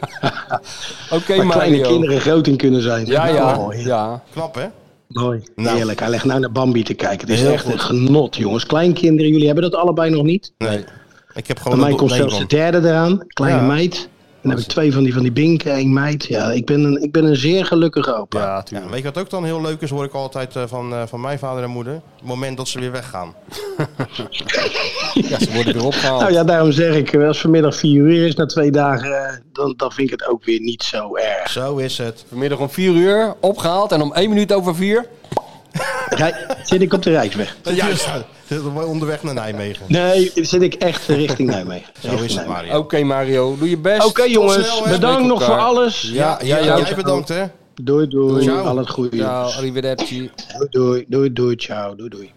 Speaker 6: Oké,
Speaker 7: Waar kleine
Speaker 6: Mario.
Speaker 7: kinderen groot in kunnen zijn.
Speaker 6: Ja, ja,
Speaker 7: Mooi.
Speaker 6: Nou, eh, ja.
Speaker 5: Knap, hè?
Speaker 7: Mooi.
Speaker 5: Nou.
Speaker 7: Heerlijk. Hij legt nou naar Bambi te kijken. Het is
Speaker 5: Heel
Speaker 7: echt
Speaker 5: goed.
Speaker 7: een genot, jongens. Kleinkinderen, jullie hebben dat allebei nog niet.
Speaker 5: Nee. Ik heb gewoon
Speaker 7: Bij mij
Speaker 5: een
Speaker 7: komt
Speaker 5: do-
Speaker 7: zelfs de
Speaker 5: nee,
Speaker 7: derde eraan. Kleine
Speaker 5: Ja.
Speaker 7: meid. Dan heb ik twee van die, van die binken, één meid. Ja, ik ben een, ik ben een zeer gelukkige opa.
Speaker 6: Ja,
Speaker 5: man. Ja,
Speaker 6: tuurlijk.
Speaker 5: weet je wat ook dan heel leuk is, hoor ik altijd eh, van, eh, van mijn vader en moeder? Het moment dat ze weer weggaan.
Speaker 6: Ja, ze worden weer opgehaald.
Speaker 7: Nou ja, daarom zeg ik, eh, als vanmiddag vier uur is na twee dagen, eh, dan, dan vind ik het ook weer niet zo erg.
Speaker 5: Zo is het.
Speaker 6: Vanmiddag om 4 uur opgehaald en om 1 minuut over 4.
Speaker 7: Rij- zit ik op de Rijksweg?
Speaker 5: Juist. Onderweg naar Nijmegen.
Speaker 7: Nee, zit ik echt richting Nijmegen.
Speaker 5: Zo is het,
Speaker 7: Richting
Speaker 5: Mario.
Speaker 6: Oké, Mario, doe je best.
Speaker 7: Oké jongens,
Speaker 5: snel, hè?
Speaker 7: bedankt
Speaker 6: Met
Speaker 7: nog voor
Speaker 6: elkaar.
Speaker 7: alles.
Speaker 6: Ja, ja,
Speaker 5: Ja,
Speaker 6: ja.
Speaker 5: jij bedankt, hè?
Speaker 7: Doei doei,
Speaker 5: Ciao.
Speaker 7: al het goede.
Speaker 6: Ciao, arrivederci.
Speaker 7: Doei doei, doei doei, ciao, doei doei.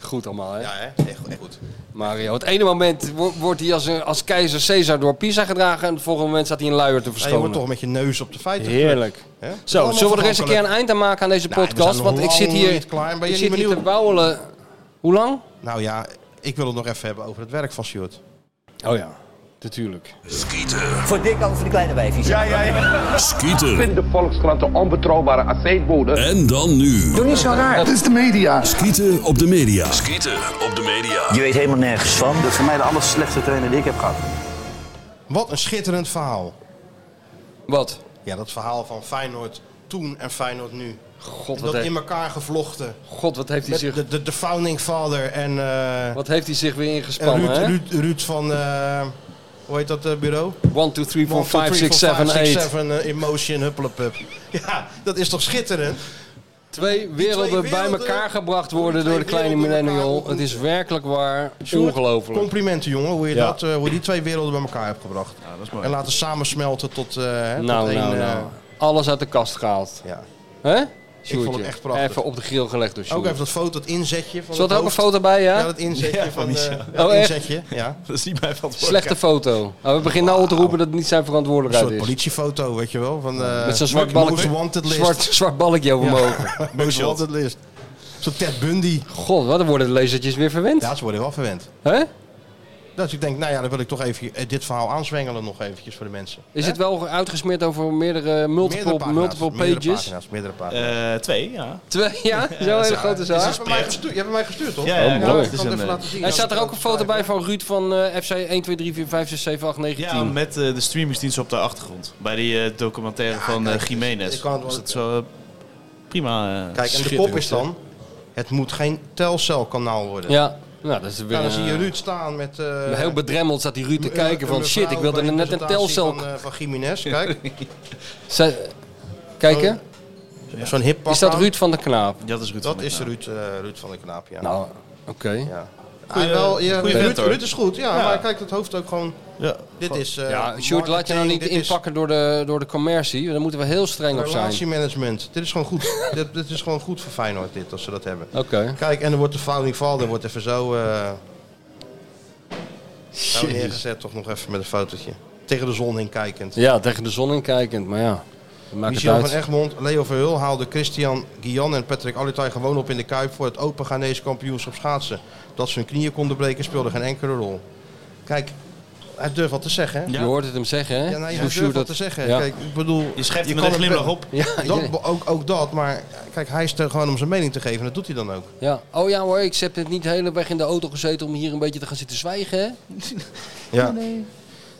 Speaker 6: Goed allemaal, hè?
Speaker 5: Ja, hè? Echt, echt goed.
Speaker 6: Mario. Het ene moment wo- wordt hij als, een- als keizer Caesar door Pisa gedragen... en het volgende moment staat hij een luier
Speaker 5: Ja,
Speaker 6: te
Speaker 5: je wordt
Speaker 6: verschonen.
Speaker 5: toch met je neus op de feiten.
Speaker 6: Heerlijk.
Speaker 5: Hè?
Speaker 6: Zo,
Speaker 5: Allemaal
Speaker 6: zullen we er eens een keer een eind aan maken aan deze
Speaker 5: Nou, we
Speaker 6: podcast?
Speaker 5: zijn
Speaker 6: Want
Speaker 5: nog
Speaker 6: ik zit
Speaker 5: lang
Speaker 6: hier,
Speaker 5: niet klaar. Ben je
Speaker 6: ik
Speaker 5: niet
Speaker 6: zit hier te
Speaker 5: benieuwd?
Speaker 6: bouwelen. Hoe lang?
Speaker 5: Nou ja, ik wil het nog even hebben over het werk van Sjoerd.
Speaker 6: Oh ja, natuurlijk.
Speaker 10: Voor dik over de kleine wijfjes. Ja, ja, ja.
Speaker 11: Skieten.
Speaker 10: Vind de Volkskrant een onbetrouwbare aceetbode.
Speaker 11: En dan nu.
Speaker 10: Doe niet zo raar.
Speaker 11: Dat is de media. Skieten op de media. Skieten op de media.
Speaker 10: Je weet helemaal nergens van. Dat is voor mij de aller slechtste trainer die ik heb gehad.
Speaker 5: Wat een schitterend verhaal.
Speaker 6: Wat?
Speaker 5: Ja, dat verhaal van Feyenoord toen en Feyenoord nu.
Speaker 6: God, wat,
Speaker 5: Dat
Speaker 6: heeft,
Speaker 5: in elkaar gevlochten.
Speaker 6: God, wat heeft hij
Speaker 5: Met
Speaker 6: zich...
Speaker 5: de, de, de founding father en, eh, en
Speaker 6: Wat heeft hij zich weer ingespannen,
Speaker 5: Ruud,
Speaker 6: hè?
Speaker 5: Ruud, Ruud van, eh, hoe heet dat eh, bureau?
Speaker 6: 1, 2, 3, 4, 5, 6, 7, 8.
Speaker 5: 7, eh, emotion, huppelepup. Ja, dat is toch schitterend?
Speaker 6: Twee werelden
Speaker 5: twee
Speaker 6: bij
Speaker 5: werelden-
Speaker 6: elkaar gebracht
Speaker 5: die
Speaker 6: worden
Speaker 5: twee
Speaker 6: door de kleine
Speaker 5: werelden elkaar
Speaker 6: millennial.
Speaker 5: ontmoeten.
Speaker 6: Het is werkelijk waar
Speaker 5: Sjoerd,
Speaker 6: ongelooflijk.
Speaker 5: Complimenten jongen, hoe je,
Speaker 6: Ja.
Speaker 5: dat, eh, hoe je die twee werelden bij elkaar hebt gebracht.
Speaker 2: Ja, dat is mooi.
Speaker 5: En laten samensmelten tot, eh, hè, tot
Speaker 6: Nou,
Speaker 5: één...
Speaker 6: nou,
Speaker 5: eh,
Speaker 6: nou. Alles uit de kast gehaald.
Speaker 5: ja.
Speaker 6: Hè?
Speaker 5: vond het
Speaker 6: Sjoerdje,
Speaker 5: echt prachtig.
Speaker 6: Even op de grill gelegd door
Speaker 5: Ook
Speaker 6: Sjoerd.
Speaker 5: even dat foto, dat inzetje. Van
Speaker 6: Zat
Speaker 5: het
Speaker 6: er ook een
Speaker 5: hoofd.
Speaker 6: foto bij, ja?
Speaker 5: Ja, dat inzetje
Speaker 2: Ja,
Speaker 5: van...
Speaker 2: van die-
Speaker 5: eh, ja,
Speaker 6: Oh,
Speaker 5: dat
Speaker 6: echt?
Speaker 5: inzetje, ja.
Speaker 2: Dat is niet mijn verantwoordelijkheid.
Speaker 6: Slechte foto. Nou, we beginnen nou al te roepen dat het niet zijn
Speaker 5: Een soort
Speaker 6: verantwoordelijkheid is.
Speaker 5: politiefoto, weet je wel. Van, eh,
Speaker 6: Met zo'n zwart
Speaker 5: Most
Speaker 6: balkje,
Speaker 5: wanted list.
Speaker 6: zwart, zwart balkje over mijn ogen.
Speaker 5: Most wanted list. Zo'n Ted Bundy.
Speaker 6: God, wat dan worden de lezertjes weer verwend.
Speaker 5: Ja, ze worden wel verwend.
Speaker 6: Hè?
Speaker 5: Dus ik denk, nou ja, dan wil ik toch even eh, dit verhaal aanzwengelen nog eventjes voor de mensen.
Speaker 6: Is het wel uitgesmeerd over meerdere multiple, multiple
Speaker 5: Meerdere
Speaker 6: pages?
Speaker 5: pagina's, meerdere pagina's.
Speaker 2: Eh, twee, ja.
Speaker 6: Twee, ja? Zo'n hele grote
Speaker 5: je,
Speaker 6: zaak. Oh,
Speaker 5: hebt mij gestuurd, je hebt mij gestuurd, toch?
Speaker 2: Ja, ja,
Speaker 5: ik
Speaker 2: klopt.
Speaker 5: kan
Speaker 2: Het is
Speaker 5: even
Speaker 2: een, eh,
Speaker 5: laten zien.
Speaker 6: Er staat er ook een foto bij
Speaker 5: van.
Speaker 6: van Ruud van eh, FC 1, 2, 3, 4, 5, 6, 7, 8, 9, 10.
Speaker 2: Ja, met eh, de streamingsdienst op de achtergrond. Bij die eh, documentaire van eh
Speaker 5: kijk,
Speaker 2: Jiménez.
Speaker 5: ik kan het wel-
Speaker 2: Is dat zo eh, prima. eh,
Speaker 5: Kijk, en de
Speaker 2: schitterend,
Speaker 5: kop is
Speaker 2: hè?
Speaker 5: dan, het moet geen telcelkanaal worden.
Speaker 6: Ja. Nou, dat is weer...
Speaker 5: Nou, dan zie je
Speaker 6: eh,
Speaker 5: Ruud staan met... eh,
Speaker 6: heel bedremmeld staat die Ruud te
Speaker 5: een-
Speaker 6: kijken
Speaker 5: een
Speaker 6: van...
Speaker 5: mevrouw
Speaker 6: Shit, ik wilde
Speaker 5: bij
Speaker 6: er
Speaker 5: de
Speaker 6: net een
Speaker 5: presentatie
Speaker 6: telcel...
Speaker 5: Van, eh, van Jiménez, kijk.
Speaker 6: Zij- Kijken,
Speaker 5: Oh, Zo'n hip pak
Speaker 6: is dat
Speaker 5: aan.
Speaker 6: Ruud van der Knaap?
Speaker 2: Ja, dat is Ruud
Speaker 5: Dat
Speaker 2: van der
Speaker 5: is
Speaker 2: Knaap.
Speaker 5: Ruud, eh, Ruud van de Knaap, ja.
Speaker 6: Nou, oké.
Speaker 5: ja. Goeie, wel, ja,
Speaker 2: goeie
Speaker 5: Ruud,
Speaker 2: vent, hoor.
Speaker 5: Ruud is goed, ja,
Speaker 2: Ja.
Speaker 5: Maar kijk, dat hoofd ook gewoon...
Speaker 2: Ja.
Speaker 5: Dit is... eh,
Speaker 6: Ja, Sjoerd, laat je nou
Speaker 5: marketing,
Speaker 6: niet
Speaker 5: dit is
Speaker 6: inpakken door de, door de commercie. Daar moeten we heel streng op zijn. Oké.
Speaker 5: Relatiemanagement. Dit is gewoon goed. dit, dit is gewoon goed voor Feyenoord, dit, als ze dat hebben. Kijk, en dan wordt de founding father wordt even zo, eh zo neergezet. Toch nog even met een fotootje. Tegen de zon heen kijkend.
Speaker 6: Ja, tegen de zon inkijkend, maar ja. Dat maakt
Speaker 5: Michel
Speaker 6: het
Speaker 5: van
Speaker 6: uit.
Speaker 5: Egmond, Leo Verhul haalden Christian Guian en Patrick Alutay gewoon op in de Kuip voor het Open Ghanese kampioenschap schaatsen. Dat ze hun knieën konden breken speelde geen enkele rol. Kijk, hij durft wat te zeggen. hè?
Speaker 6: Je hoort het hem zeggen, hè?
Speaker 5: Ja, nou, nee,
Speaker 6: Hoe
Speaker 5: hij
Speaker 6: Sjoerd
Speaker 5: durft wat te zeggen.
Speaker 6: Ja.
Speaker 5: Kijk, ik bedoel,
Speaker 2: Je schept hem
Speaker 5: kan
Speaker 2: met een
Speaker 5: het
Speaker 2: glimlach
Speaker 5: wel-
Speaker 2: op.
Speaker 6: Ja, ja.
Speaker 5: Dat, ook, ook dat, maar kijk, hij is er gewoon om zijn mening te geven en dat doet hij dan ook.
Speaker 6: Ja. Oh ja hoor, ik heb het niet de hele weg in de auto gezeten om hier een beetje te gaan zitten zwijgen. hè?
Speaker 5: Ja.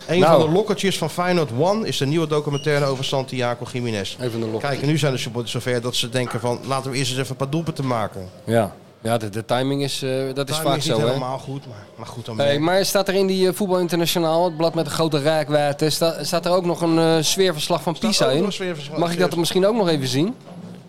Speaker 5: Een
Speaker 6: Nou.
Speaker 5: van de lokkertjes van Feyenoord One is de nieuwe documentaire over Santiago Jiménez. Kijk, en nu zijn de supporters zover dat ze denken van laten we eerst eens even een paar doelpunten maken.
Speaker 6: Ja, ja de, de timing is, eh, dat is
Speaker 5: Timing
Speaker 6: vaak
Speaker 5: is
Speaker 6: zo.
Speaker 5: niet
Speaker 6: hè?
Speaker 5: helemaal goed, maar, maar goed dan
Speaker 6: Hey,
Speaker 5: wel.
Speaker 6: maar staat er in die eh, Voetbal Internationaal, het blad met de grote raakwaarde, sta- staat er ook nog een eh, sfeerverslag van Pisa
Speaker 5: ook nog
Speaker 6: in?
Speaker 5: een sfeerverslag-
Speaker 6: Mag ik dat er misschien ook nog even zien?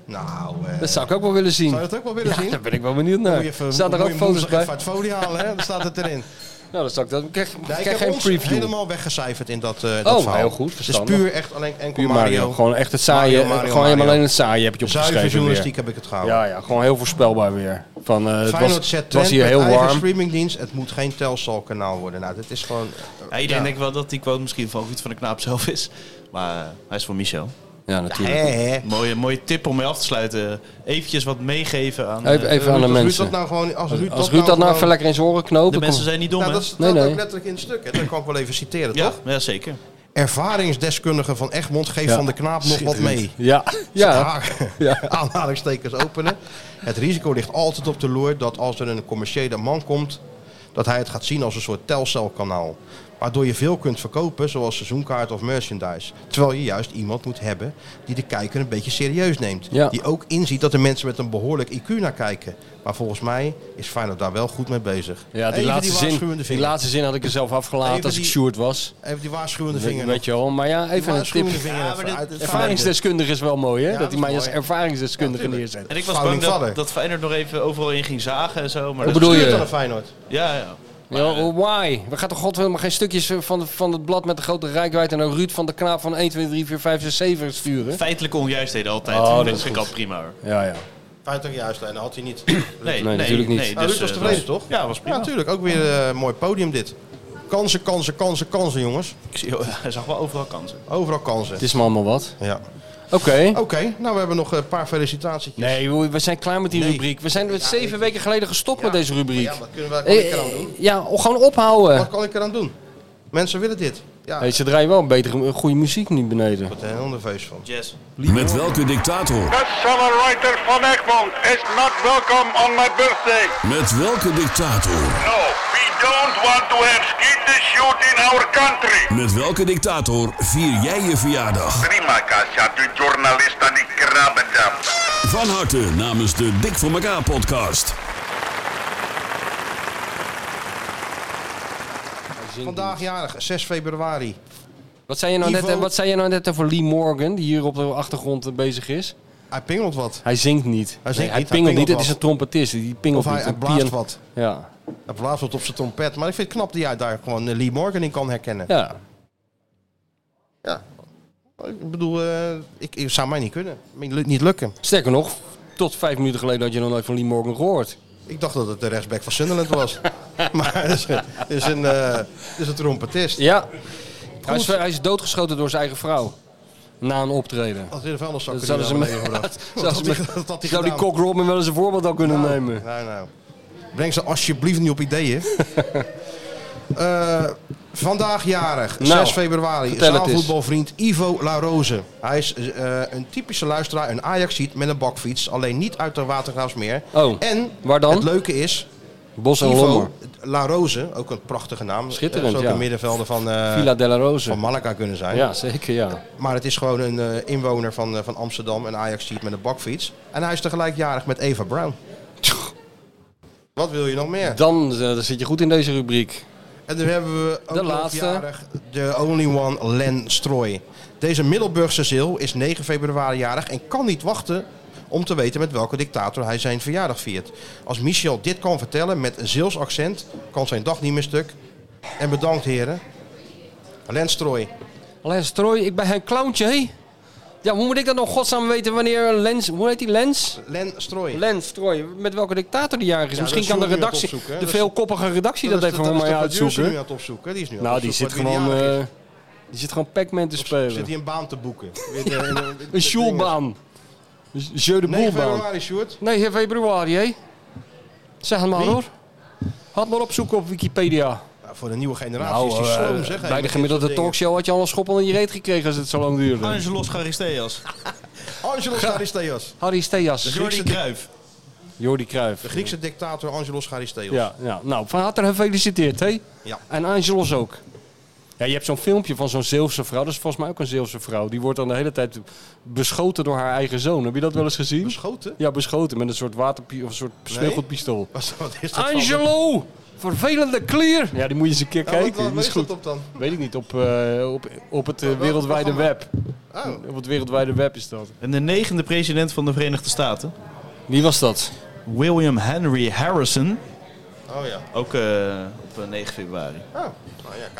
Speaker 5: Nou,
Speaker 6: dat zou ik ook wel willen zien.
Speaker 5: zou je dat ook wel willen
Speaker 6: Ja,
Speaker 5: zien?
Speaker 6: Daar ben ik wel benieuwd
Speaker 5: Moet
Speaker 6: naar.
Speaker 5: je even-
Speaker 6: Staat er
Speaker 5: moet
Speaker 6: ook
Speaker 5: je
Speaker 6: foto's
Speaker 5: woensdag
Speaker 6: bij?
Speaker 5: even uit het folie halen, hè? Dan staat het erin.
Speaker 6: Nou, dat zou ik dat. Ik krijg,
Speaker 5: Nee,
Speaker 6: ik
Speaker 5: ik
Speaker 6: krijg
Speaker 5: heb
Speaker 6: geen
Speaker 5: ons
Speaker 6: preview.
Speaker 5: helemaal weggecijferd in dat, eh dat
Speaker 6: Oh,
Speaker 5: verhaal.
Speaker 6: heel goed,
Speaker 5: Het is
Speaker 6: verstandig.
Speaker 5: puur echt alleen enkel
Speaker 6: Puur
Speaker 5: Mario.
Speaker 6: Gewoon echt het saaie.
Speaker 5: Mario, Mario,
Speaker 6: gewoon helemaal
Speaker 5: Mario.
Speaker 6: alleen het saaie heb je opgeschreven.
Speaker 5: Zuiver
Speaker 6: weer.
Speaker 5: journalistiek heb ik het gehouden.
Speaker 6: Ja, ja, gewoon heel voorspelbaar weer. Van, eh, het
Speaker 5: Feyenoord
Speaker 6: was,
Speaker 5: zet
Speaker 6: het was
Speaker 5: trend
Speaker 6: hier
Speaker 5: met
Speaker 6: heel
Speaker 5: eigen
Speaker 6: warm.
Speaker 5: streamingdienst. Het moet geen Telstar kanaal worden. Nou, dit is gewoon... eh,
Speaker 7: Ja, iedereen denkt wel dat die quote misschien van Ruud van de Knaap zelf is. Maar eh, hij is van Michel.
Speaker 6: Ja, natuurlijk.
Speaker 5: Ja, hè, hè.
Speaker 7: Mooie, mooie tip om mee af te sluiten. Eventjes wat meegeven aan, eh,
Speaker 6: Even, even aan de
Speaker 5: Ruud
Speaker 6: mensen.
Speaker 5: dat nou gewoon- als Ruud dat
Speaker 6: Ruud dat
Speaker 5: nou
Speaker 6: nou
Speaker 5: gewoon-
Speaker 6: even lekker in zijn oren knoopt. dan
Speaker 7: De mensen
Speaker 6: komt-
Speaker 7: zijn niet dom,
Speaker 5: nou,
Speaker 7: hè?
Speaker 5: dat staat
Speaker 6: Nee, nee.
Speaker 5: ook letterlijk in het stuk. Hè? Dat kan ik wel even citeren,
Speaker 7: Ja,
Speaker 5: toch?
Speaker 7: ja, zeker.
Speaker 5: Ervaringsdeskundige van Egmond geeft
Speaker 6: Ja.
Speaker 5: van de knaap nog wat mee.
Speaker 6: Ja, ja.
Speaker 5: ja. aanhalingstekens openen. Het risico ligt altijd op de loer dat als er een commerciële man komt, dat hij het gaat zien als een soort telcelkanaal. Waardoor je veel kunt verkopen, zoals seizoenkaart of merchandise. Terwijl je juist iemand moet hebben die de kijker een beetje serieus neemt.
Speaker 6: Ja.
Speaker 5: Die ook inziet dat er mensen met een behoorlijk IQ naar kijken. Maar volgens mij is Feyenoord daar wel goed mee bezig.
Speaker 6: Ja, die
Speaker 5: Even
Speaker 6: laatste, zin,
Speaker 5: waarschuwende
Speaker 6: die
Speaker 5: vinger.
Speaker 6: laatste zin had ik er zelf afgelaten
Speaker 5: Even
Speaker 6: als ik
Speaker 5: die-
Speaker 6: Sjoerd was.
Speaker 5: Even die waarschuwende
Speaker 6: Weet,
Speaker 5: vinger.
Speaker 6: weet je wel, maar ja, even een tip. Ervaringsdeskundige is wel mooi, hè? dat hij mij als ervaringsdeskundige neerzet.
Speaker 7: En ik was
Speaker 5: Founding
Speaker 7: bang dat,
Speaker 5: father.
Speaker 7: dat Feyenoord nog even overal in ging zagen en zo. Maar
Speaker 6: Hoe
Speaker 7: dat-
Speaker 6: bedoel je?
Speaker 5: Van Feyenoord.
Speaker 7: Ja, ja.
Speaker 6: Ja, oh, why? We gaan toch god helemaal geen stukjes eh, van, van het blad met de grote rijkwijd en een Ruud van de Knaap van 1, 2, 3, 4, 5, 6, 7 sturen?
Speaker 7: Feitelijke onjuistheden altijd.
Speaker 6: Oh, dat
Speaker 7: dat
Speaker 6: is
Speaker 7: vind ik al prima hoor.
Speaker 6: Ja, ja.
Speaker 5: Feitelijk juist, en dat had hij niet.
Speaker 7: Nee,
Speaker 6: Nee, natuurlijk niet.
Speaker 7: nee,
Speaker 5: Nou,
Speaker 7: dus,
Speaker 5: Ruud was
Speaker 7: eh,
Speaker 5: tevreden,
Speaker 7: was-
Speaker 5: toch?
Speaker 7: Ja, was prima.
Speaker 5: Ja, natuurlijk. Ook weer eh, een mooi podium dit. Kansen, kansen, kansen, kansen, jongens.
Speaker 7: Ik zie- oh, hij zag wel overal kansen.
Speaker 5: Overal kansen.
Speaker 6: Het is me allemaal wat.
Speaker 5: Ja.
Speaker 6: Oké.
Speaker 5: Oké, nou we hebben nog een paar felicitaties.
Speaker 6: Nee, we- we zijn klaar met die
Speaker 5: Dus- Nee.
Speaker 6: rubriek. We zijn zeven weken geleden gestopt met deze rubriek.
Speaker 5: Ja, wat kunnen we, kan ik
Speaker 6: Eh,
Speaker 5: eraan doen?
Speaker 6: Ja, gewoon ophouden.
Speaker 5: Wat kan ik eraan doen? Mensen willen dit. Ja,
Speaker 6: Hey,
Speaker 5: ik
Speaker 6: ze draaien wel een betere, goede muziek nu beneden.
Speaker 5: word er heel nerveus van.
Speaker 7: Yes.
Speaker 12: Met welke dictator?
Speaker 13: Accelerator van Egmond is not welcome on my birthday.
Speaker 12: Met welke dictator?
Speaker 13: No, we don't want to have skeet the shoot in our country.
Speaker 12: Met welke dictator vier jij je verjaardag?
Speaker 13: Prima, Kasia, de journalist aan die krabbedam.
Speaker 12: Van harte namens de Dik voor elkaar podcast.
Speaker 5: Vandaag jarig, 6 februari.
Speaker 6: Wat zei je nou, net,
Speaker 5: Ivo-
Speaker 6: wat zei je nou net over Lee Morgan, die hier op de achtergrond eh, bezig is?
Speaker 5: Hij pingelt wat.
Speaker 6: Hij zingt niet. Nee, Hij,
Speaker 5: zingt niet, hij
Speaker 6: pingelt niet, het
Speaker 5: pingelt
Speaker 6: is
Speaker 5: wat.
Speaker 6: een trompetist. Die pingelt
Speaker 5: Of hij,
Speaker 6: niet.
Speaker 5: hij
Speaker 6: een
Speaker 5: blaast
Speaker 6: pian-
Speaker 5: wat.
Speaker 6: Ja.
Speaker 5: Hij blaast wat op zijn trompet. Maar ik vind het knap dat jij daar gewoon eh, Lee Morgan in kan herkennen.
Speaker 6: ja.
Speaker 5: Ik bedoel, eh, ik, ik zou mij niet kunnen. Mij lu- Niet lukken.
Speaker 6: Sterker nog, tot vijf minuten geleden had je nog nooit van Lee Morgan gehoord.
Speaker 5: Ik dacht dat het de rechtsback van Sunderland was. maar het is, het is een, eh, het is een trompetist.
Speaker 6: Ja. Hij is, hij is doodgeschoten door zijn eigen vrouw. Na een optreden.
Speaker 5: Als in de vuilniszak
Speaker 6: Dat
Speaker 5: er
Speaker 6: zouden ze
Speaker 5: niet
Speaker 6: met-
Speaker 5: naar beneden gebracht. Wat
Speaker 6: Zou,
Speaker 5: had hij- wat had hij
Speaker 6: zou die
Speaker 5: gedaan?
Speaker 6: Cock Robin wel eens een voorbeeld aan kunnen nemen?
Speaker 5: Nou, nou. Breng ze alsjeblieft niet op ideeën. Eh, vandaag jarig,
Speaker 6: Nou,
Speaker 5: 6 februari.
Speaker 6: vertel het eens.
Speaker 5: Zaalvoetbalvriend Ivo Larose. Hij is eh, een typische luisteraar, een Ajaxiet met een bakfiets. Alleen niet uit de Watergraafsmeer.
Speaker 6: Oh,
Speaker 5: En
Speaker 6: waar dan?
Speaker 5: het leuke is,
Speaker 6: Bos en Lommer.
Speaker 5: Ivo Larose, ook een prachtige naam.
Speaker 6: Schitterend,
Speaker 5: Zou ook
Speaker 6: ja.
Speaker 5: een middenvelder van, eh,
Speaker 6: Villa della Rose.
Speaker 5: van Malaga kunnen zijn.
Speaker 6: Ja, zeker ja.
Speaker 5: Maar het is gewoon een eh, inwoner van, eh, van Amsterdam, een Ajax-sheet met een bakfiets. En hij is tegelijk jarig met Eva Brown. Wat wil je nog meer?
Speaker 6: Dan eh, dan zit je goed in deze rubriek.
Speaker 5: En dan hebben we ook
Speaker 6: De
Speaker 5: nog
Speaker 6: laatste.
Speaker 5: jarig de only one, Len Strooy. Deze Middelburgse ziel is 9 februari jarig en kan niet wachten om te weten met welke dictator hij zijn verjaardag viert. Als Michel dit kan vertellen met een Zeels accent, kan zijn dag niet meer stuk. En bedankt heren. Len Strooy.
Speaker 6: Alleen Strooi, ik ben geen clowntje, hé. Ja, hoe moet ik dat nog godsnaam weten wanneer Lens... Hoe heet die, Lens?
Speaker 5: Len Strooy.
Speaker 6: Lens Strooi, met welke dictator die jarig is.
Speaker 5: Ja,
Speaker 6: Misschien
Speaker 5: dat is
Speaker 6: kan de
Speaker 5: Jordi aan het
Speaker 6: redactie,
Speaker 5: opzoeken, hè?
Speaker 6: de
Speaker 5: Dat is-
Speaker 6: veelkoppige redactie dat,
Speaker 5: is
Speaker 6: even
Speaker 5: de-
Speaker 6: voor
Speaker 5: is
Speaker 6: mij
Speaker 5: de producer nu
Speaker 6: uitzoeken.
Speaker 5: aan het opzoeken. Die is nu aan
Speaker 6: Nou,
Speaker 5: het
Speaker 6: die zit
Speaker 5: opzoeken wat
Speaker 6: gewoon...
Speaker 5: wie die jarig
Speaker 6: eh, die zit gewoon Pac-Man te
Speaker 5: is. Zit
Speaker 6: spelen.
Speaker 5: hij een baan te boeken? Weet je, in in-
Speaker 6: Een sjoelbaan. Een Jeu de
Speaker 5: 9
Speaker 6: boelbaan.
Speaker 5: februari, Sjoerd.
Speaker 6: 9 februari, hé. Zeg het maar
Speaker 5: Wie?
Speaker 6: hoor. Had maar opzoeken op Wikipedia.
Speaker 5: Nou, voor de nieuwe generatie is die
Speaker 6: eh,
Speaker 5: sloom, zeg.
Speaker 6: bij de gemiddelde talkshow had je al een schoppel in je reet gekregen als het zo lang duurde.
Speaker 7: Angelos Charisteas.
Speaker 5: Angelos Charisteas.
Speaker 6: Harry Steas,
Speaker 7: Jordi Cruijf.
Speaker 6: Jordi Cruijff.
Speaker 5: De Griekse dictator Angelos Charisteas.
Speaker 6: Ja, ja, nou, van harte gefeliciteerd, hè?
Speaker 5: Ja.
Speaker 6: En Angelos ook. Ja, je hebt zo'n filmpje van zo'n Zeeuwse vrouw. Dat is volgens mij ook een Zeeuwse vrouw. Die wordt dan de hele tijd beschoten door haar eigen zoon. Heb je dat wel eens gezien?
Speaker 5: Beschoten?
Speaker 6: Ja, beschoten met een soort waterpie of een soort sneeuwgoedpistool.
Speaker 5: Wat is dat
Speaker 6: Angelo! Vervelende klier! Ja, die moet je eens een keer
Speaker 5: Nou, wat-
Speaker 6: kijken.
Speaker 5: wat-
Speaker 6: die
Speaker 5: waar
Speaker 6: is
Speaker 5: is dat
Speaker 6: goed.
Speaker 5: op dan?
Speaker 6: Weet ik niet, op, eh, op, op het eh, wereldwijde web.
Speaker 5: Oh.
Speaker 6: Op het wereldwijde web is dat.
Speaker 7: En de negende president van de Verenigde Staten.
Speaker 6: Wie was dat?
Speaker 7: William Henry Harrison.
Speaker 5: Oh ja. Oh. Nou,
Speaker 7: Ook eh, op 9 februari.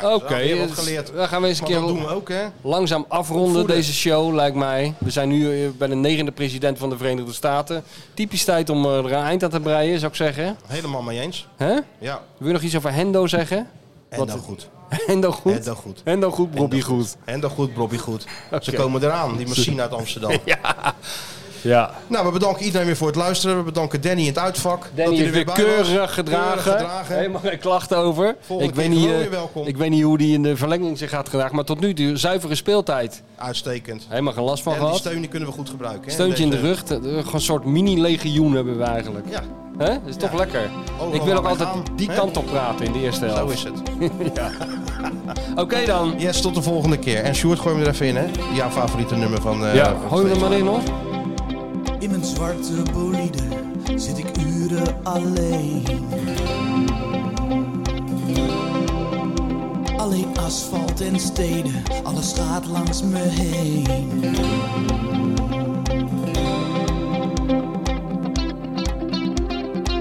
Speaker 5: Oké.
Speaker 6: Oké,
Speaker 5: wat
Speaker 6: dus
Speaker 5: geleerd.
Speaker 6: daar gaan we eens een
Speaker 5: Maar
Speaker 6: keer
Speaker 5: dat doen we ook, hè?
Speaker 6: langzaam afronden,
Speaker 5: Opvoeden.
Speaker 6: deze show, lijkt mij. We zijn nu eh, bij de negende president van de Verenigde Staten. Typisch tijd om eh, er een eind aan te breien, zou ik zeggen.
Speaker 5: Helemaal mee eens.
Speaker 6: Hè?
Speaker 5: Ja.
Speaker 6: Wil je nog iets over Hendo zeggen?
Speaker 5: Hendo
Speaker 6: Wat-
Speaker 5: goed.
Speaker 6: Hendo goed?
Speaker 5: Hendo goed.
Speaker 6: Hendo goed, Bobby goed.
Speaker 5: Hendo goed, Bobby goed. Ze komen eraan, die machine uit Amsterdam.
Speaker 6: ja. ja.
Speaker 5: Nou, we bedanken iedereen weer voor het luisteren. We bedanken Danny in het uitvak.
Speaker 6: Danny
Speaker 5: dat hij
Speaker 6: is
Speaker 5: er
Speaker 6: weer
Speaker 5: bij was.
Speaker 6: keurig gedragen.
Speaker 5: Keurig gedragen.
Speaker 6: Helemaal geen klachten over.
Speaker 5: Volgende
Speaker 6: ik,
Speaker 5: keer
Speaker 6: weet niet,
Speaker 5: gewoon
Speaker 6: eh,
Speaker 5: weer welkom.
Speaker 6: ik weet niet hoe die in de verlenging zich gaat gedragen. Maar tot nu toe, zuivere speeltijd.
Speaker 5: Uitstekend.
Speaker 6: Helemaal geen last van
Speaker 5: En die
Speaker 6: gehad.
Speaker 5: steun die kunnen we goed gebruiken. Hè?
Speaker 6: Steuntje in de
Speaker 5: Deze-
Speaker 6: rug. eh, Gewoon een soort mini-legioen hebben we eigenlijk.
Speaker 5: Ja.
Speaker 6: Hè? Dat is toch lekker. ik wil
Speaker 5: waar
Speaker 6: ook
Speaker 5: wij
Speaker 6: altijd
Speaker 5: gaan,
Speaker 6: die
Speaker 5: hè?
Speaker 6: kant op praten in de eerste helft.
Speaker 5: Zo is het.
Speaker 6: ja. Oké dan.
Speaker 5: Yes, tot de volgende keer. En Sjoerd, gooi hem er even in, hè? Jouw favoriete nummer van... eh,
Speaker 6: ja,
Speaker 5: van
Speaker 6: gooi hem er maar in hoor.
Speaker 4: In mijn zwarte bolide zit ik uren alleen. Alleen asfalt en steden, alles gaat langs me heen.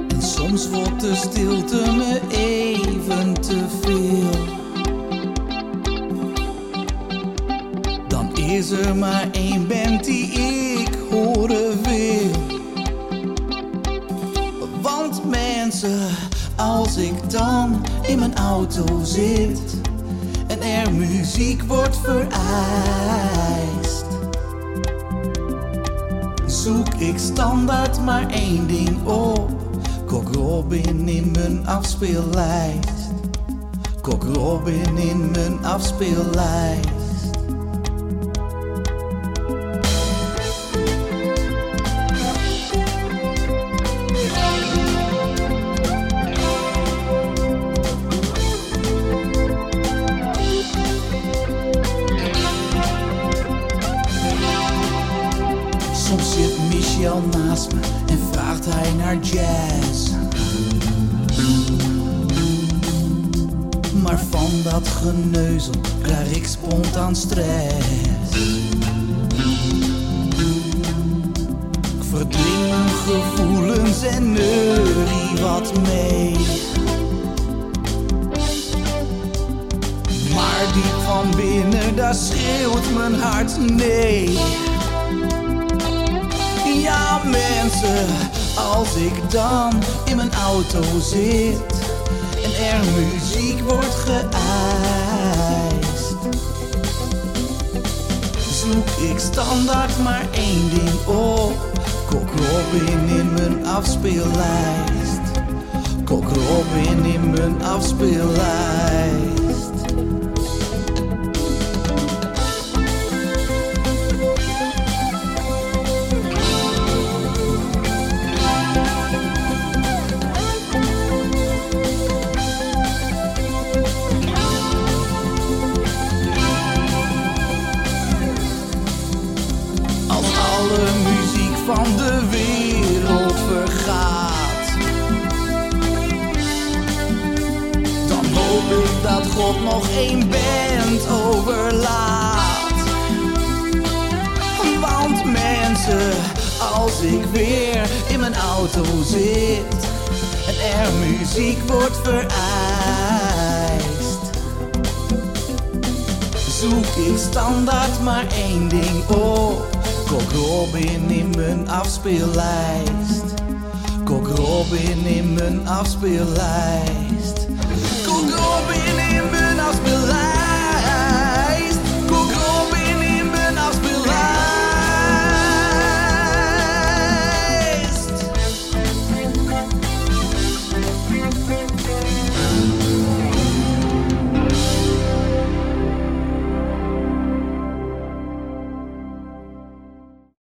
Speaker 4: En soms wordt de stilte me even te veel. Dan is er maar één band die ik horen wil. Want mensen, als ik dan in mijn auto zit en er muziek wordt vereist, zoek ik standaard maar één ding op. Kok Robin in mijn afspeellijst. Kok Robin in mijn afspeellijst. Soms zit Michel naast me en vraagt hij naar jazz. Maar van dat geneuzel krijg ik spontaan stress. Ik verdring mijn gevoelens en neurie wat mee. Maar diep van binnen, daar schreeuwt mijn hart nee. Ja mensen, als ik dan in mijn auto zit en er muziek wordt geëist, zoek ik standaard maar één ding op. Kok Robin in mijn afspeellijst. Kok Robin in mijn afspeellijst. Als alle muziek van de wereld vergaat Dan hoop ik dat God nog één band overlaat Want mensen, als ik weer in mijn auto zit En er muziek wordt vereist zoek ik standaard maar één ding op. Kok Robin in mijn afspeellijst. Kok Robin in mijn afspeellijst. Kok Robin in mijn afspeellijst.